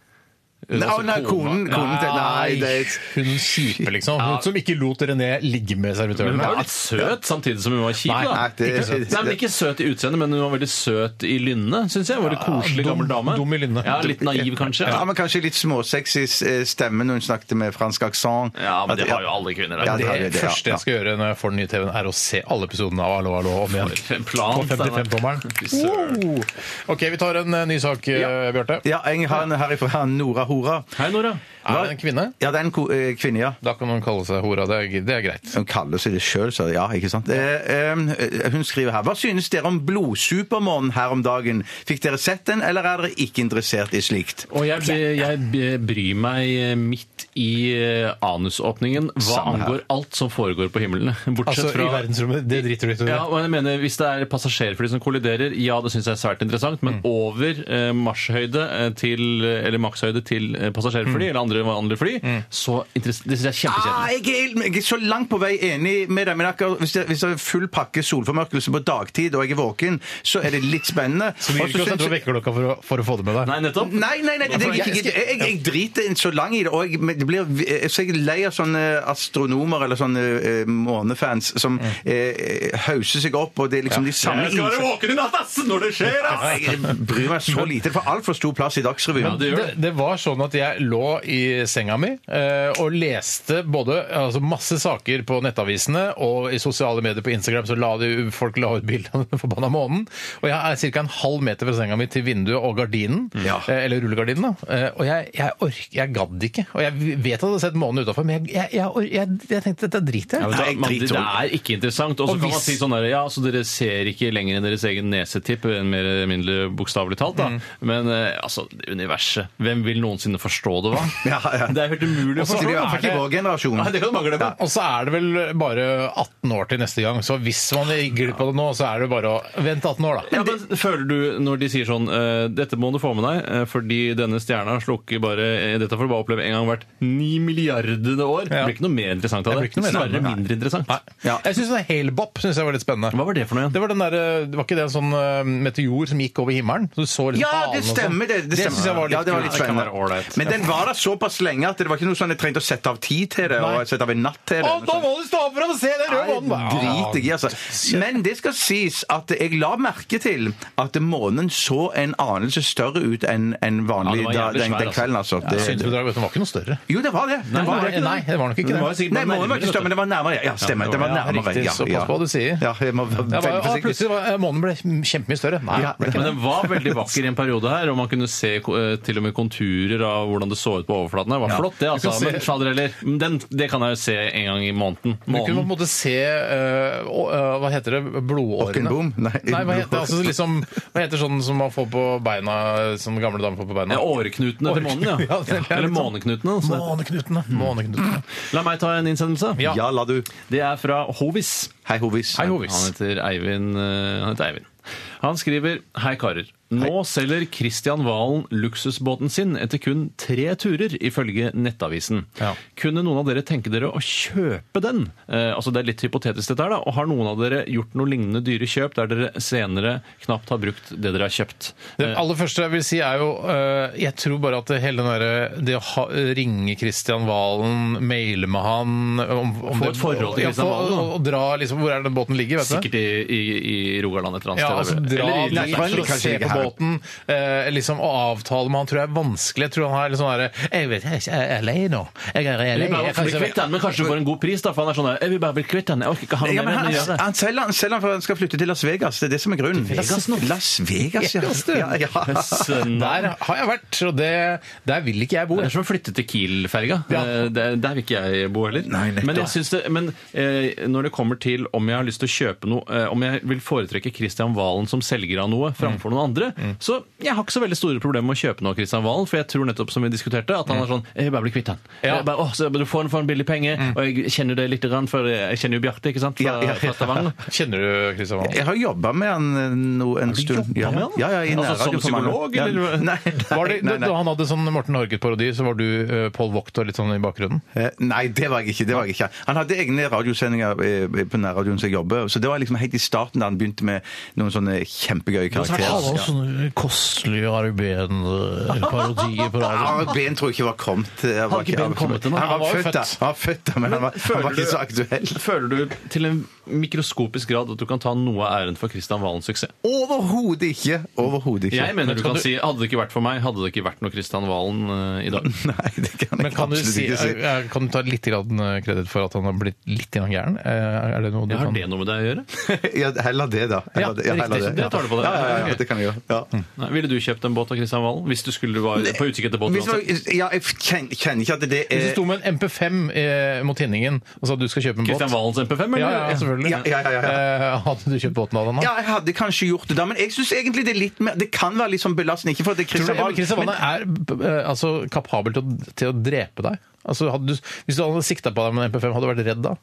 Speaker 6: Hun er
Speaker 5: Nei,
Speaker 6: altså
Speaker 5: nei, konen, konen til Nei, det er
Speaker 4: Hun kjipe, liksom. Hun som ikke lot René ligge med
Speaker 6: Hun
Speaker 4: servitørene.
Speaker 6: var jo litt søt samtidig som hun var kjip.
Speaker 4: Nei,
Speaker 6: da.
Speaker 5: nei, det-
Speaker 6: ikke, søt. nei, men ikke søt i utseendet, men hun var veldig søt i lynnet, syns jeg. Var det koselig
Speaker 4: dum-
Speaker 6: gammel dame?
Speaker 4: dum i lynnet.
Speaker 6: Ja, Litt naiv, kanskje.
Speaker 5: Ja,
Speaker 6: Ja,
Speaker 5: men kanskje litt småsexy eh, stemme når hun snakket med fransk aksent.
Speaker 6: men det har jo alle kvinner.
Speaker 5: Ja,
Speaker 6: da.
Speaker 5: det har vi,
Speaker 4: Det
Speaker 5: ja.
Speaker 4: første jeg skal gjøre når jeg får den nye TV-en, er å se alle episodene av Hallo, hallo om igjen.
Speaker 6: For en plan,
Speaker 4: På 55-tommeren.
Speaker 6: Fy søren.
Speaker 4: Wow. OK, vi tar en eh, ny sak, ja. Bjarte.
Speaker 5: Ja, jeg har en herifra her, Nora Hora.
Speaker 6: Hei, Nora.
Speaker 4: Er det en kvinne?
Speaker 5: Ja, det er en ko- eh, kvinne, ja.
Speaker 4: Da kan hun kalle seg hora. Det er, det er greit.
Speaker 5: Hun kaller seg det sjøl, så ja, ikke sant. Eh, eh, hun skriver her Hva synes dere om Blodsupermann her om dagen? Fikk dere sett den, eller er dere ikke interessert i slikt?
Speaker 6: Og jeg, be- jeg be- bryr meg midt i eh, anusåpningen hva
Speaker 5: Samme her.
Speaker 6: angår alt som foregår på himmelen. [LAUGHS] Bortsett
Speaker 4: Altså,
Speaker 6: fra
Speaker 4: I verdensrommet, det driter du ut i.
Speaker 6: Ja, og jeg mener, Hvis det er passasjerfly som kolliderer, ja, det syns jeg er svært interessant, men
Speaker 5: Mm.
Speaker 6: over eh, marsjhøyde eh, til Eller makshøyde til eh,
Speaker 5: Mm.
Speaker 6: passasjerfly eller andre vanlige fly, så interess- Det syns jeg er
Speaker 5: Ah,
Speaker 6: kjempekjedelig.
Speaker 5: jeg, er, jeg er så langt på vei enig med deg, men akkurat hvis det, hvis det er full pakke solformørkelse på dagtid og jeg er våken, så er det litt spennende.
Speaker 4: Så du gir
Speaker 5: Og
Speaker 4: ikke
Speaker 5: så
Speaker 4: å
Speaker 5: synes
Speaker 4: sette på
Speaker 5: jeg-
Speaker 4: vekkerklokka for, å- for å få det med deg?
Speaker 6: Nei, nettopp.
Speaker 5: Nei, nei, nei, det, det, jeg, jeg, jeg, jeg driter inn så lang i det. Og jeg, men det blir, jeg, så jeg er lei av sånne astronomer eller sånne eh, månefans som eh, hauser seg opp, og det er liksom de samme
Speaker 6: våken i natt, ass! Når det skjer,
Speaker 5: Ja, Jeg bryr meg så lite. Det får altfor stor plass i
Speaker 6: Ja,
Speaker 5: Dagsrevyen.
Speaker 6: det gjør
Speaker 4: Det,
Speaker 6: det.
Speaker 4: det var sånn at jeg lå i senga mi eh, og leste både altså masse saker på nettavisene og i sosiale medier på Instagram så la de, folk la ut bilder av den forbanna månen. Og jeg er ca. en halv meter fra senga mi til vinduet og gardinen.
Speaker 6: Mm.
Speaker 5: Ja.
Speaker 4: Eh, eller rullegardinen, da. Eh, og jeg, jeg ork- jeg gadd ikke. Og jeg vet at jeg hadde sett månen utafor, men jeg, jeg, jeg, or- jeg, jeg tenkte dette driter
Speaker 6: Ja,
Speaker 4: jeg i.
Speaker 6: men da,
Speaker 5: Nei,
Speaker 6: man,
Speaker 5: drit
Speaker 6: det
Speaker 5: om.
Speaker 6: er ikke interessant. Og så
Speaker 4: Og
Speaker 6: kan man
Speaker 4: hvis-
Speaker 6: si sånn der, ja, så dere ser ikke lenger enn deres egen nesetipp, enn mer eller mindre bokstavelig talt, da. Men eh, altså, universet Hvem vil noensinne forstå det, hva?
Speaker 5: Ja, ja.
Speaker 6: Det er helt umulig å
Speaker 4: Også-
Speaker 5: Så det er i hvert fall ikke
Speaker 4: er
Speaker 5: vår generasjon.
Speaker 6: Nei, det kan du bare glemme.
Speaker 4: Og så er det vel bare 18 år til neste gang, så hvis man gikk glipp av det nå, så er det bare å vente 18 år, da.
Speaker 6: Ja, men Føler du, når de sier sånn eh, Dette må du få med deg, eh, fordi denne stjerna slukker bare eh, Dette får du bare oppleve en gang hvert ni milliardene år. Det
Speaker 4: Ja.
Speaker 6: blir ikke noe mer interessant av
Speaker 4: Det
Speaker 6: det.
Speaker 4: blir ikke noe mer
Speaker 6: Snarere
Speaker 4: spennende.
Speaker 6: mindre interessant.
Speaker 5: Ja.
Speaker 4: Jeg syns Halebop synes jeg var litt spennende.
Speaker 6: Hva var det for noe igjen?
Speaker 4: Det var, den der, eh, det var ikke det en sånn eh, meteor som gikk over himmelen? Så du så liksom
Speaker 5: Ja,
Speaker 4: halen
Speaker 5: det
Speaker 4: og sånn?
Speaker 5: stemmer. Det, det
Speaker 4: Det
Speaker 5: stemmer.
Speaker 4: synes jeg var litt
Speaker 5: ja, det var
Speaker 4: kult.
Speaker 5: litt
Speaker 4: Det kan
Speaker 5: spennende.
Speaker 4: være ålreit.
Speaker 5: Men den var der såpass lenge at det var ikke noe sånn jeg trengte å sette av tid til det.
Speaker 4: Nei.
Speaker 5: og sette av en natt til det.
Speaker 4: Å, da må du stå opp for å se den røde
Speaker 5: Nei, driter jeg i, altså. Men det skal sies at jeg la merke til at månen så en anelse større ut enn enn vanlig
Speaker 6: Ja, den var
Speaker 5: da,
Speaker 6: jævlig
Speaker 5: den,
Speaker 6: svær,
Speaker 5: den kvelden, altså. Det,
Speaker 4: Synsbedraget var ikke noe større.
Speaker 5: jo, det var det. Den
Speaker 4: Nei,
Speaker 5: var det.
Speaker 4: nei, det var nok ikke
Speaker 6: Den
Speaker 4: det.
Speaker 6: var jo sikkert
Speaker 5: Nei,
Speaker 6: bare
Speaker 5: månen var ikke
Speaker 6: nærmere,
Speaker 5: større, men
Speaker 6: vet du.
Speaker 5: den var nærmere. Ja, stemmer. Den var
Speaker 4: Ja,
Speaker 5: nærmere.
Speaker 4: riktig.
Speaker 5: Ja,
Speaker 4: Såpass
Speaker 5: ja.
Speaker 4: på hva du sier.
Speaker 5: Ja, jeg må være
Speaker 4: Ja,
Speaker 5: veldig
Speaker 4: bare, å,
Speaker 5: forsiktig.
Speaker 4: plutselig var eh, månen ble kjempemye større. Nei,
Speaker 5: Ja.
Speaker 4: ble ikke
Speaker 6: Men
Speaker 4: det.
Speaker 6: den var veldig vakker i en periode her, og man kunne se eh, til og med konturer av hvordan det så ut på overflaten. her. Det var flott, det,
Speaker 4: Du
Speaker 6: altså.
Speaker 4: kan se-
Speaker 6: Men fader heller, den, det kan jeg jo se en gang i måneden.
Speaker 4: Du kunne på en
Speaker 6: måneden.
Speaker 4: måte se eh, å, eh, Hva heter det? Blodårene?
Speaker 5: Ockenbom? Nei,
Speaker 4: Nei hva, heter, altså, liksom, hva heter sånn som man får på beina Som gamle damer får på beina?
Speaker 6: Ja, Åreknutene til
Speaker 4: [LAUGHS]
Speaker 6: månen,
Speaker 4: Åreknut-
Speaker 6: ja.
Speaker 4: det er litt
Speaker 6: Eller
Speaker 4: sånn-
Speaker 6: måneknutene. som det heter.
Speaker 4: Måneknutene. Måneknutene.
Speaker 6: La meg ta en innsendelse.
Speaker 4: Ja.
Speaker 5: Ja, la du.
Speaker 6: Det er fra Hovis.
Speaker 5: Hei, Hovis.
Speaker 4: Hei, Hovis.
Speaker 6: Han heter Eivind. eh, Han heter Eivind. Han skriver Hei, karer. Nå selger Kristian Valen luksusbåten sin etter kun tre turer, ifølge Nettavisen.
Speaker 4: Ja.
Speaker 6: Kunne noen av dere tenke dere å kjøpe den? Eh, altså Det er litt hypotetisk, dette her, da. Og har noen av dere gjort noe lignende dyre kjøp der dere senere knapt har brukt det dere har kjøpt?
Speaker 4: Det aller første jeg vil si er jo eh, Jeg tror bare at det hele den der, det å ha, ringe Kristian Valen, maile med han om, om
Speaker 6: Få et forhold til
Speaker 4: Ja,
Speaker 6: Christian
Speaker 4: få-
Speaker 6: Valen, da.
Speaker 4: Og, og dra liksom Hvor er den båten ligger, vet du?
Speaker 6: Sikkert i, i, i Rogaland et eller annet
Speaker 4: Ja, altså
Speaker 6: sted.
Speaker 4: dra
Speaker 6: Eller i-
Speaker 4: dit for å
Speaker 5: kanskje
Speaker 4: se
Speaker 5: ikke
Speaker 4: på
Speaker 5: her.
Speaker 4: båten eh, liksom, og avtale med han tror jeg er vanskelig. Jeg tror han er litt sånn derre Jeg vet jeg er ikke, jeg er lei nå. Jeg er lei.
Speaker 6: Eller bare
Speaker 4: Jeg
Speaker 6: bli kvitt den, men kanskje du får en god pris, da. For han er sånn der, jeg vil bare bli kvitt den. Jeg orker ikke ha
Speaker 5: Ja,
Speaker 6: noe
Speaker 5: men
Speaker 6: mer enn
Speaker 5: han,
Speaker 6: å gjøre det.
Speaker 5: han selger den selger den for at han skal flytte til Las Vegas. Det er det som er grunnen.
Speaker 6: Vegas nå?
Speaker 5: Las Vegas, ja.
Speaker 4: Vegas, du.
Speaker 5: ja,
Speaker 6: [LAUGHS]
Speaker 5: ja.
Speaker 6: Sønn.
Speaker 4: Der har jeg vært, og det, der vil ikke jeg bo.
Speaker 6: Det er som å flytte til Kiel-ferga.
Speaker 4: Ja.
Speaker 6: Eh, Der, der vil ikke jeg bo heller.
Speaker 5: Nei, nettopp.
Speaker 6: men jeg syns det, men eh, når det kommer til om jeg har lyst til å kjøpe noe, eh, om jeg vil foretrekke Christian Valen som selger av noe framfor
Speaker 5: Mm.
Speaker 6: noen andre, så jeg har ikke så veldig store problemer med å kjøpe noe av Christian Valen, for jeg tror nettopp som vi diskuterte, at
Speaker 5: Mm.
Speaker 6: han er sånn Jeg vil bare bli kvitt han.
Speaker 4: Ja.
Speaker 6: Jeg Bare, åh, så du får den for en billig penge, og jeg kjenner det lite grann, for jeg kjenner jo Bjarte, ikke sant, fra,
Speaker 5: Mm. Ja, ja, ja.
Speaker 6: fra
Speaker 5: [LAUGHS]
Speaker 6: Stavanger.
Speaker 4: Kjenner du Kristian
Speaker 6: [LAUGHS]
Speaker 4: Valen?
Speaker 5: Jeg har jobba med han eh, no, en stund.
Speaker 6: jobbet med han?
Speaker 5: Ja, ja, i
Speaker 6: Altså,
Speaker 5: nærradio
Speaker 6: som
Speaker 5: for mange år.
Speaker 6: psykolog, eller?
Speaker 5: Ja. [LAUGHS] Nei,
Speaker 6: [LAUGHS]
Speaker 5: nei,
Speaker 4: Var det,
Speaker 5: nei,
Speaker 4: Da
Speaker 5: nei.
Speaker 4: han hadde sånn Morten Norge-parodi, så var du eh, Paul Wachter litt sånn i bakgrunnen?
Speaker 5: Eh, Nei, det var jeg ikke. det var jeg ikke. Han hadde egne radiosendinger eh, på nærradioen som jeg jobber, så det var liksom helt i starten da han begynte med noen sånne kjempegøye karakterer. Ja.
Speaker 4: sånne kostelige arbeidende-parodier på
Speaker 5: [LAUGHS] Ja, Ben tror jeg ikke var kommet. eh,
Speaker 6: Hadde ikke
Speaker 5: var-
Speaker 6: Ben kommet ennå?
Speaker 5: Han var
Speaker 6: Han var jo
Speaker 5: født, da.
Speaker 6: født.
Speaker 5: Han var født da, men han var, han var
Speaker 6: føler
Speaker 5: ikke så
Speaker 6: du-
Speaker 5: aktuell.
Speaker 6: Føler du til en mikroskopisk grad at du kan ta noe av æren for Christian Valens suksess?
Speaker 5: Overhodet ikke! Overhodet ikke.
Speaker 6: Jeg mener
Speaker 4: Men
Speaker 6: du
Speaker 4: kan
Speaker 6: kan
Speaker 4: du-
Speaker 6: si hadde det ikke vært for meg, hadde det ikke vært noe Kristian Valen eh, i dag.
Speaker 5: [LAUGHS] Nei, det kan jeg
Speaker 4: Men kan du,
Speaker 5: absolutt
Speaker 4: si,
Speaker 5: ikke si.
Speaker 4: eh, kan du ta litt grann, eh, kreditt for at han har blitt litt grann gæren? Eh, Er det noe du
Speaker 6: Ja, har
Speaker 4: kan
Speaker 6: det noe med deg å gjøre?
Speaker 5: Ja, heller det, da. Heller
Speaker 6: Ja,
Speaker 5: det. Ja,
Speaker 6: riktig.
Speaker 5: heller
Speaker 6: Det tar du på deg.
Speaker 5: Ja, ja, ja,
Speaker 6: Ok.
Speaker 5: det kan jeg gjøre. Ja.
Speaker 6: [LAUGHS] Nei, ville du kjøpt en båt av Kristian Valen? Hvis du skulle være på utkikk etter båten?
Speaker 5: Hvis man,
Speaker 6: altså?
Speaker 5: ja, jeg kjen- kjenner ikke at det
Speaker 4: Hvis du
Speaker 5: er
Speaker 4: sto med en MP5 eh, mot tinningen og sa at du skal kjøpe en båt
Speaker 6: Kristian Valens MP5, eller?
Speaker 4: Ja, ja, selvfølgelig.
Speaker 5: Ja, ja, ja, ja.
Speaker 4: Eh, hadde du kjøpt båten av den da?
Speaker 5: ja, jeg hadde kanskje gjort det da, men jeg syns egentlig det er litt mer Det kan være litt sånn belastende. Ikke for at det er
Speaker 4: Tror du
Speaker 5: Christian
Speaker 4: Emil Kristian
Speaker 5: Valen,
Speaker 4: Vanne er b- eh, altså, kapabel til å, til å drepe deg? Altså, hadde du, hvis du hadde sikta på deg med en MP5, hadde du vært redd da?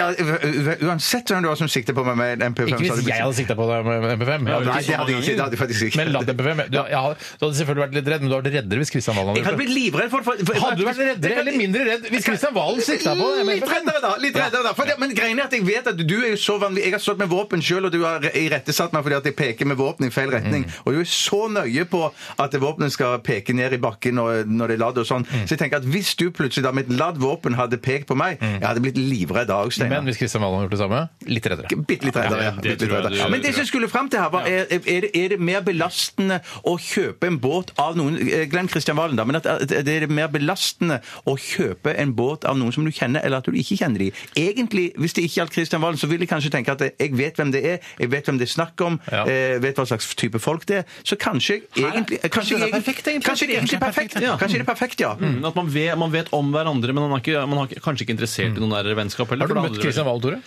Speaker 5: Ja, u- u- uansett hvem det var som sikter på meg med en MP5
Speaker 4: Ikke hvis jeg
Speaker 5: sånn.
Speaker 4: hadde sikta på deg med en MP5. Jeg hadde
Speaker 5: Nei,
Speaker 4: ikke- sånn-
Speaker 5: det hadde jeg ikke. Det hadde jeg faktisk ikke.
Speaker 4: Men ladd MP5 du, jeg hadde, du hadde selvfølgelig vært litt redd, men du hadde vært reddere hvis Kristian Valen
Speaker 5: Jeg hadde blitt livredd for, for, for
Speaker 4: Hadde du vært reddere eller mindre redd hvis Kristian Valen sikta på deg med
Speaker 5: Litt
Speaker 4: MP5?
Speaker 5: reddere, da. litt reddere da. For det, men greien er at jeg vet at du er jo så vanlig Jeg har stått med våpen sjøl, og du har irettesatt meg fordi at jeg peker med våpen i feil retning.
Speaker 4: Mm.
Speaker 5: Og du er så nøye på at våpenet skal peke ned i bakken når, når det er ladd og sånn.
Speaker 4: Mm.
Speaker 5: Så jeg tenker at hvis du plutselig da med et ladd våpen hadde pekt på meg, jeg hadde blitt livredd da òg,
Speaker 4: Mm. Men
Speaker 5: Steinar.
Speaker 4: hvis Kristian Valen hadde gjort det samme, litt reddere.
Speaker 5: Bitte litt reddere, ja.
Speaker 6: Ja, det
Speaker 5: Bitte litt
Speaker 6: tror jeg
Speaker 5: reddere.
Speaker 6: du-
Speaker 5: Men det som jeg skulle fram til her, var er, er, det, er det mer belastende å kjøpe en båt av noen eh, Glem Kristian Valen, da. Men at, at det er mer belastende å kjøpe en båt av noen som du kjenner, eller at du ikke kjenner de. Egentlig, hvis det ikke gjaldt Kristian Valen, så vil jeg kanskje tenke at jeg vet hvem det er, jeg vet hvem det er snakk om,
Speaker 4: Ja.
Speaker 5: eh, vet hva slags type folk det er. Så kanskje jeg egentlig Kanskje,
Speaker 6: det er
Speaker 5: jeg egentlig-
Speaker 6: perfekt, egentlig.
Speaker 5: kanskje det er egentlig er perfekt.
Speaker 6: Ja.
Speaker 5: Kanskje det er perfekt, ja.
Speaker 6: Mm, At man vet, man vet om hverandre, men man er, ikke, man er ikke- kanskje ikke interessert i noen nære vennskap heller.
Speaker 4: Har du
Speaker 6: for da
Speaker 4: møtt
Speaker 6: hadde
Speaker 4: Kristian Valen, Tore?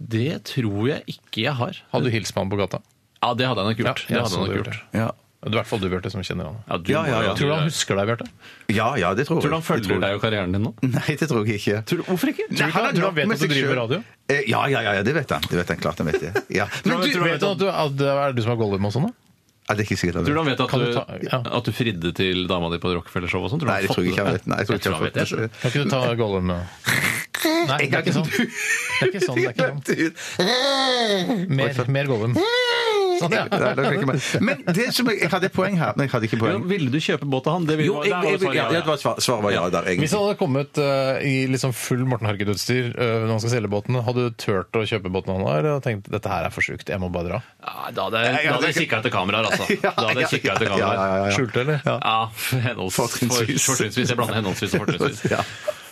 Speaker 6: Det tror jeg ikke jeg har.
Speaker 4: Hadde du hilst på ham på gata?
Speaker 6: Ja, det hadde jeg nok gjort.
Speaker 4: Ja,
Speaker 6: det
Speaker 4: jeg
Speaker 6: hadde
Speaker 4: så
Speaker 6: jeg nok
Speaker 4: det
Speaker 6: gjort.
Speaker 4: gjort.
Speaker 5: ja.
Speaker 4: Det er i hvert fall du, Bjarte, som kjenner han.
Speaker 6: Ja, du,
Speaker 5: Ja, ja, ja.
Speaker 4: Tror du han husker deg, Bjarte?
Speaker 5: Ja, ja, det tror jeg.
Speaker 6: Tror du han
Speaker 5: Det tror
Speaker 6: følger
Speaker 5: jeg.
Speaker 6: deg og karrieren din nå?
Speaker 5: Nei, det tror jeg ikke.
Speaker 6: Tror du, hvorfor ikke?
Speaker 5: Nei,
Speaker 4: ikke han-
Speaker 5: har
Speaker 4: tror du
Speaker 5: nok
Speaker 4: han vet
Speaker 5: med
Speaker 4: at du
Speaker 5: seg
Speaker 4: driver
Speaker 5: selv.
Speaker 4: radio?
Speaker 5: Eh, Ja, ja, ja, ja, det vet han. Det vet han, klart han vet det. Ja. Men du,
Speaker 4: Vet du at, du, at det er du som har Gollum og sånn? da?
Speaker 5: ja, det er ikke sikkert han
Speaker 6: Tror du han
Speaker 5: vet.
Speaker 6: vet at
Speaker 4: Kan
Speaker 6: du,
Speaker 4: du ta- ja.
Speaker 6: at du fridde til dama di på Rockefeller-show og sånn?
Speaker 5: Nei, det tror jeg ikke han vet. Nei, jeg tror ikke han
Speaker 6: vet det.
Speaker 5: vet det.
Speaker 4: Kan ikke du ta Gollum? da? Nei, det er ikke sånn. Det er ikke sånn. Det
Speaker 5: [LAUGHS]
Speaker 4: er ikke sånn. Mer, mer Gollum. Sånn, ja.
Speaker 5: Nei, det kan jeg ikke med. Men det som jeg, jeg hadde et poeng her, men jeg hadde ikke
Speaker 6: Jo,
Speaker 5: poeng.
Speaker 6: ville du kjøpe båt av han? Det sånn, ville
Speaker 5: Jo, jeg,
Speaker 6: der var
Speaker 5: jeg,
Speaker 6: svaret,
Speaker 5: ja, det var svar, svaret var ja der,
Speaker 4: Hvis
Speaker 5: egentlig.
Speaker 4: han hadde kommet eh, i liksom full Morten Harket-utstyr eh, når han skal selge båten, hadde du turt å kjøpe båten han har? Og tenkt dette her er for sjukt, jeg må bare dra.
Speaker 6: Ja, da hadde jeg- da hadde jeg kikka etter kameraer, [LAUGHS] altså.
Speaker 5: Ja,
Speaker 6: Da hadde jeg kikket etter
Speaker 5: ja, ja,
Speaker 6: kameraer.
Speaker 5: ja, ja.
Speaker 4: Skjulte, eller?
Speaker 6: Ja, henholds- for-
Speaker 5: Fortrinnsvis.
Speaker 6: fortrinnsvis. Jeg blander henholdsvis og [LAUGHS] fortrinnsvis.
Speaker 5: Ja.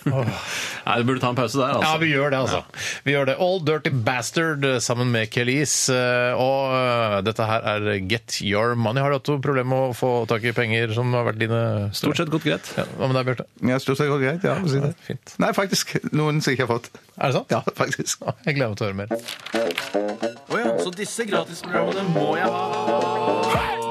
Speaker 6: Nei, Du burde ta en pause der,
Speaker 4: Ja,
Speaker 6: altså.
Speaker 4: vi gjør det, altså. Vi gjør det. All Dirty Bastard eh, sammen med Kelis. eh, Og eh, dette her er Get Your Money. Har du hatt noe problem med å få tak i penger som har vært dine
Speaker 6: Stort sett gått greit.
Speaker 4: Ja, hva med deg, Bjarte?
Speaker 5: Ja, stort sett går det greit. Ja, for å si det.
Speaker 4: Fint.
Speaker 5: Nei, faktisk. Noen som jeg ikke har fått.
Speaker 4: Er det sant?
Speaker 5: Ja, faktisk.
Speaker 4: Jeg gleder meg til å høre mer.
Speaker 6: Så disse gratisprogrammene må jeg ha.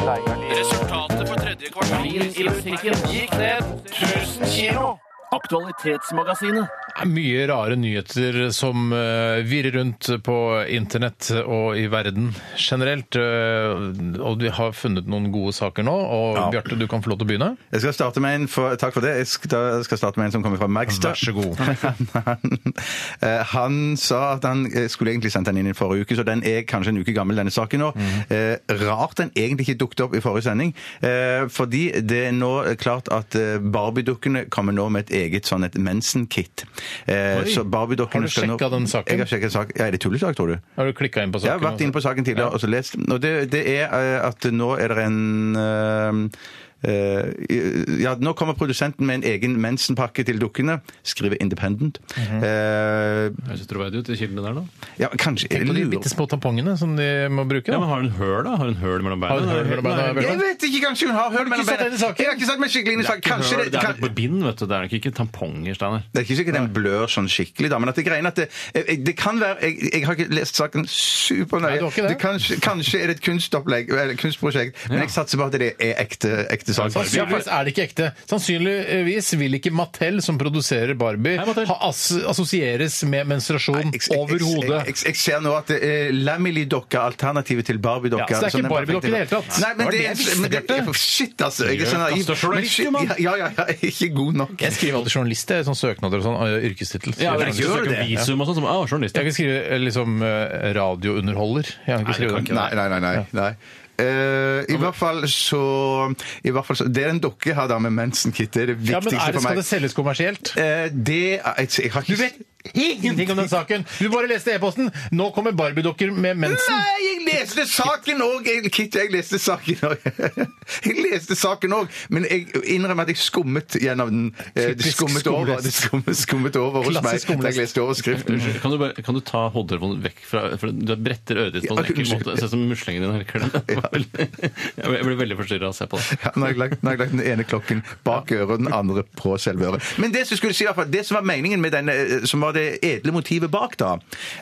Speaker 6: Resultatet på tredje kvartal i butikken gikk ned 1000 kilo. Aktualitetsmagasinet.
Speaker 4: Det er mye rare nyheter som eh, virrer rundt på internett og i verden generelt. eh, og vi har funnet noen gode saker nå. Og
Speaker 5: Ja.
Speaker 4: Bjarte, du kan få lov til å begynne.
Speaker 5: Jeg skal starte med en for, Takk for det. Jeg skal, jeg skal starte med en som kommer fra
Speaker 4: Vær
Speaker 5: Magster.
Speaker 4: så god.
Speaker 5: [LAUGHS] han, eh, han sa at han eh, skulle egentlig sendt den inn i forrige uke, så den er kanskje en uke gammel, denne saken nå.
Speaker 4: Mhm.
Speaker 5: Eh, rart den egentlig ikke dukket opp i forrige sending, eh, fordi det er nå klart at eh, Barbie-dukkene kommer nå med et eget sånn et mensen-kit. Eh,
Speaker 4: Oi.
Speaker 5: så Barbie-dukkene
Speaker 4: Har du
Speaker 5: skal nå-
Speaker 4: sjekket den saken?
Speaker 5: Jeg har sjekket saken. Ja, er det tullesak, tror du?
Speaker 4: Har du klikka inn på
Speaker 5: Jeg har
Speaker 4: saken?
Speaker 5: vært inne på saken tidligere og så lest. den. Og det, det er eh, at nå er det en eh, eh, ja, Nå kommer produsenten med en egen mensenpakke til dukkene. Skriver Independent.
Speaker 4: Mhm.
Speaker 5: Eh,
Speaker 6: Høres troverdig ut, de kildene der nå.
Speaker 5: ja, kanskje
Speaker 4: Tenk på de
Speaker 5: lurer-
Speaker 4: bitte små tampongene som de må bruke.
Speaker 6: Ja,
Speaker 4: da.
Speaker 6: men Har hun høl, da? Har hun høl mellom
Speaker 4: Har hun høl mellom beina,
Speaker 6: Nei,
Speaker 4: Bjørn?
Speaker 5: Jeg vet ikke! Kanskje hun har høl mellom
Speaker 4: satt deg inn i saken?
Speaker 5: Jeg har ikke satt meg skikkelig inn i saken.
Speaker 6: ikke
Speaker 5: Kanskje
Speaker 6: høl,
Speaker 5: det,
Speaker 6: det er
Speaker 5: kan,
Speaker 6: nok på bind, vet du. Det er nok ikke tamponger, Steinar.
Speaker 5: det er ikke sikkert den blør sånn skikkelig, da, men at det greiene at det, jeg- jeg- det kan være jeg, jeg har ikke lest saken
Speaker 4: Nei,
Speaker 5: supernøye.
Speaker 4: du har ikke det.
Speaker 5: kanskje, kanskje er det et kunstopplegg, eller kunstprosjekt, men jeg satser på at det er ekte, ekte sak.
Speaker 4: Sannsynligvis er det ikke ekte. Sannsynligvis vil ikke Mattel, som produserer Barbie,
Speaker 6: Hei, Mattel.
Speaker 4: ha ass assosieres med menstruasjon
Speaker 5: Jeg- jeg-
Speaker 4: Mm. overhodet.
Speaker 5: jeg- Jeg jeg ser nå at det er Lamily-dokka, alternativet til Barbie-dokka.
Speaker 4: Ja, så det er ikke
Speaker 5: som den
Speaker 4: Barbie-dokka
Speaker 5: perfekte-
Speaker 4: i det hele tatt.
Speaker 5: Nei, men
Speaker 4: Var det
Speaker 5: det,
Speaker 4: det jeg visste,
Speaker 5: men det,
Speaker 4: Bjarte?
Speaker 5: Shit, altså. Jeg er så naiv.
Speaker 6: altså, journalist, jo, mann.
Speaker 5: Men shit, ja, ja, ja, jeg er ikke god nok.
Speaker 4: Jeg skriver alltid journalist jeg, i sånne søknader og sånn, og yrkestittel.
Speaker 6: Ja,
Speaker 4: Skriver
Speaker 6: men
Speaker 4: journalist.
Speaker 6: gjør det. Visum og sånn, som, ah, journalist.
Speaker 4: Jeg kan skrive eh, liksom eh, radiounderholder. Jeg kan ikke skrive det.
Speaker 5: Nei, nei, nei. nei, nei. Eh, I hvert fall så i hvert fall så, Det er en dukke her da med mensen-kit. Det er det
Speaker 4: Ja, men
Speaker 5: viktigste
Speaker 4: er det,
Speaker 5: for meg.
Speaker 4: skal det selges kommersielt?
Speaker 5: Eh, det er, jeg, jeg har ikke
Speaker 4: Du vet ingenting om den saken! Du bare leste e-posten. Nå kommer Barbie-dokker med mensen.
Speaker 5: Nei, jeg leste saken òg! Kit, jeg leste saken òg. [LAUGHS] Jeg leste saken òg, men jeg innrømmer at jeg skummet gjennom den. Eh, Det
Speaker 4: Typisk
Speaker 5: skummet over,
Speaker 4: skumlest.
Speaker 5: det skummet, skummet over hos
Speaker 4: Klassisk
Speaker 5: meg da
Speaker 4: skumlest.
Speaker 5: jeg leste overskriften.
Speaker 6: Unnskyld, Kan du, bare, kan du ta hodetelefonen vekk fra for Du bretter øret ditt på
Speaker 5: Ja,
Speaker 6: en ekkel
Speaker 5: unnskyld.
Speaker 6: måte. Det ser ut som muslingen din harker [LAUGHS] det. Det var veldig- Jeg blir veldig forstyrra av å se på det.
Speaker 5: Ja, nå har jeg lagt- nå har jeg lagt den ene klokken bak øret og den andre på selve øret. Men det som skulle si i hvert fall, det som var meningen med den, eh, som var det edle motivet bak, da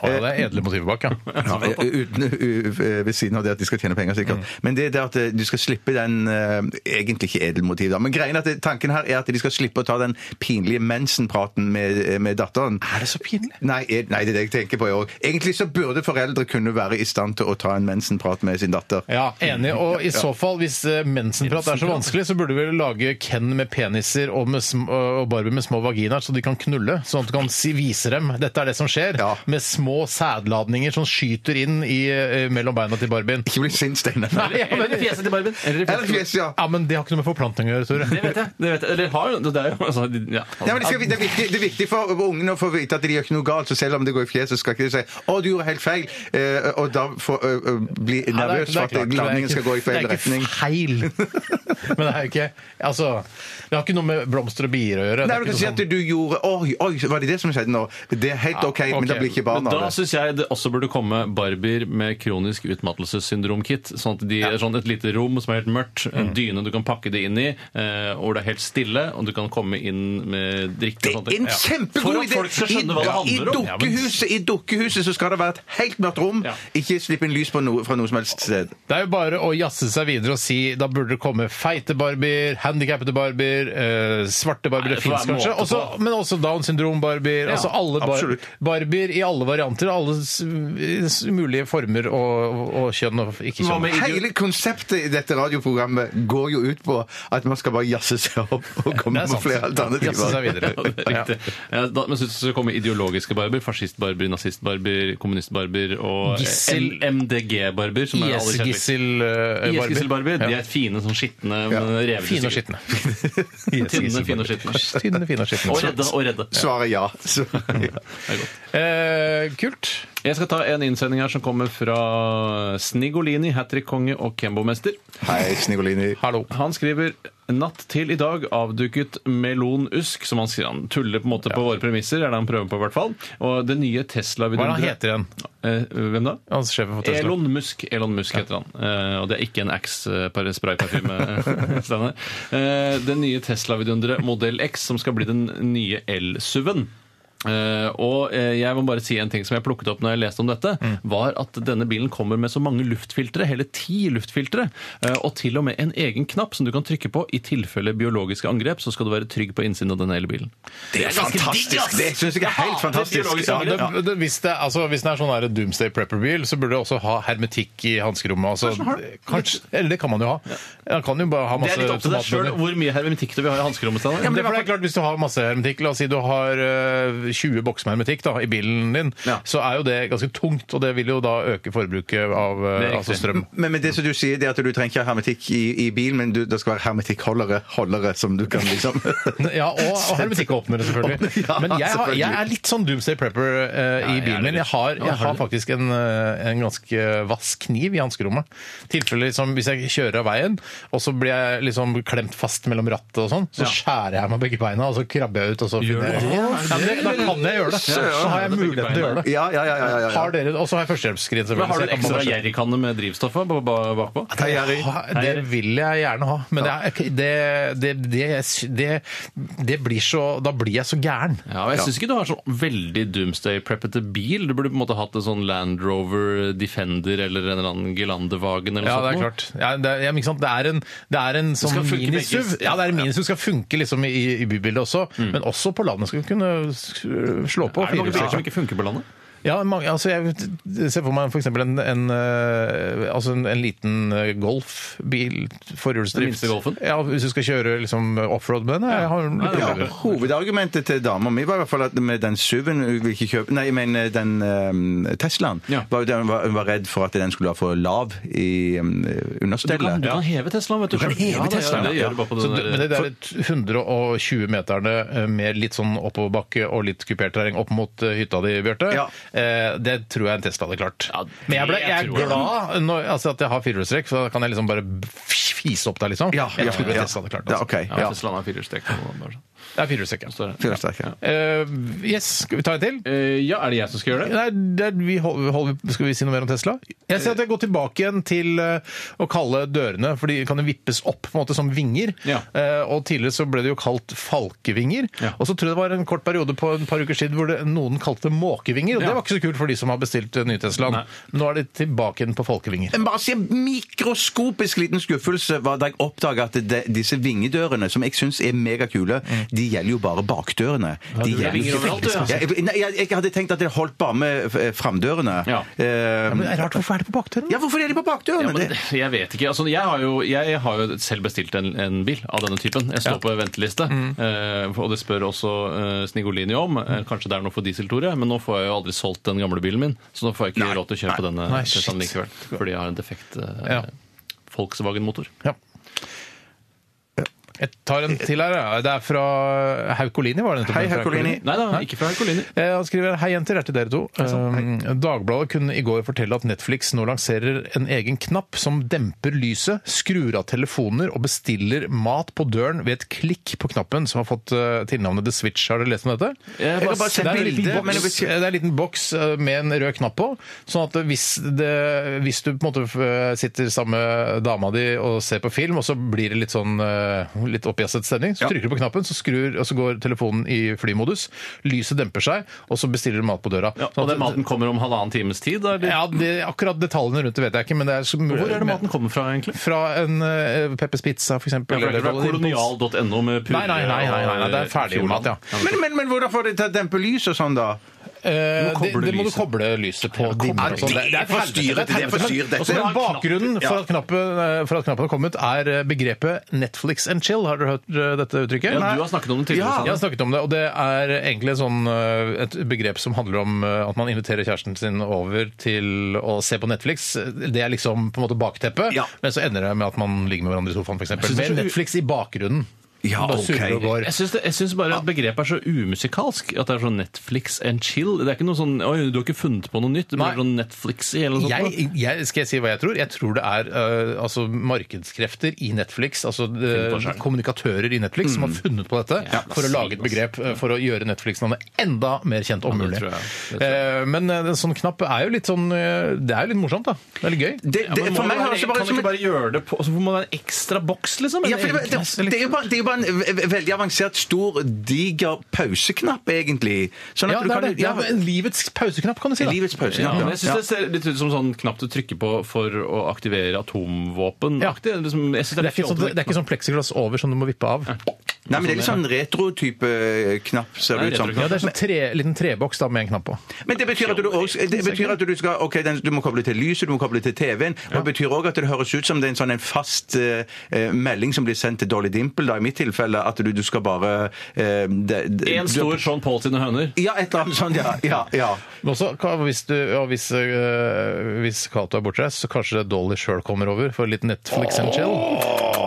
Speaker 5: eh,
Speaker 4: Å, ja, det er edle motiver bak,
Speaker 5: [LAUGHS]
Speaker 4: ja. Mm.
Speaker 5: Ja, Altså, uten, u- u- ved siden av det at de skal tjene penger, sikkert. Men det er det at eh, du skal slippe den eh, Egentlig ikke edelmotiv, da. Men greien er at det, tanken her er at de skal slippe å ta den pinlige mensenpraten med, eh, med datteren.
Speaker 4: Er det så pinlig?
Speaker 5: Nei, eh, nei, det er det jeg tenker på, jeg òg. Egentlig så burde foreldre kunne være i stand til å ta en mensenprat med sin datter.
Speaker 4: Ja, enig. Og i så fall, hvis eh, mensenprat er så vanskelig, så burde vi vel lage Ken med peniser og, med sm og Barbie med små vaginaer, så de kan knulle. Sånn at du kan si, vise dem dette er det som skjer,
Speaker 5: Ja.
Speaker 4: med små sædladninger som skyter inn i, eh, mellom beina til Barbien.
Speaker 5: Ikke bli sint, Steinar.
Speaker 4: Nei, ja, men,
Speaker 6: fjeset til Barbien.
Speaker 5: Eller fjes, ja.
Speaker 4: ja, men det har ikke noe med forplantning å gjøre, Tore.
Speaker 6: Det vet jeg. Det vet jeg. Eller har jo Det er jo altså, ja.
Speaker 5: Nei, men det, skal, det, er viktig, det er viktig for ungene å få vite at de gjør ikke noe galt, så selv om det går i fjeset, skal ikke de si 'Å, du gjorde helt feil', eh, og da få, eh, bli
Speaker 4: Ja, det er- det er
Speaker 5: nervøs for
Speaker 4: klart,
Speaker 5: at
Speaker 4: det er
Speaker 5: landingen
Speaker 4: ikke-
Speaker 5: skal gå i feil
Speaker 4: Det
Speaker 5: retning.
Speaker 4: er ikke feil. [LAUGHS] Men det er jo ikke Altså, det har ikke noe med blomster og bier å gjøre. Det er
Speaker 5: Nei, du
Speaker 4: ikke
Speaker 5: kan
Speaker 4: noe
Speaker 5: si
Speaker 4: sånn-
Speaker 5: at du gjorde Oi, oi, var det det som skjedde nå? det er helt OK, men det
Speaker 4: ok.
Speaker 5: blir ikke barn
Speaker 6: Men
Speaker 5: av
Speaker 6: da
Speaker 5: det.
Speaker 6: syns jeg det også burde komme barbier med kronisk utmattelsessyndrom-kit. Sånn at de er sånn et lite rom som er helt mørkt,
Speaker 5: Mm.
Speaker 6: en dyne du kan pakke det inn i, eh, hvor det er helt stille, og du kan komme inn med drikke
Speaker 5: Det
Speaker 6: og sånt.
Speaker 5: er en
Speaker 6: For
Speaker 5: kjempegod
Speaker 6: at
Speaker 5: idé!
Speaker 6: folk skal skjønne hva det
Speaker 5: I, i,
Speaker 6: handler om. Ja, men-
Speaker 5: dukkehuset, I dukkehuset så skal det være et helt mørkt rom.
Speaker 6: Ja.
Speaker 5: Ikke slipp inn lys på noe, fra noe som helst sted.
Speaker 4: Det er jo bare å jazze seg videre og si da burde det komme feite barbier, handikappede barbier, eh, svarte barbier,
Speaker 6: Nei,
Speaker 4: det
Speaker 6: det får
Speaker 4: fins
Speaker 6: være måte
Speaker 4: kanskje, også,
Speaker 6: på.
Speaker 4: men også Downs syndrom-barbier. altså alle bar
Speaker 5: absolutt.
Speaker 4: barbier i alle varianter, alle s- s- mulige former og, og kjønn og ikke-kjønn.
Speaker 5: Hele konseptet i dette radioprogrammet går jo ut på at man skal bare jazze seg opp og komme
Speaker 4: det er
Speaker 5: med
Speaker 4: sant.
Speaker 5: flere
Speaker 4: Jazze seg
Speaker 5: alternativer.
Speaker 4: videre.
Speaker 6: [LAUGHS] Ja, det er riktig. Ja, da, men så skal det komme ideologiske barber, fascistbarber, nazistbarber, kommunistbarber og
Speaker 4: Gissel.
Speaker 6: MDG-barber. som er alle kjenner. Eh, IS-gisselbarber.
Speaker 4: IS-gissel-barbier.
Speaker 6: De er fine, sånn skitne, men revete
Speaker 4: Fine og
Speaker 6: stykker.
Speaker 4: skitne.
Speaker 6: Tynne, fine og skitne.
Speaker 4: Tynne, fine og skitne.
Speaker 6: Og redde. og redde.
Speaker 5: Svaret ja. Så,
Speaker 6: Det er godt.
Speaker 4: Eh, kult.
Speaker 6: Jeg skal ta en innsending her som kommer fra Snigolini, hat trick-konge og Kembo-mester.
Speaker 5: Hei, Snigolini.
Speaker 4: Hallo.
Speaker 6: Han skriver Natt til i dag avduket melonusk, som han sier han tuller på en måte på våre premisser, er det han prøver på i hvert fall. Og det nye
Speaker 4: Hva er
Speaker 6: Tesla-vidunderet
Speaker 4: det han heter igjen?
Speaker 6: Eh, hvem da?
Speaker 4: Han sjefen for Tesla.
Speaker 6: Elon Musk, Elon Musk heter han. Eh, og det er ikke en
Speaker 4: [LAUGHS]
Speaker 6: eh, Axe-sprayparfyme. Steinar. Eh, den nye Tesla-vidunderet Modell X, som skal bli den nye el-SUV-en. Eh, og eh, jeg må bare si en ting som jeg plukket opp når jeg leste om dette,
Speaker 4: Mm.
Speaker 6: var at denne bilen kommer med så mange luftfiltre, hele ti luftfiltre, eh, og til og med en egen knapp som du kan trykke på i tilfelle biologiske angrep, så skal du være trygg på innsiden av denne elbilen.
Speaker 5: Det er fantastisk! Det syns jeg er helt fantastisk.
Speaker 4: Ja, det, det, hvis, det, altså, hvis den er sånn her Doomsday Prepper-bil, så burde det også ha hermetikk i hanskerommet. Altså, kanskje, eller det kan man jo ha. Man kan jo bare ha
Speaker 6: Det
Speaker 4: masse
Speaker 6: er litt opp til deg sjøl
Speaker 4: automatbomber.
Speaker 6: hvor mye hermetikk du vil ha i hanskerommet. Steinar.
Speaker 4: Ja, men det, for det er klart, Hvis du har masse hermetikk, la oss si du har eh, 20 bokser med hermetikk da, i bilen din,
Speaker 6: Ja.
Speaker 4: så er jo det ganske tungt, og det vil jo da øke forbruket av eh,
Speaker 6: Det er
Speaker 4: altså
Speaker 6: riktig.
Speaker 4: strøm.
Speaker 5: Men, men det som du sier, det er at du trenger ikke ha hermetikk i, i bil, men du, det skal være hermetikkholdere holdere, som du kan liksom
Speaker 6: [LAUGHS]
Speaker 4: [LAUGHS] Ja, og, og hermetikkåpnere, selvfølgelig.
Speaker 5: Ja,
Speaker 4: Men jeg, har, jeg
Speaker 5: selvfølgelig.
Speaker 4: er litt sånn Doomsday Prepper eh, i
Speaker 6: Ja, jeg er
Speaker 4: bilen min. Jeg har,
Speaker 6: Ja,
Speaker 4: jeg
Speaker 6: har
Speaker 4: har
Speaker 6: du det?
Speaker 4: faktisk en, eh, en ganske vass kniv i hanskerommet. Tilfeller som hvis jeg kjører av veien, og så blir jeg liksom klemt fast mellom rattet og sånn, så
Speaker 6: Ja.
Speaker 4: skjærer jeg meg begge beina, og så krabber jeg ut, og så
Speaker 6: Gjør
Speaker 4: finner jeg
Speaker 6: du det?
Speaker 4: ja, men det, Da kan jeg gjøre det. Så har jeg muligheten til å gjøre det.
Speaker 5: Ja, ja, ja. ja, ja, ja.
Speaker 4: Har dere, og så har jeg førstehjelpsskrin,
Speaker 6: Men
Speaker 4: selvfølgelig.
Speaker 6: har
Speaker 4: så
Speaker 6: du en
Speaker 4: jeg kan
Speaker 6: ekstra
Speaker 4: bare-
Speaker 6: jerrykanne med drivstoff ba- ba- bakpå?
Speaker 5: Hei, Jerry.
Speaker 4: Ha, det vil jeg gjerne ha, men det, er- det, det, det, det, det blir så Da blir jeg så gæren.
Speaker 6: Ja, men Jeg syns ikke du har sånn veldig doomsday-preppete bil. Du burde på en måte hatt en sånn Land Rover Defender eller en eller annen Gelandewagen eller
Speaker 4: Ja,
Speaker 6: noe
Speaker 4: det er
Speaker 6: sånt. noe.
Speaker 4: klart. Sånn. Ja, det, er- ja, men ikke sant? det er en, det er en sånn
Speaker 6: skal funke
Speaker 4: minisuv.
Speaker 6: begge-
Speaker 4: Ja, det er en minisuv skal funke liksom i, i bybildet også, men også på landet skal du kunne s- slå på.
Speaker 6: Er Mm. det mange
Speaker 4: firehjulstrekker.
Speaker 6: biler som ikke funker på landet?
Speaker 4: Ja, mange, altså jeg ser for meg for eksempel en, en, eh, altså en, en liten eh, golfbil,
Speaker 6: Den
Speaker 4: forhjulsdrift.
Speaker 6: minste golfen?
Speaker 4: Ja, hvis du skal kjøre liksom offroad med den. Jeg har litt
Speaker 6: Nei, det er
Speaker 4: problemer.
Speaker 6: bra.
Speaker 5: Hovedargumentet til dama mi var i hvert fall at med den SUV-en hun ville ikke kjøpe Nei, men eh, den eh, Teslaen.
Speaker 6: Ja.
Speaker 5: Var, jo det hun, var, hun var redd for at den skulle være for lav i um,
Speaker 6: Du kan,
Speaker 5: understellet.
Speaker 6: du kan heve Teslaen, vet du.
Speaker 5: Du kan
Speaker 6: selv.
Speaker 5: heve
Speaker 6: ja, det-
Speaker 5: Teslaen,
Speaker 6: Ja, det
Speaker 5: ja.
Speaker 6: gjør du bare på
Speaker 4: Så
Speaker 6: den
Speaker 4: det, men
Speaker 6: der.
Speaker 4: det der 120-meterne eh, med litt sånn oppoverbakke og litt kupert terreng opp mot eh, hytta di, Bjarte,
Speaker 5: Ja.
Speaker 4: eh, det tror jeg en Tesla hadde klart.
Speaker 6: Ja, det
Speaker 4: men jeg, ble, jeg er
Speaker 6: tror jeg.
Speaker 4: glad når, altså, at jeg har firehjulstrekk, så da kan jeg liksom bare fise opp der, liksom.
Speaker 5: Ja, ja,
Speaker 4: jeg tror
Speaker 5: ja.
Speaker 4: Tesla hadde klart
Speaker 5: Ja,
Speaker 4: altså.
Speaker 5: ok.
Speaker 6: Ja,
Speaker 5: Ja.
Speaker 6: Teslaen er firehjulstrekk. og bare sånn.
Speaker 4: Det er firehjulstrekk, ja.
Speaker 6: Så er det-
Speaker 5: Fyrer sterk, ja.
Speaker 4: Eh, yes, skal vi ta en til?
Speaker 6: Eh, Ja, er det jeg som skal gjøre det?
Speaker 4: Nei, det, er- vi hold- vi holder, skal vi si noe mer om Tesla? Jeg ser at jeg går tilbake igjen til eh, å kalle dørene, for de kan jo vippes opp på en måte som vinger.
Speaker 6: Ja.
Speaker 4: Eh, Og tidligere så ble det jo kalt falkevinger.
Speaker 6: Ja.
Speaker 4: Og så tror jeg det var en kort periode på en par uker siden hvor det, noen kalte det måkevinger, og
Speaker 6: Ja.
Speaker 4: det var ikke så kult for de som har bestilt eh, ny Teslaen.
Speaker 6: Nei.
Speaker 4: Nå er de tilbake igjen på falkevinger.
Speaker 5: Men bare si en mikroskopisk liten skuffelse var da jeg oppdaga at det, disse vingedørene, som jeg syns er megakule, de gjelder jo bare bakdørene. De
Speaker 6: Mm. du
Speaker 5: gjelder
Speaker 6: vinger
Speaker 5: ikke
Speaker 6: overalt, du,
Speaker 5: faktisk-
Speaker 6: altså.
Speaker 5: Ja, jeg, nei, jeg, jeg hadde tenkt at det holdt bare med eh, framdørene.
Speaker 6: Ja.
Speaker 5: Eh,
Speaker 4: Men det er rart, hvorfor er det på bakdøren?
Speaker 5: ja, hvorfor er de på bakdørene?
Speaker 6: Ja, men
Speaker 5: det,
Speaker 6: det- jeg vet ikke. Altså, jeg, har jo, jeg har jo selv bestilt en, en bil av denne typen. Jeg står på venteliste,
Speaker 4: Mm.
Speaker 6: eh, og det spør også eh, Snigolini om. Eh, kanskje det er noe for dieseltore, men nå får jeg jo aldri solgt den gamle bilen min, så nå får jeg ikke råd til å kjøpe denne
Speaker 4: Nei, shit.
Speaker 6: Teslaen likevel. Fordi jeg har en defekt eh,
Speaker 4: Ja.
Speaker 6: Volkswagen-motor.
Speaker 4: Ja. Jeg tar en til her. ja. Det er fra Haukolini, var det nettopp?
Speaker 5: Hei,
Speaker 4: Fra
Speaker 5: Haukolini.
Speaker 6: Nei da, ikke fra Herkolini.
Speaker 4: Eh, Han skriver Hei jenter, er til dere to. Eh, Dagbladet kunne i går fortelle at Netflix nå lanserer en egen knapp som demper lyset, skrur av telefoner og bestiller mat på døren ved et klikk på knappen, som har fått eh, tilnavnet The Switch. Har dere lest om dette?
Speaker 6: Jeg har
Speaker 5: bare
Speaker 6: bare
Speaker 5: sett
Speaker 4: Det er en liten
Speaker 5: bilder, men jeg
Speaker 4: boks,
Speaker 5: vet ikke-
Speaker 4: eh, det er en liten boks eh, med en rød knapp på, sånn at hvis, det, hvis du på en måte eh, sitter sammen med dama di og ser på film, og så blir det litt sånn eh, litt oppjasset stemning, så trykker du på knappen, så skrur, og så går telefonen i flymodus, lyset demper seg, og så bestiller du mat på døra.
Speaker 6: Ja,
Speaker 4: Sånn
Speaker 6: og
Speaker 4: at-
Speaker 6: den maten kommer om halvannen times tid? da, Eller?
Speaker 4: Ja, det, akkurat detaljene rundt det vet jeg ikke, men det er så
Speaker 6: Hvor er det maten kommer fra, egentlig?
Speaker 4: Fra en eh, Peppers Pizza, for
Speaker 6: Ja,
Speaker 4: eksempel.
Speaker 6: for det er eh, ikke
Speaker 4: eller-
Speaker 6: fra kolonial.no med purre
Speaker 4: Nei, nei, nei, nei, nei, nei, det er ferdig mat, ja.
Speaker 5: Men, men, men hvordan får de til å dempe lys og sånn, da?
Speaker 4: Eh,
Speaker 6: Du må
Speaker 4: det,
Speaker 6: koble
Speaker 4: det må du
Speaker 6: lyset.
Speaker 4: koble lyset på. dimmer og sånn.
Speaker 5: det er forstyrret,
Speaker 4: helvete,
Speaker 5: det er
Speaker 4: helvete,
Speaker 5: forstyrret,
Speaker 4: men- og så
Speaker 5: dette.
Speaker 4: er Bakgrunnen for at, knappen, eh, for at knappen har kommet, er eh, begrepet 'Netflix and chill'. Har dere hørt eh, dette uttrykket?
Speaker 6: Ja, du har snakket om det tidligere.
Speaker 4: Jeg
Speaker 6: Sanne.
Speaker 4: har snakket om det, og det er egentlig sånn, eh, et begrep som handler om eh, at man inviterer kjæresten sin over til å se på Netflix. Det er liksom på en måte bakteppet,
Speaker 5: Ja.
Speaker 4: men så ender det med at man ligger med hverandre i sofaen, f.eks.
Speaker 6: synes det er
Speaker 4: Med
Speaker 6: så u-
Speaker 4: Netflix i bakgrunnen.
Speaker 5: Ja,
Speaker 4: Bare
Speaker 5: ok.
Speaker 4: surrer og går.
Speaker 6: Jeg syns, det, jeg syns bare at begrepet er så umusikalsk. At det er sånn Netflix and chill. Det er ikke noe sånn Oi, du har ikke funnet på noe nytt? Det
Speaker 4: Nei.
Speaker 6: blir sånn Netflixy eller noe sånt.
Speaker 4: Jeg, jeg, skal jeg si hva jeg tror? Jeg tror det er eh, altså, markedskrefter i Netflix, altså eh,
Speaker 6: på Mm. selv.
Speaker 4: kommunikatører i Netflix, som har funnet på dette for å lage et begrep eh, for å gjøre Netflix-navnet enda mer kjent om
Speaker 6: altså. Ja, det
Speaker 4: mulig.
Speaker 6: tror jeg. Det tror
Speaker 4: Eh, men eh, en sånn knapp er jo litt sånn eh, Det er jo litt morsomt, da. Det er litt gøy.
Speaker 5: Det,
Speaker 6: Ja,
Speaker 5: det,
Speaker 6: men må
Speaker 5: for meg
Speaker 6: det
Speaker 5: høres
Speaker 6: være-
Speaker 5: det bare
Speaker 6: kan
Speaker 5: ut
Speaker 6: du
Speaker 5: som
Speaker 6: ikke bare gjøre det på og Så må det være en ekstra boks, liksom?
Speaker 5: ja,
Speaker 6: en
Speaker 5: for det,
Speaker 6: egen
Speaker 5: det,
Speaker 6: knapp,
Speaker 5: det,
Speaker 6: eller?
Speaker 5: er jo bare, det er jo bare en ve- ve- veldig avansert, stor, diger pauseknapp, egentlig. Sånn at
Speaker 4: Ja,
Speaker 5: du
Speaker 4: det
Speaker 5: kan,
Speaker 4: er det. Ja,
Speaker 5: ja,
Speaker 4: en livets pauseknapp, kan du si. da.
Speaker 5: livets
Speaker 6: Ja,
Speaker 5: pauseknapp.
Speaker 6: men jeg syns det ser litt ut som sånn knapp du trykker på for å aktivere atomvåpen-aktig. Liksom, jeg synes
Speaker 4: Det
Speaker 6: det
Speaker 4: er, ikke sånn, det er ikke sånn pleksiglass over som du må vippe av.
Speaker 5: Nei, men det er litt sånn retro-type eh, knapp, ser
Speaker 6: Nei,
Speaker 5: det ut som.
Speaker 6: retro-knapp.
Speaker 4: Ja, Det er sånn tre, liten treboks da med en knapp på.
Speaker 5: Men det betyr at du, også, det betyr at du skal Ok, den, du må koble til lyset, du må koble til TV-en. Og det betyr òg at det høres ut som det er en sånn en fast eh, eh, melding som blir sendt til Dolly Dimple, da i mitt tilfelle, at du, du skal bare eh, det, det,
Speaker 6: En stor Sean Paul sine høner.
Speaker 5: Ja, et eller annet sånt.
Speaker 4: [LAUGHS]
Speaker 5: Ja. ja, ja.
Speaker 4: Men også, ka- hvis, du, ja, hvis, øh, hvis Cato er bortreist, så kanskje Dolly sjøl kommer over for litt Netflix and chill.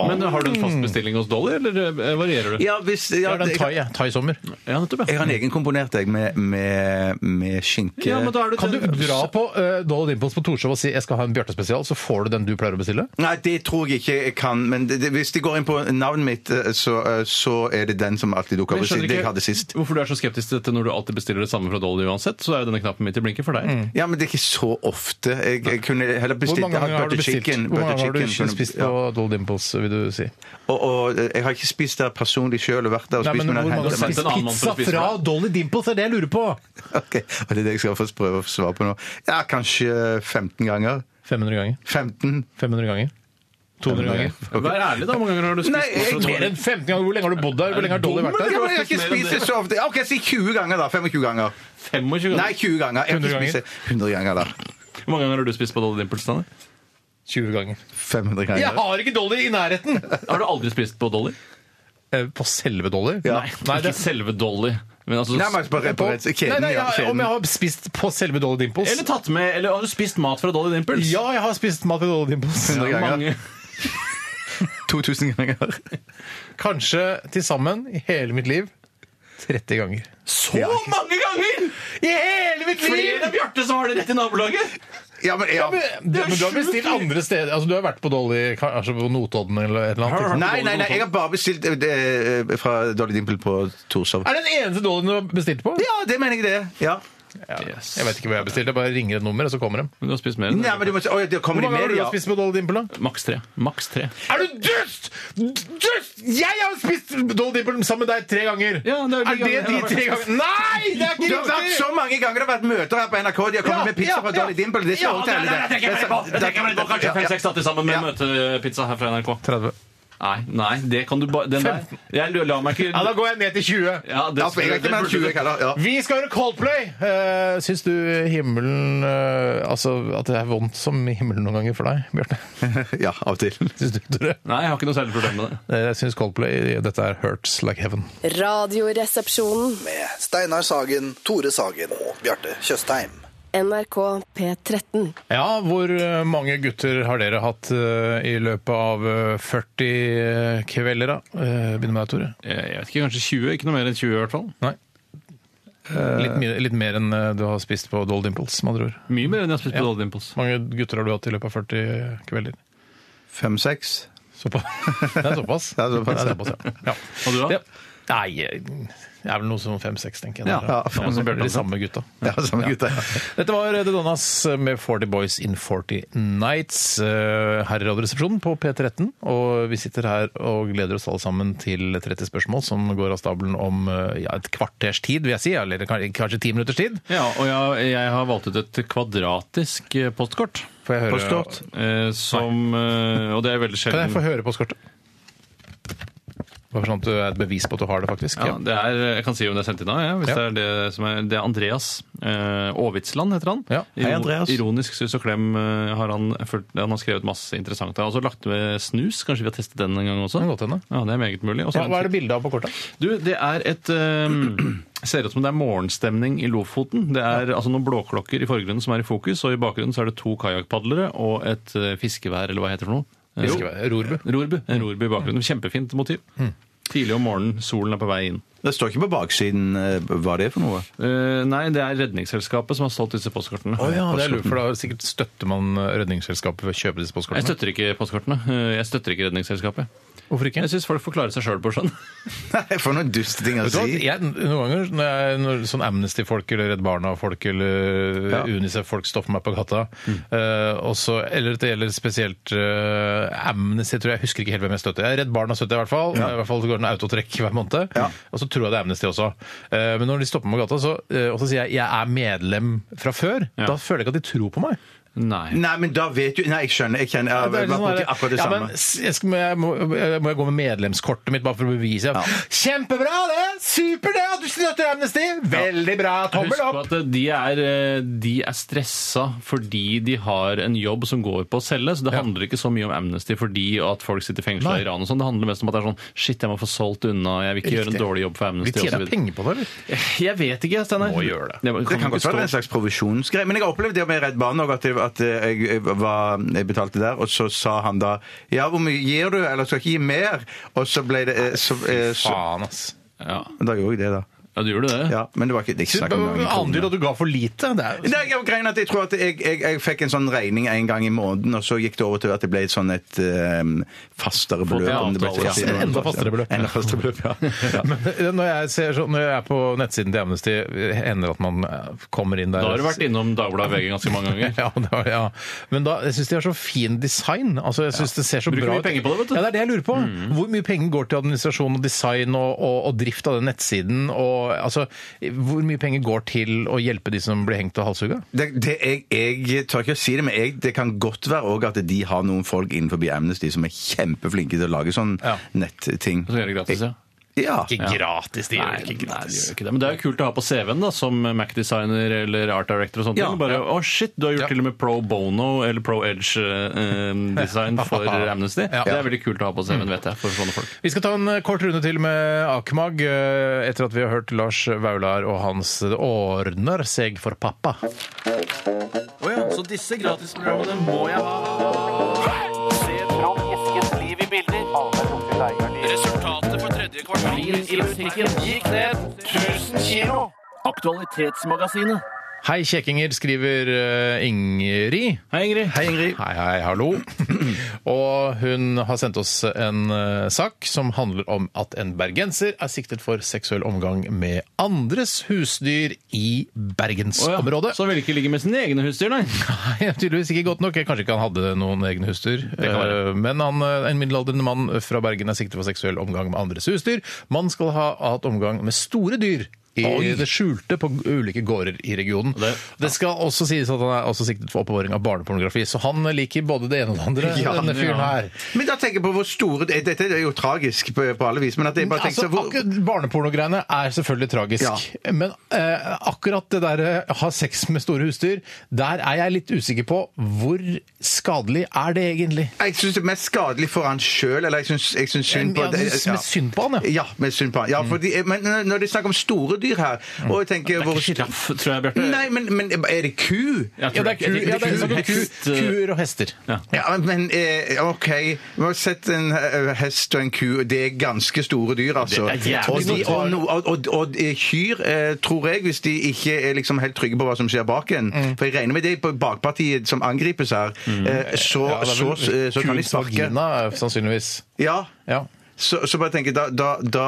Speaker 6: Men har du en fast bestilling hos Dolly, eller eh, varierer du?
Speaker 5: ja hvis ja,
Speaker 4: Ja, det er en
Speaker 5: jeg,
Speaker 4: thai, jeg. thai-sommer.
Speaker 6: Ja, nettopp,
Speaker 5: jeg har en egen komponert, jeg, med, med, med skinke.
Speaker 6: Ja, men da er du
Speaker 4: Kan du
Speaker 6: til-
Speaker 4: dra på øh, Dolly Dimples på Torshov og si 'jeg skal ha en Bjarte-spesial', så får du den du pleier å bestille?
Speaker 5: Nei, det tror jeg ikke jeg kan. Men det, det, hvis de går inn på navnet mitt, eh, så, eh, så er det den som alltid dukker
Speaker 6: Men
Speaker 5: opp.
Speaker 6: jeg skjønner
Speaker 5: Det jeg
Speaker 6: ikke
Speaker 5: hadde sist.
Speaker 6: Hvorfor du er så skeptisk til dette når du alltid bestiller det samme fra Dolly uansett, så er jo denne knappen min til blinker for deg.
Speaker 5: Ja, men det er ikke så ofte. Jeg, jeg kunne heller
Speaker 4: Hvor
Speaker 5: bestilt
Speaker 4: mange ganger har du
Speaker 5: butter
Speaker 4: bestilt?
Speaker 5: chicken,
Speaker 4: Hvor
Speaker 5: butter
Speaker 4: mange ganger har du
Speaker 5: chicken,
Speaker 4: ikke spist på
Speaker 5: ja.
Speaker 4: Dolly Dimples, vil du si?
Speaker 5: og, og eh, jeg har ikke spist der personlig sjøl og vært der og
Speaker 4: Nei,
Speaker 5: spist,
Speaker 4: men
Speaker 5: men
Speaker 4: Hvor mange har
Speaker 5: jeg
Speaker 4: du
Speaker 5: henter meg.
Speaker 6: sendt
Speaker 4: spist
Speaker 6: en annen mann
Speaker 4: pizza
Speaker 6: for å spise
Speaker 4: fra
Speaker 6: det?
Speaker 4: Dolly Dimples? Det er det jeg lurer på!
Speaker 5: [LAUGHS] Ok, og Det er det jeg skal få prøve å svare på nå. Ja, kanskje 15 ganger.
Speaker 4: 500 ganger.
Speaker 5: 15?
Speaker 4: 500 ganger. 200 ganger.
Speaker 6: Vær ærlig, da. Hvor mange ganger har du spist
Speaker 5: Nei, jeg-
Speaker 6: fra
Speaker 4: Mer
Speaker 6: Dolly?
Speaker 4: enn 15 ganger! Hvor lenge har du bodd der? Hvor lenge har Dolly vært
Speaker 5: Ja,
Speaker 4: der?
Speaker 5: men jeg har ikke spist det så ofte. Ja, OK, si 20 ganger, da. 25 ganger.
Speaker 6: 25 ganger.
Speaker 5: Nei, 20 ganger. Jeg har
Speaker 4: 100
Speaker 5: ikke
Speaker 4: ganger.
Speaker 5: spist det. 100 ganger, da.
Speaker 6: Hvor mange ganger har du spist på Dolly Dimples? Stanley?
Speaker 4: 20 ganger.
Speaker 5: 500 ganger.
Speaker 4: Jeg har ikke Dolly i nærheten!
Speaker 6: Har du aldri spist på Dolly?
Speaker 4: Eh, På selve Dolly?
Speaker 6: Nei, ikke selve Dolly. Men altså,
Speaker 5: Nei, men bare på rett
Speaker 4: nei,
Speaker 5: kjeden.
Speaker 4: nei,
Speaker 5: ja,
Speaker 4: jeg, Eh, om
Speaker 5: kjeden.
Speaker 4: jeg har spist på selve Dolly Dimples?
Speaker 6: eller tatt med, eller har du spist mat fra Dolly Dimples?
Speaker 4: ja, jeg har spist mat ved Dolly Dimples.
Speaker 6: Ja,
Speaker 5: ganger.
Speaker 6: mange.
Speaker 5: 2000 ganger.
Speaker 4: Kanskje til sammen i hele mitt liv 30 ganger.
Speaker 6: Så mange ganger!
Speaker 4: I hele mitt
Speaker 6: Flere enn Bjarte som har det rett i nabolaget!
Speaker 5: Ja, men, ja.
Speaker 4: Men du har bestilt andre steder. Altså, du har vært på Dolly kanskje på Notodden eller et eller annet? ikke sant?
Speaker 5: Nei, nei, nei, jeg har bare bestilt eh, det, eh, fra Dolly Dimple på Torshov.
Speaker 4: Er det den eneste Dollyen du har bestilt på?
Speaker 5: Ja, det mener jeg det. Ja.
Speaker 6: Yes.
Speaker 4: Jeg vet ikke hva jeg bestilte. Jeg bare ringer et nummer, og så kommer de.
Speaker 6: Men du har spist mer enn
Speaker 5: Nei, men du må si, oi, det
Speaker 4: Hvor
Speaker 5: kommer de
Speaker 4: mange har
Speaker 5: med,
Speaker 4: du
Speaker 5: ja.
Speaker 4: spist på Dolly Dimple, da?
Speaker 6: Maks tre. Maks tre.
Speaker 4: Er du dust?! Dust! Jeg har spist Dolly Dimple sammen med deg tre ganger!
Speaker 6: Ja, det er
Speaker 4: er,
Speaker 6: de
Speaker 4: det
Speaker 6: gangene
Speaker 4: de
Speaker 6: jeg har
Speaker 4: tre
Speaker 6: vært-
Speaker 4: gangene? Nei! Det er
Speaker 5: Det
Speaker 6: [LAUGHS]
Speaker 4: ikke
Speaker 5: har vært
Speaker 4: riktig!
Speaker 5: så mange ganger det har vært møter her på NRK. De har kommet
Speaker 4: Ja,
Speaker 5: med pizza
Speaker 4: ja,
Speaker 5: fra
Speaker 4: ja.
Speaker 5: Dolly Dimple. Det
Speaker 4: Ja,
Speaker 5: skal
Speaker 4: nei,
Speaker 5: også telle.
Speaker 4: nei, nei,
Speaker 5: det.
Speaker 4: tenker jeg meg på.
Speaker 5: Det-
Speaker 6: Jeg tenker meg på kanskje
Speaker 5: Ja, ja.
Speaker 6: 5-6 til sammen med møtepizza her fra NRK.
Speaker 4: 30.
Speaker 6: Nei, nei, det kan du bare Den der. Jeg lar meg ikke
Speaker 4: Ja, da går jeg ned til 20.
Speaker 6: Ja, det,
Speaker 5: Ja, for jeg er ikke mer enn 20 heller.
Speaker 4: [LAUGHS]
Speaker 5: Ja.
Speaker 4: Vi skal høre Coldplay! Uh, syns du himmelen eh, Altså at det er vondt som himmelen noen ganger for deg, Bjarte? [LAUGHS]
Speaker 5: ja, av og til.
Speaker 4: Syns du Tore?
Speaker 6: Nei, jeg har ikke noe særlig problem med det.
Speaker 4: Eh, Jeg syns Coldplay Dette er Hurts Like Heaven.
Speaker 8: Radioresepsjonen.
Speaker 7: Med Steinar Sagen, Tore Sagen og Bjarte Tjøstheim.
Speaker 8: NRK P13.
Speaker 4: Ja, hvor eh, mange gutter har dere hatt eh, i løpet av eh, 40 kvelder, da? Eh, Begynner med deg, Tore.
Speaker 6: Jeg vet ikke, kanskje 20? Ikke noe mer enn 20 i hvert fall.
Speaker 4: Nei. Litt, mye- litt mer enn eh, du har spist på Doll Dimples, med andre ord.
Speaker 6: Mye mer enn jeg har spist på Dolly Dimples.
Speaker 4: Hvor mange gutter har du hatt i løpet av 40 kvelder?
Speaker 5: Fem-seks.
Speaker 4: Såpass. Det er såpass.
Speaker 5: [LAUGHS] Det er
Speaker 4: Det
Speaker 5: såpass.
Speaker 4: er såpass, ja.
Speaker 6: Og du, da?
Speaker 4: Ja. Nei, eh, det er vel noe som fem-seks, tenker jeg.
Speaker 6: Ja,
Speaker 4: Det er
Speaker 5: ja.
Speaker 4: det er de samme gutta.
Speaker 5: Ja, samme gutta.
Speaker 4: Dette var The Donnas med 40 Boys in 40 Nights eh, her i Radioresepsjonen på P13. Og vi sitter her og gleder oss alle sammen til 30 spørsmål som går av stabelen om eh, ja, et kvarters tid, vil jeg si. Eller kan- kanskje ti minutters tid.
Speaker 6: Ja, og jeg, jeg har valgt ut et kvadratisk eh, postkort.
Speaker 4: Får jeg høre,
Speaker 5: Postkort.
Speaker 6: Eh, som, eh, og det er veldig
Speaker 4: Kan jeg få
Speaker 6: sjelden.
Speaker 4: høre postkortet? Bare sånn at det er et bevis på at du har det, faktisk.
Speaker 6: Ja, det er, jeg kan si om det er sendt inn av, ja, hvis
Speaker 4: Ja.
Speaker 6: det er det som er Det er Andreas eh, Aavitsland, heter han.
Speaker 4: Ja.
Speaker 6: Iro-
Speaker 5: Hei, Andreas.
Speaker 6: Ironisk sus og klem eh, har han, følt- han har skrevet masse interessant. Han har også lagt med snus, kanskje vi har testet den en gang også?
Speaker 4: Det kan godt hende.
Speaker 6: Ja, det er meget mulig. Og så
Speaker 4: Hva,
Speaker 6: har
Speaker 4: hva
Speaker 6: han-
Speaker 4: er det bildet av på kortet?
Speaker 6: Du, det er et eh, [CLEARS THROAT] Ser ut som det er morgenstemning i Lofoten. Det er altså noen blåklokker i forgrunnen som er i fokus, og i bakgrunnen så er det to kajakkpadlere og et eh, fiskevær, eller hva heter det for noe? Eh,
Speaker 4: Fiskevær, Mm. rorbu.
Speaker 6: Rorbu. En rorbu i bakgrunnen. Kjempefint motiv. Tidlig om morgenen, solen er på vei inn.
Speaker 5: Det står ikke på baksiden eh, hva det er for noe.
Speaker 6: Eh, nei, det er Redningsselskapet som har solgt disse postkortene.
Speaker 4: det er lurt, for da sikkert støtter man eh, Redningsselskapet ved å kjøpe disse
Speaker 6: Jeg
Speaker 4: postkortene.
Speaker 6: støtter ikke postkortene. Eh, Jeg støtter ikke Redningsselskapet.
Speaker 4: Hvorfor ikke?
Speaker 6: Jeg syns folk får klare seg sjøl på sånn.
Speaker 5: [LAUGHS]
Speaker 6: [LAUGHS]
Speaker 5: Nei, for noen duste ting å
Speaker 4: Vet du hva?
Speaker 5: si.
Speaker 4: Jeg, noen ganger når, jeg, når sånn Amnesty-folk eller Redd Barna-folk eller eh,
Speaker 5: Ja.
Speaker 4: Unicef-folk stopper meg på gata
Speaker 6: Mm.
Speaker 4: eh, også, Eller det gjelder spesielt eh, Amnesty, tror jeg. Jeg husker ikke helt hvem jeg støtter. Jeg er Redd Barna støtter jeg i hvert fall. I hvert fall så går det en autotrekk hver måned.
Speaker 5: Ja.
Speaker 4: Og så tror jeg det er Amnesty også. Eh, men når de stopper meg på gata, så, eh, og så sier jeg jeg er medlem fra før,
Speaker 6: Ja.
Speaker 4: da føler jeg ikke at de tror på meg.
Speaker 6: Nei.
Speaker 5: Nei, men da vet du Nei, jeg skjønner. Jeg kjenner Jeg
Speaker 4: Det er
Speaker 5: har
Speaker 4: litt
Speaker 5: vært
Speaker 4: sånn
Speaker 5: borti
Speaker 4: der-
Speaker 5: akkurat det
Speaker 4: ja,
Speaker 5: samme.
Speaker 4: men s- jeg skal, må, jeg, må, jeg- må jeg gå med medlemskortet mitt bare for å bevise
Speaker 5: Ja.
Speaker 4: Kjempebra, det! Super det! at Du støtter Amnesty! Veldig bra! Tommel
Speaker 6: Husk
Speaker 4: opp!
Speaker 6: på at eh, de er, eh, de er stressa fordi de har en jobb som går på å selge, så det
Speaker 4: Ja.
Speaker 6: handler ikke så mye om Amnesty fordi at folk sitter fengsla
Speaker 4: Nei.
Speaker 6: i Iran og sånn. Det handler mest om at det er sånn shit, jeg må få solgt unna, jeg vil ikke gjøre en
Speaker 4: Riktig.
Speaker 6: dårlig jobb for
Speaker 4: Vi
Speaker 6: Amnesty
Speaker 4: tjener
Speaker 6: osv.
Speaker 4: penger på det, eller?
Speaker 6: [LAUGHS] Jeg vet ikke, Steinar.
Speaker 4: Må gjøre det.
Speaker 6: kan
Speaker 5: Det kan
Speaker 6: godt
Speaker 5: godt være en
Speaker 6: stå.
Speaker 5: slags provisjonsgreie. Men jeg har opplevd det med Redd Barna òg, at, jeg- at eh, jeg, jeg, var, jeg betalte der, og så sa han da Ja, hvor mye gir du? Eller skal jeg ikke gi mer? Og så ble det eh, så, eh, så,
Speaker 4: Faen, ass.
Speaker 6: Ja.
Speaker 5: Da gjorde jeg det, da.
Speaker 6: ja, du gjorde det?
Speaker 5: Ja, men det var ikke det er ikke snakk om mange
Speaker 4: Aner du
Speaker 5: kroner.
Speaker 4: at du ga for lite? Det er
Speaker 5: Nei, jeg, greien er at jeg tror at jeg, jeg, jeg fikk en sånn regning en gang i måneden, og så gikk det over til at det ble et sånn et eh, fastere beløp.
Speaker 6: til
Speaker 5: om det ble
Speaker 6: avtale.
Speaker 5: fastere.
Speaker 4: En enda fastere beløp.
Speaker 5: Enda fastere beløp, ja.
Speaker 4: Men eh, når jeg, ser, sånn- når jeg er på nettsiden til Amnesty, hender det at man eh, kommer inn der
Speaker 6: Da har du vært innom Dagbladet VG ganske mange ganger.
Speaker 4: [LAUGHS] Ja, det var, ja. Men da, jeg syns de har så fin design. Altså, jeg synes det ser så
Speaker 6: Bruker
Speaker 4: bra
Speaker 6: mye penger på det, vet du. Mm.
Speaker 4: Ja, det er det jeg lurer på. Hvor mye penger går til administrasjon og design og, og, og drift av den nettsiden? Og, altså, hvor mye penger går til å hjelpe de som blir hengt og halshugga?
Speaker 5: Det, det, jeg, jeg tør ikke å si det, men jeg, det kan godt være også at de har noen folk innenfor Amnesty som er kjempeflinke til å lage sånn
Speaker 4: Ja.
Speaker 5: netting.
Speaker 6: Så gjør det gratis, ja.
Speaker 5: Ja.
Speaker 4: Ikke gratis, de
Speaker 6: Nei,
Speaker 4: gjør ikke
Speaker 6: nei, det
Speaker 4: gratis.
Speaker 6: gjør ikke det. Men det er jo kult å ha på CV-en da, som Mac-designer eller art director. og sånt.
Speaker 5: Ja.
Speaker 6: Bare, å shit, Du har gjort
Speaker 4: Ja.
Speaker 6: til og med pro bono eller pro
Speaker 4: [LAUGHS]
Speaker 6: edge-design for Amnesty.
Speaker 4: Ja.
Speaker 6: Det er veldig kult å ha på CV-en, vet jeg, for sånne folk.
Speaker 4: Vi skal ta en eh, kort runde til med Akmag, eh, etter at vi har hørt Lars Vaular og hans Det ordner seg for pappa.
Speaker 6: Så disse gratisprogrammene må jeg ha. Resultatet på tredje kvartal i butikken gikk ned 1000 kilo. Aktualitetsmagasinet.
Speaker 4: Hei, kjekkinger, skriver eh, Ingrid.
Speaker 6: Hei, Ingrid.
Speaker 4: Hei, Ingrid. Hei, hei, [CLEARS THROAT] hallo. Og hun har sendt oss en eh, sak som handler om at en bergenser er siktet for seksuell omgang med andres husdyr i bergensområdet.
Speaker 6: Så vil ikke ligge med sine egne husdyr, nei.
Speaker 4: Nei, tydeligvis ikke godt nok. Kanskje ikke han hadde noen egne husdyr.
Speaker 6: kan være.
Speaker 4: Eh, Men han, eh, en middelaldrende mann fra Bergen er siktet for seksuell omgang med andres husdyr. Man skal ha hatt omgang med store dyr. I det skjulte på ulike gårder i regionen. Det,
Speaker 6: Det-
Speaker 4: skal også sies at han er også siktet for oppbevaring av barnepornografi. Så han liker både det ene og det andre,
Speaker 5: Ja,
Speaker 4: denne fyren
Speaker 6: ja.
Speaker 4: her.
Speaker 5: Men da tenker jeg på hvor store Dette er jo tragisk på, på alle vis, men at jeg bare
Speaker 4: Altså,
Speaker 5: tenker så hvor,
Speaker 4: akkurat Barnepornogreiene er selvfølgelig tragisk.
Speaker 5: Ja.
Speaker 4: Men eh, akkurat det der eh, ha sex med store husdyr, der er jeg litt usikker på hvor skadelig er det egentlig?
Speaker 5: Jeg syns det er mest skadelig for han sjøl, eller jeg syns synd på
Speaker 4: Ja, jeg synes synd på han, ja.
Speaker 5: Ja, med synd på han. Ja, fordi, men når det er snakk om store rovdyr her. Og jeg tenker,
Speaker 6: Mm. Det er ikke sjiraff, tror jeg, Bjarte.
Speaker 5: Nei, men, men er det ku?
Speaker 6: Jeg
Speaker 4: Ja,
Speaker 6: tror
Speaker 4: det er, ku,
Speaker 6: ikke-
Speaker 4: ja, det er sånn ku,
Speaker 6: Hest, eh,
Speaker 4: kuer og hester.
Speaker 5: Ja, men eh, OK. Vi har sett en eh, hest og en ku. og Det er ganske store dyr, altså.
Speaker 6: Det er jævlig
Speaker 5: og, de,
Speaker 6: store.
Speaker 5: og, no, og, og, og eh, kyr, eh, tror jeg, hvis de ikke er liksom helt trygge på hva som skjer bak en
Speaker 6: Mm.
Speaker 5: For jeg regner med det er på bakpartiet som angripes her. Eh, så,
Speaker 4: Ja, det er
Speaker 5: så,
Speaker 4: vel
Speaker 5: eh, så kan de
Speaker 4: kuens
Speaker 5: sparke.
Speaker 4: vagina, sånn eh, sannsynligvis.
Speaker 5: Ja.
Speaker 4: Ja.
Speaker 5: Så, så bare tenker jeg, da, da, da,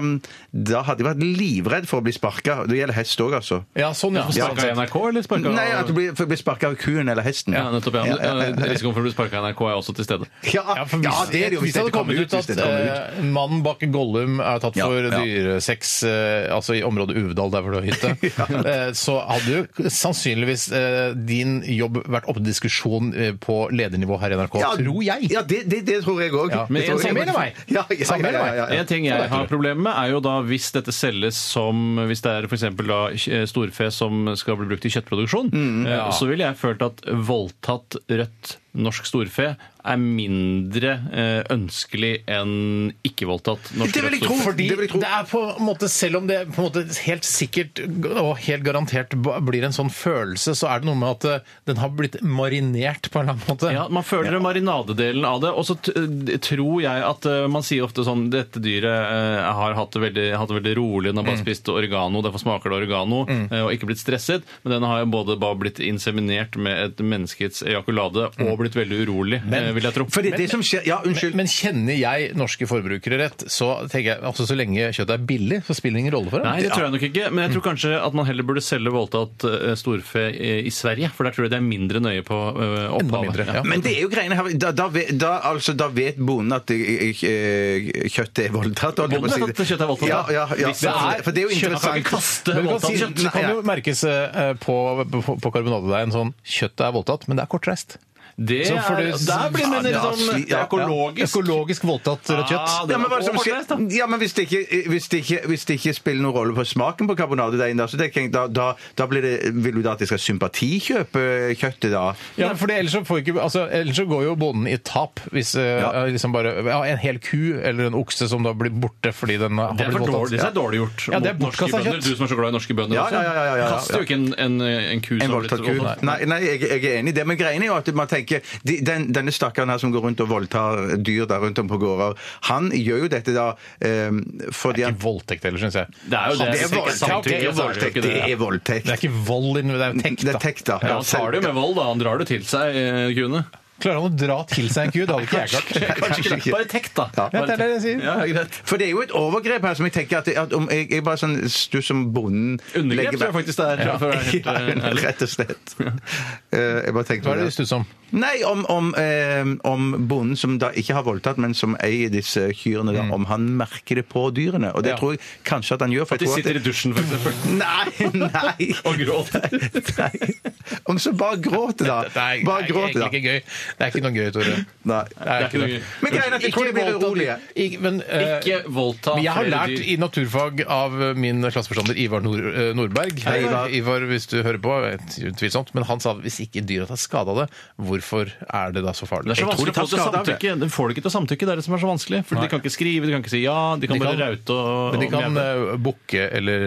Speaker 5: um, da hadde jeg vært livredd for å bli sparka. Det gjelder hest òg, altså.
Speaker 4: ja, sånn, ja.
Speaker 5: Ja.
Speaker 6: Sparka i NRK, eller sparka
Speaker 5: Nei, at du blir, for å bli sparka av kuen eller hesten.
Speaker 6: Ja, nettopp. ja. Eh, Risikoen for å bli sparka i NRK er også til stede.
Speaker 5: Ja,
Speaker 4: Ja, for hvis,
Speaker 5: ja, det er det jo
Speaker 4: hvis det hadde
Speaker 5: dette kommer
Speaker 4: kommet ut
Speaker 5: hvis
Speaker 4: at
Speaker 5: dette kommer ut.
Speaker 4: eh, mannen bak Gollum er tatt
Speaker 5: Ja,
Speaker 4: for
Speaker 5: ja.
Speaker 4: dyresex eh, altså i området Uvedal, der hvor du har hytte, eh, så hadde jo sannsynligvis eh, din jobb vært oppe til diskusjon eh, på ledernivå her i NRK, tror jeg.
Speaker 5: Ja, det, det, det tror jeg òg.
Speaker 4: Ja,
Speaker 6: men
Speaker 4: samme med meg.
Speaker 5: Ja, ja,
Speaker 4: Samme med
Speaker 5: ja,
Speaker 4: meg.
Speaker 5: ja, ja, ja.
Speaker 6: En ting jeg har problemer med, er jo da hvis dette selges som Hvis det er f.eks. eh, storfe som skal bli brukt i kjøttproduksjon, eh, så ville jeg følt at voldtatt rødt norsk storfe er mindre eh, ønskelig enn ikke-voldtatt norsk
Speaker 5: Det vil
Speaker 6: rødt
Speaker 5: jeg tro,
Speaker 6: storfe.
Speaker 4: Fordi
Speaker 5: Det vil jeg tro.
Speaker 4: det er på en måte, selv om det på en måte helt sikkert og helt garantert ba- blir en sånn følelse, så er det noe med at eh, den har blitt marinert på en eller annen måte.
Speaker 6: Ja, Man føler marinadedelen av det. Og så t- d- tror jeg at eh, man sier ofte sånn Dette dyret eh, har hatt det veldig, hatt det veldig rolig, den har
Speaker 5: Mm.
Speaker 6: bare spist oregano, derfor smaker det oregano, eh, og ikke blitt stresset. Men den har jo både bare blitt inseminert med et menneskets ejakulade og blitt veldig urolig, eh, vil jeg tro.
Speaker 5: Mm. Fordi det som skjer Ja, unnskyld.
Speaker 4: Men kjenner jeg norske forbrukere rett, så tenker jeg altså så lenge kjøttet er billig, så spiller det ingen rolle for dem.
Speaker 6: Nei, det tror jeg nok ikke. Men jeg tror
Speaker 5: Mm.
Speaker 6: kanskje at man heller burde selge voldtatt eh, storfe eh, i Sverige. For der tror jeg det er mindre nøye på eh,
Speaker 4: Enda
Speaker 6: opphavet.
Speaker 4: mindre.
Speaker 6: Ja.
Speaker 4: Ja.
Speaker 5: Men det er jo greiene her Da, da, vet- da, altså, da vet bonden at eh, eh, kjøttet er voldtatt. holdt jeg på å
Speaker 6: Bonden
Speaker 5: si
Speaker 6: vet at
Speaker 5: det.
Speaker 6: kjøttet er voldtatt.
Speaker 5: Ja, ja, ja.
Speaker 6: Hvis det er-
Speaker 5: for det er jo
Speaker 6: kjøttet kan ikke
Speaker 5: interessant.
Speaker 6: kaste
Speaker 4: Men du kan,
Speaker 6: voldtatt
Speaker 4: si,
Speaker 6: kjøtt.
Speaker 4: det kan jo merkes eh, på, på, på karbonadedeigen sånn Kjøttet er voldtatt, men det er kortreist.
Speaker 6: Det
Speaker 4: Så får
Speaker 6: er,
Speaker 4: du-
Speaker 6: der blir det
Speaker 5: Ja,
Speaker 6: litt sånn
Speaker 5: sli- ja, ja.
Speaker 6: økologisk.
Speaker 4: Økologisk voldtatt rødt kjøtt.
Speaker 6: Ah, det
Speaker 5: Ja, men, hva er det som
Speaker 6: Og
Speaker 5: skjer?
Speaker 6: kortreist, da.
Speaker 5: ja, men hvis, det ikke, eh, hvis, det ikke, hvis det ikke spiller noen rolle på smaken på karbonadedeigen, da, så tenker altså, jeg, da, da, da blir det, vil du da at jeg skal sympatikjøpe kjøttet da?
Speaker 4: Ja, for det- ellers, så får ikke, altså, ellers så går jo bonden i tap hvis eh,
Speaker 5: Ja.
Speaker 4: liksom bare, ja, en hel ku eller en okse som da blir borte fordi den har
Speaker 6: Det er,
Speaker 4: blitt
Speaker 6: for dårlig, det
Speaker 4: voldtatt.
Speaker 6: er dårlig gjort.
Speaker 4: Ja, det er
Speaker 6: mot norske
Speaker 4: bortkastet
Speaker 6: bønder.
Speaker 4: kjøtt.
Speaker 6: Du som er så glad i norske bønder
Speaker 5: Ja,
Speaker 6: også.
Speaker 5: ja, ja, ja, ja, ja.
Speaker 6: Kaster jo ikke en, en, en ku
Speaker 5: En
Speaker 6: som har blitt
Speaker 5: voldtatt ku?
Speaker 6: voldtatt.
Speaker 5: Nei, nei jeg, jeg er enig i det. Men greien er jo at man tenker de, den, Denne stakkaren her som går rundt og voldtar dyr der rundt om på gårder, han gjør jo dette da eh, fordi
Speaker 4: Det er
Speaker 5: han
Speaker 4: ikke voldtekt heller, syns jeg.
Speaker 6: Det er jo det.
Speaker 5: Det er
Speaker 6: Hvis det ikke er
Speaker 5: voldtekt, det
Speaker 6: samtykke,
Speaker 5: er
Speaker 6: så er det jo
Speaker 5: voldtekt.
Speaker 6: ikke
Speaker 5: Det
Speaker 6: det.
Speaker 5: er voldtekt.
Speaker 4: Det er ikke vold, inn- det er jo tekt,
Speaker 5: Det
Speaker 4: da.
Speaker 5: er tekt, da.
Speaker 6: Ja, han tar det jo med vold, da. Han drar det til seg, eh, kuene.
Speaker 4: Klarer han å dra til seg en ku? Det hadde ikke jeg klart.
Speaker 6: Kanskje ikke [LAUGHS] det. Bare tekt, da.
Speaker 5: Ja.
Speaker 6: Bare
Speaker 4: Ja, det er det jeg
Speaker 6: tekt.
Speaker 4: sier.
Speaker 6: Ja, greit.
Speaker 5: For det er jo et overgrep her som jeg tenker at, at om jeg, jeg bare sånn stuss som bonden
Speaker 6: Undergrep
Speaker 5: legger-
Speaker 6: tror jeg faktisk det er. for å være
Speaker 5: [LAUGHS]
Speaker 6: helt,
Speaker 5: Ja,
Speaker 6: eh, ærlig.
Speaker 5: rett og slett. [LAUGHS] Eh, jeg bare tenkte
Speaker 4: Hva
Speaker 5: på
Speaker 4: er det du
Speaker 5: det.
Speaker 4: stusser om?
Speaker 5: Nei, om, om, eh, om bonden som da ikke har voldtatt, men som eier disse kyrne, da, om han merker det på dyrene. Og det
Speaker 4: Mm. Ja.
Speaker 5: tror jeg kanskje at han gjør. For
Speaker 6: At de
Speaker 5: jeg tror
Speaker 6: sitter i dusjen, for eksempel.
Speaker 5: [LAUGHS] Nei,
Speaker 4: [LAUGHS]
Speaker 5: nei!
Speaker 6: Og gråter.
Speaker 5: nei. Om så bare gråt, da.
Speaker 4: Nei,
Speaker 5: Bare
Speaker 4: det er
Speaker 5: gråt, da.
Speaker 4: egentlig ikke gøy. Det er ikke noe gøy, Tore.
Speaker 5: Nei.
Speaker 4: Det er ikke noe
Speaker 6: noe gøy.
Speaker 4: gøy.
Speaker 5: Men greia er at jeg tror de blir
Speaker 4: voldta
Speaker 5: urolige.
Speaker 4: dyr. Ikke, men, eh,
Speaker 6: Ikke voldta
Speaker 4: men jeg har
Speaker 6: flere
Speaker 4: lært
Speaker 6: dyr.
Speaker 4: i naturfag av min klasseforstander Ivar Nord, eh, Nordberg Hei,
Speaker 5: Ivar.
Speaker 4: Ivar. hvis du hører på, eh, utvilsomt. Men han sa at hvis ikke dyra tar skade av det, hvorfor er det da så farlig?
Speaker 6: Det er så
Speaker 5: Jeg tror de
Speaker 6: vanskelig å få
Speaker 5: tar
Speaker 6: til
Speaker 5: skade av det.
Speaker 6: samtykke. Den får du ikke til samtykke, det er det som er så vanskelig. For
Speaker 4: Nei.
Speaker 6: de kan ikke skrive, de kan ikke si ja, de kan
Speaker 4: De
Speaker 6: bare
Speaker 4: kan-
Speaker 6: raute og
Speaker 4: Men de
Speaker 6: og
Speaker 4: kan
Speaker 6: mjau.
Speaker 4: eh, bukke eller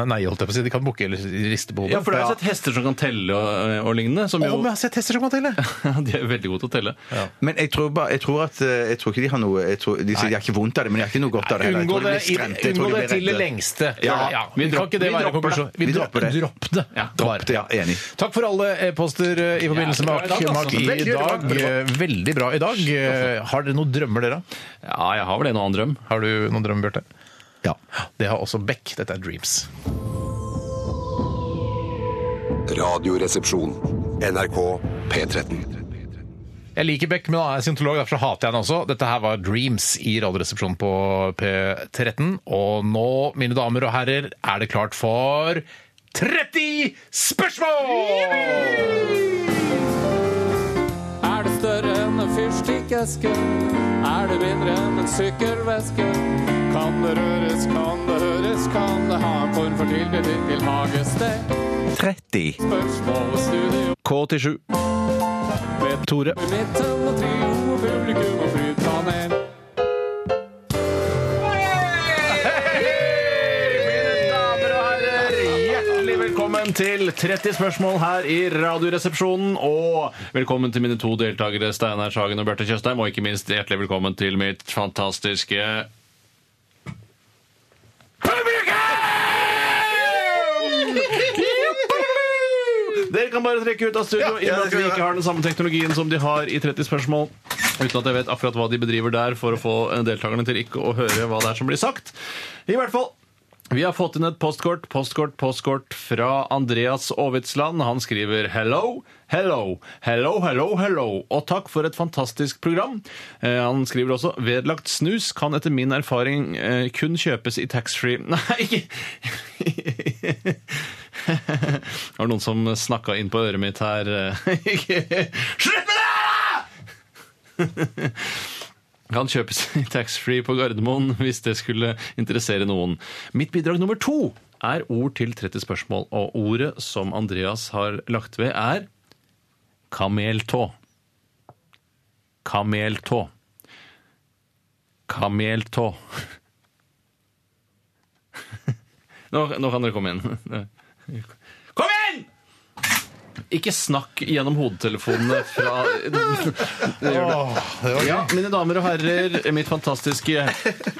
Speaker 4: Nei, holdt jeg på å si. De kan bukke eller riste på hodet.
Speaker 6: Ja, for det altså har jeg sett hester som kan telle og, og lignende. Som
Speaker 4: Å,
Speaker 6: jo,
Speaker 4: men altså, jeg har sett hester som kan telle!
Speaker 6: [LAUGHS] de er veldig gode til å telle.
Speaker 5: Men jeg tror, bare, jeg tror at eh, Jeg tror ikke de har noe jeg tror, De sier de har ikke vondt av det, men de har ikke noe godt av det heller. Jeg
Speaker 4: Unngå
Speaker 5: tror de
Speaker 4: det,
Speaker 5: blir
Speaker 4: i-
Speaker 5: skremte. Jeg tror
Speaker 4: unngå
Speaker 5: de
Speaker 4: det
Speaker 5: blir
Speaker 4: til det
Speaker 5: redde.
Speaker 4: lengste.
Speaker 5: Ja.
Speaker 4: Vi,
Speaker 6: Vi
Speaker 4: kan
Speaker 6: dropper
Speaker 4: ikke det
Speaker 6: det. Vi
Speaker 4: være
Speaker 6: dropper det.
Speaker 4: konklusjonen. Vi
Speaker 5: Vi
Speaker 4: dropp
Speaker 5: dropper det.
Speaker 4: dropp det.
Speaker 6: Ja,
Speaker 4: Bare.
Speaker 5: dropp det, ja, enig.
Speaker 4: Takk for alle e-poster eh, i forbindelse med
Speaker 6: Ja, det var i dag,
Speaker 4: Akkemak
Speaker 6: altså.
Speaker 4: i
Speaker 6: Veldig bra.
Speaker 4: dag. Eh, Veldig bra i dag. Eh, Har dere noen drømmer, dere?
Speaker 6: Ja, jeg har vel en og annen drøm.
Speaker 4: Har du noen drømmer, Bjarte? Ja. Det har også Beck. Dette er Dreams.
Speaker 1: Radioresepsjon. NRK P13.
Speaker 4: Jeg liker Beck, men han er scientolog, derfor hater jeg han også. Dette her var Dreams i Radioresepsjonen på P13. Og nå, mine damer og herrer, er det klart for 30 spørsmål!
Speaker 10: Er det større enn en fyrstikkeske? Er det mindre enn en sykkelveske? Kan det røres, kan det høres, kan det ha en form for tilknytning til hagested?
Speaker 5: 30.
Speaker 10: Spørsmål og studio
Speaker 6: K87. Med Tore.
Speaker 10: i midten og trio og publikum og flypanel.
Speaker 4: Mine damer og
Speaker 6: Velkommen til 30 spørsmål her i Radioresepsjonen. Og velkommen til mine to deltakere, Steinar Sagen og Bjarte Tjøstheim. Og ikke minst hjertelig velkommen til mitt fantastiske Publikum! Dere kan bare trekke ut av studio i og med at vi ikke har den samme teknologien som de har i 30 spørsmål. Uten at jeg vet akkurat hva de bedriver der for å få eh, deltakerne til ikke å høre hva det er som blir sagt. I hvert fall vi har fått inn et postkort, postkort, postkort fra Andreas Aavitsland. Han skriver hello, hello, hello, hello, hello, og takk for et fantastisk program. Eh, han skriver også vedlagt snus kan etter min erfaring eh, kun kjøpes i taxfree. [LAUGHS] Nei, ikke Det var noen som snakka inn på øret mitt her. [LAUGHS] Ikke- Slutt med det! kan kjøpes i taxfree på Gardermoen hvis det skulle interessere noen. Mitt bidrag nummer to er ord til 30 spørsmål, og ordet som Andreas har lagt ved, er kameltå. Kameltå. Kameltå. [LAUGHS] Nå, nå kan dere komme inn. [LAUGHS] Kom igjen! Ikke snakk gjennom hodetelefonene fra ja, mine damer og herrer, mitt fantastiske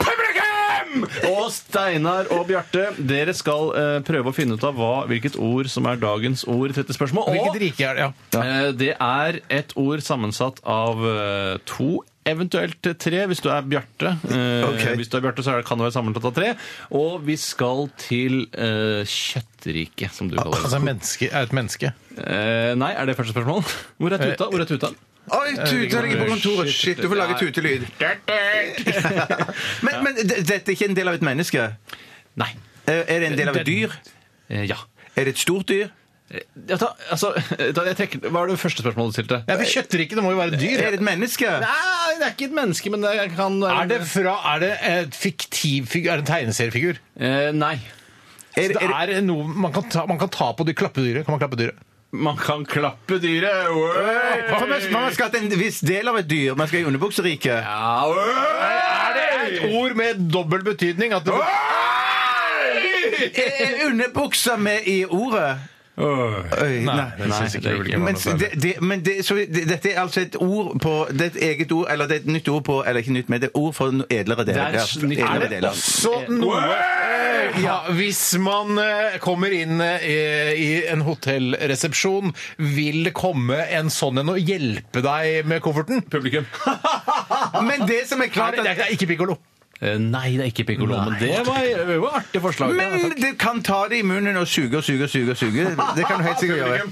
Speaker 6: publikum! Og Steinar og Bjarte, dere skal eh, prøve å finne ut av hva, hvilket ord som er dagens ord i 30 spørsmål. Og
Speaker 4: Hvilket rike er det? Ja.
Speaker 6: eh, det er et ord sammensatt av eh, to Eventuelt tre, hvis du er Bjarte. Eh,
Speaker 5: Ok.
Speaker 6: Hvis du er Bjarte, så er det, kan det være sammensatt av tre. Og vi skal til eh, kjøttriket, som du kaller det.
Speaker 4: Altså, menneske, er et menneske.
Speaker 6: Eh, nei, er det første spørsmål? Hvor
Speaker 4: Eh,
Speaker 6: er tuta? Hvor er tuta?
Speaker 5: Oi,
Speaker 6: Eh,
Speaker 5: tuta ligger på kontoret! Shit, du får lage
Speaker 6: [LAUGHS]
Speaker 5: tutelyd. Men, men d- dette er ikke en del av et menneske?
Speaker 6: Nei.
Speaker 5: Er er det en del av et dyr?
Speaker 6: Eh, ja.
Speaker 5: Er det et stort dyr?
Speaker 6: Ja, ta, altså, ta, jeg trekker, hva er det første spørsmålet du stilte? Eh,
Speaker 4: Ja, for kjøttriket det må jo være et dyr.
Speaker 5: Er det et menneske?
Speaker 6: Nei, det er ikke et menneske, men det kan
Speaker 4: Er det fra Er det et fiktiv figur? Er det en tegneseriefigur?
Speaker 6: Eh, Nei.
Speaker 5: Er,
Speaker 4: Det
Speaker 5: er,
Speaker 4: er noe man kan ta, man kan ta på de klappedyret. Kan man klappe dyret?
Speaker 6: Man kan klappe dyret. Oi!
Speaker 5: for man, man skal til en viss del av et dyr. Man skal i underbukseriket.
Speaker 6: Ja, oi!
Speaker 4: Er det et ord med dobbel betydning? At det,
Speaker 5: Er er underbuksa med i ordet? Oi, nei.
Speaker 6: Nei, det er ikke
Speaker 5: Men, det, det, men det, så det, dette er altså et ord på Det er et eget ord, eller det er et nytt ord på Eller ikke nytt, men det er ord for no- edlere deler.
Speaker 6: Det er et nytt-
Speaker 5: Ja,
Speaker 6: er
Speaker 5: edlere
Speaker 6: det
Speaker 5: deler.
Speaker 4: Så noe Eh, ja, Hvis man eh, kommer inn eh, i en hotellresepsjon, vil det komme en sånn en og hjelpe deg med kofferten?
Speaker 6: Publikum.
Speaker 5: Men det som er klart
Speaker 4: Nei, det er- det er ikke pikkolo.
Speaker 6: Eh, Nei, det er ikke pikkolo, men det var det var et artig forslag.
Speaker 5: Men det kan ta det i munnen og suge og suge og suge. og suge. Det kan du helt sikkert gjøre.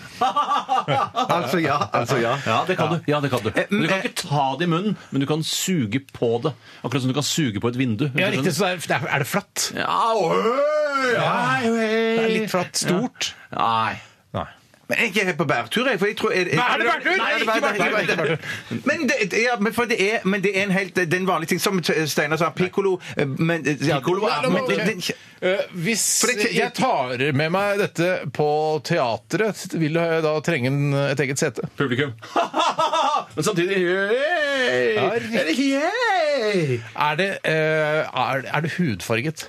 Speaker 4: [LAUGHS]
Speaker 5: Altså ja. altså ja.
Speaker 6: Ja, det kan du. Ja, det kan du. Men du kan
Speaker 5: eh,
Speaker 6: ikke ta det i munnen, men du kan suge på det. Akkurat som du kan suge på et vindu.
Speaker 4: Ja, riktig, så det er, er det flatt?
Speaker 6: Ja, oi! Nei, oi!
Speaker 4: Det er litt flatt. Stort.
Speaker 6: Nei.
Speaker 5: Men jeg er ikke helt på bærtur, jeg. For jeg tror, er, er,
Speaker 4: Er det bærtur?
Speaker 5: Nei,
Speaker 4: Nei,
Speaker 5: det er
Speaker 4: ikke
Speaker 5: bærtur,
Speaker 4: bærtur,
Speaker 5: ikke
Speaker 4: ikke bærtur.
Speaker 5: Men det, det- ja, men for det er, men det er en helt Det er en vanlig ting, som Steinar sa. Pikkolo. Men eh, ja,
Speaker 6: Piccolo er
Speaker 5: men-
Speaker 6: noe-
Speaker 5: det-
Speaker 4: Eh, hvis
Speaker 5: For det-
Speaker 4: jeg tar med meg dette på teatret, vil jeg da trenge en- et eget sete?
Speaker 6: Publikum. [LAUGHS] Men samtidig hey!
Speaker 4: Ja, riktig.
Speaker 6: Er det ikke hey?
Speaker 4: Er det, eh, er, er det hudfarget?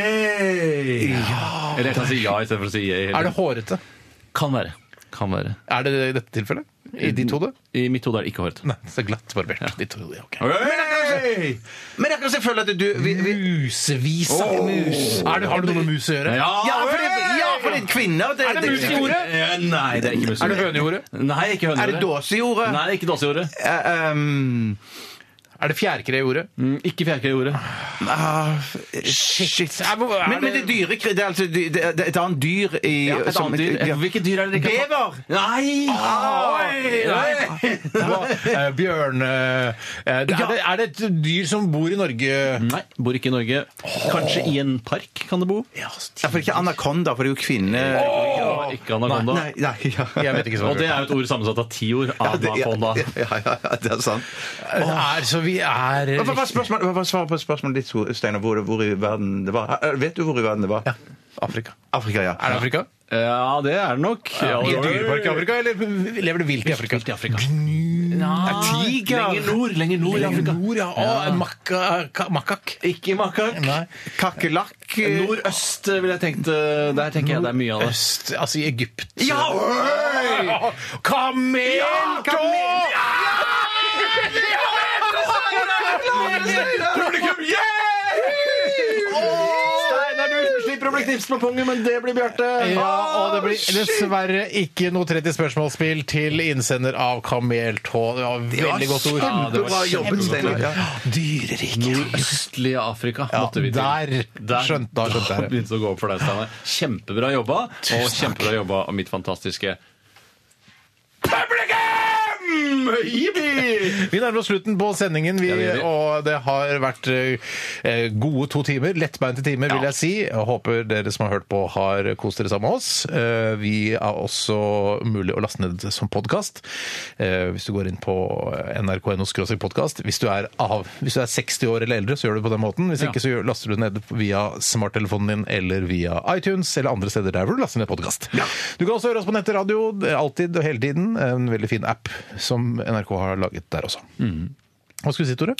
Speaker 6: Yay! Eller jeg kan si ja istedenfor å si yeah.
Speaker 4: Er det hårete?
Speaker 6: Kan være. Kan være.
Speaker 4: Er det det i dette tilfellet? I ditt hode?
Speaker 6: I mitt hode er det ikke håret.
Speaker 4: Nei, så glatt barbert. Ditt hode, ja, ok.
Speaker 6: Hey!
Speaker 5: Men jeg kan selvfølgelig at du vi, vi,
Speaker 4: Musevisa. Er det, har det noe med mus å gjøre?
Speaker 5: ja, for det, ja, for det er kvinner. Det,
Speaker 4: Er det mus i ordet?
Speaker 6: Eh, Nei, det er ikke mus.
Speaker 4: Er det høne i ordet?
Speaker 6: Nei, ikke høne.
Speaker 5: Er det dåse i ordet?
Speaker 6: Nei, det er ikke dåse i ordet.
Speaker 5: Eh, ehm,
Speaker 4: Er det fjærkre i ordet?
Speaker 6: Mm, Ikke fjærkre i ordet.
Speaker 5: ah, shit. Men, men det er dyre Det er altså dy- det er, det er et annet dyr i
Speaker 6: Ja, et
Speaker 5: som-
Speaker 6: annet dyr.
Speaker 5: ja.
Speaker 6: Hvilket dyr er det dere kan-
Speaker 5: Bever!
Speaker 6: Nei! Oi! Nei!
Speaker 4: Eh, Bjørn eh, er, det, er det et dyr som bor i Norge?
Speaker 6: Nei, bor ikke i Norge. Kanskje i en park kan det bo.
Speaker 5: Ja, for ikke anakonda, for det er jo kvinne...
Speaker 6: Ikke anakonda.
Speaker 5: Nei, nei, ja.
Speaker 4: Jeg vet ikke
Speaker 6: Og
Speaker 4: svaret.
Speaker 6: det er jo et ord sammensatt av ti ord.
Speaker 5: det, ja,
Speaker 6: Anakonda.
Speaker 5: ja, ja, ja, det er sant.
Speaker 4: Eh, Er, så vi er
Speaker 5: Hva var spørsmålet, hva var svaret på spørsmålet ditt, Steinar? Hvor, hvor i verden det var? Eh, Vet du hvor i verden det var?
Speaker 4: Afrika.
Speaker 5: Afrika, ja.
Speaker 4: Er det Afrika?
Speaker 6: Ja, det er det nok. Ja,
Speaker 4: I
Speaker 6: det
Speaker 4: en
Speaker 6: var-
Speaker 4: dyrepark i Afrika, eller lever du vilt i Afrika?
Speaker 6: Vilt i Afrika. Ja, lenger nord. Lenger nord i Afrika.
Speaker 4: Nord, ja. Å, en makka, ka, makak.
Speaker 6: Ikke makak.
Speaker 4: Nei.
Speaker 6: Kakerlakk. Nordøst eh, ville jeg tenkt. eh, Der tenker jeg det er mye av det.
Speaker 4: Øst, altså i Egypt.
Speaker 6: Ja,
Speaker 4: [LAUGHS]
Speaker 6: oi!
Speaker 4: Kameltog!
Speaker 6: Ja, kamel-
Speaker 4: Publikum,
Speaker 6: Steinar, du slipper å bli knipset på pungen, men det blir Bjarte.
Speaker 4: Ja, og det blir dessverre ikke noe 30 spørsmålsspill til innsender av Kameltå. Det var veldig godt ord.
Speaker 6: Ja, det var
Speaker 5: Bra jobbet, Steinar. Ja.
Speaker 4: Dyreriket.
Speaker 6: Nordøstlige Afrika
Speaker 4: Ja,
Speaker 6: måtte vi til.
Speaker 4: der. Skjønt- da skjønte jeg det.
Speaker 6: begynte det å gå opp for deg, Steinar. Kjempebra jobba, og kjempebra jobba av mitt fantastiske publikum! Jippi!
Speaker 4: Vi nærmer oss slutten på sendingen, vi,
Speaker 6: Ja, det gjør vi.
Speaker 4: og det har vært eh, gode to timer. Lettbeinte timer, vil jeg si. Jeg håper dere som har hørt på, har kost dere sammen med oss. Eh, vi er også mulig å laste ned som podkast. Eh, hvis du går inn på nrk.no podkast. Hvis, du er av- hvis du er 60 år eller eldre, så gjør du det på den måten. Hvis ikke, så gjør- laster du det ned via smarttelefonen din eller via iTunes eller andre steder der hvor du laster ned podkast. Du kan også høre oss på nettet radio, alltid og hele tiden. En veldig fin app som NRK har laget der også. Hva skulle du si, Tore?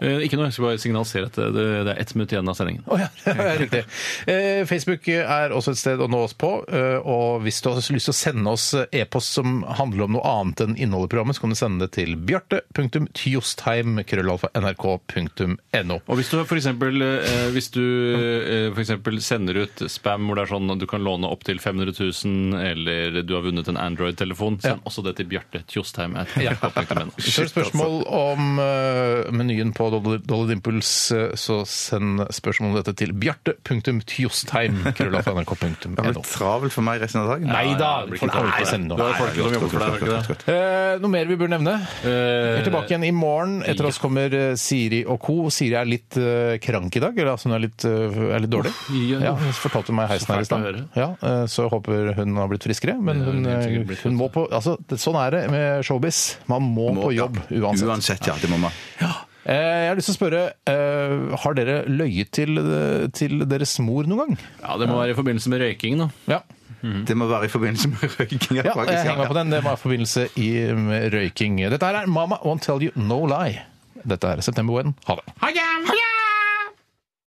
Speaker 6: Eh, Ikke noe, jeg skal bare signalisere at det, det er ett minutt igjen av sendingen.
Speaker 4: Å ja, [LAUGHS] riktig. Eh, Facebook er også et sted å nå oss på. eh, Og hvis du har lyst til å sende oss eh, e-post som handler om noe annet enn innholdet i programmet, så kan du sende det til bjarte.tjostheim.nrk.no.
Speaker 6: Og hvis du f.eks. Eh, hvis du, eh, for eksempel sender ut spam hvor det er sånn at du kan låne opptil 500 000, eller du har vunnet en Android-telefon, send også det til Bjarte Tjostheim.
Speaker 4: [LAUGHS]
Speaker 6: at nrk.no.
Speaker 4: Hvis du har spørsmål om eh, menyen på Dolly Dolly Dimples, eh, så send spørsmål om dette til
Speaker 5: Det
Speaker 4: bjarte.tjostheim.nrk.no.
Speaker 5: blir travelt for meg resten av dagen.
Speaker 4: Nei da,
Speaker 6: det blir
Speaker 4: folk
Speaker 6: ikke
Speaker 4: kommer
Speaker 6: det.
Speaker 4: ikke til å sende
Speaker 6: Du har
Speaker 4: noe.
Speaker 6: jo folk som jobber for deg, har du ikke det?
Speaker 4: Eh, noe mer vi bør nevne? Vi er tilbake igjen i morgen. Etter
Speaker 6: Eh, ja.
Speaker 4: oss kommer eh, Siri og co. Siri er litt eh, krank i dag. Eller altså hun er litt, eh, er litt dårlig.
Speaker 6: ja,
Speaker 4: Ja, hun fortalte meg i heisen
Speaker 6: Så
Speaker 4: her i
Speaker 6: fælt å
Speaker 4: stad.
Speaker 6: høre.
Speaker 4: Ja, eh, så jeg håper hun har blitt friskere. Men
Speaker 6: Ja, hun
Speaker 4: hun,
Speaker 6: er helt sikkert
Speaker 4: eh,
Speaker 6: blitt
Speaker 4: hun må på altså, det, Sånn er det med showbiz. Man må,
Speaker 5: Må-
Speaker 4: på jobb uansett.
Speaker 5: Uansett, ja. Det må man.
Speaker 4: Eh, jeg har lyst til å spørre, eh, har dere løyet til, eh, til deres mor noen gang?
Speaker 6: Ja, det må være i forbindelse med røyking, da.
Speaker 4: Ja.
Speaker 5: Det må være i forbindelse med røyking.
Speaker 4: Mm. ja jeg henger meg på den. Det var i forbindelse i, med røyking. Dette her er Mama Won't Tell You No Lie. Dette er September When. Ha det.
Speaker 6: Ha det!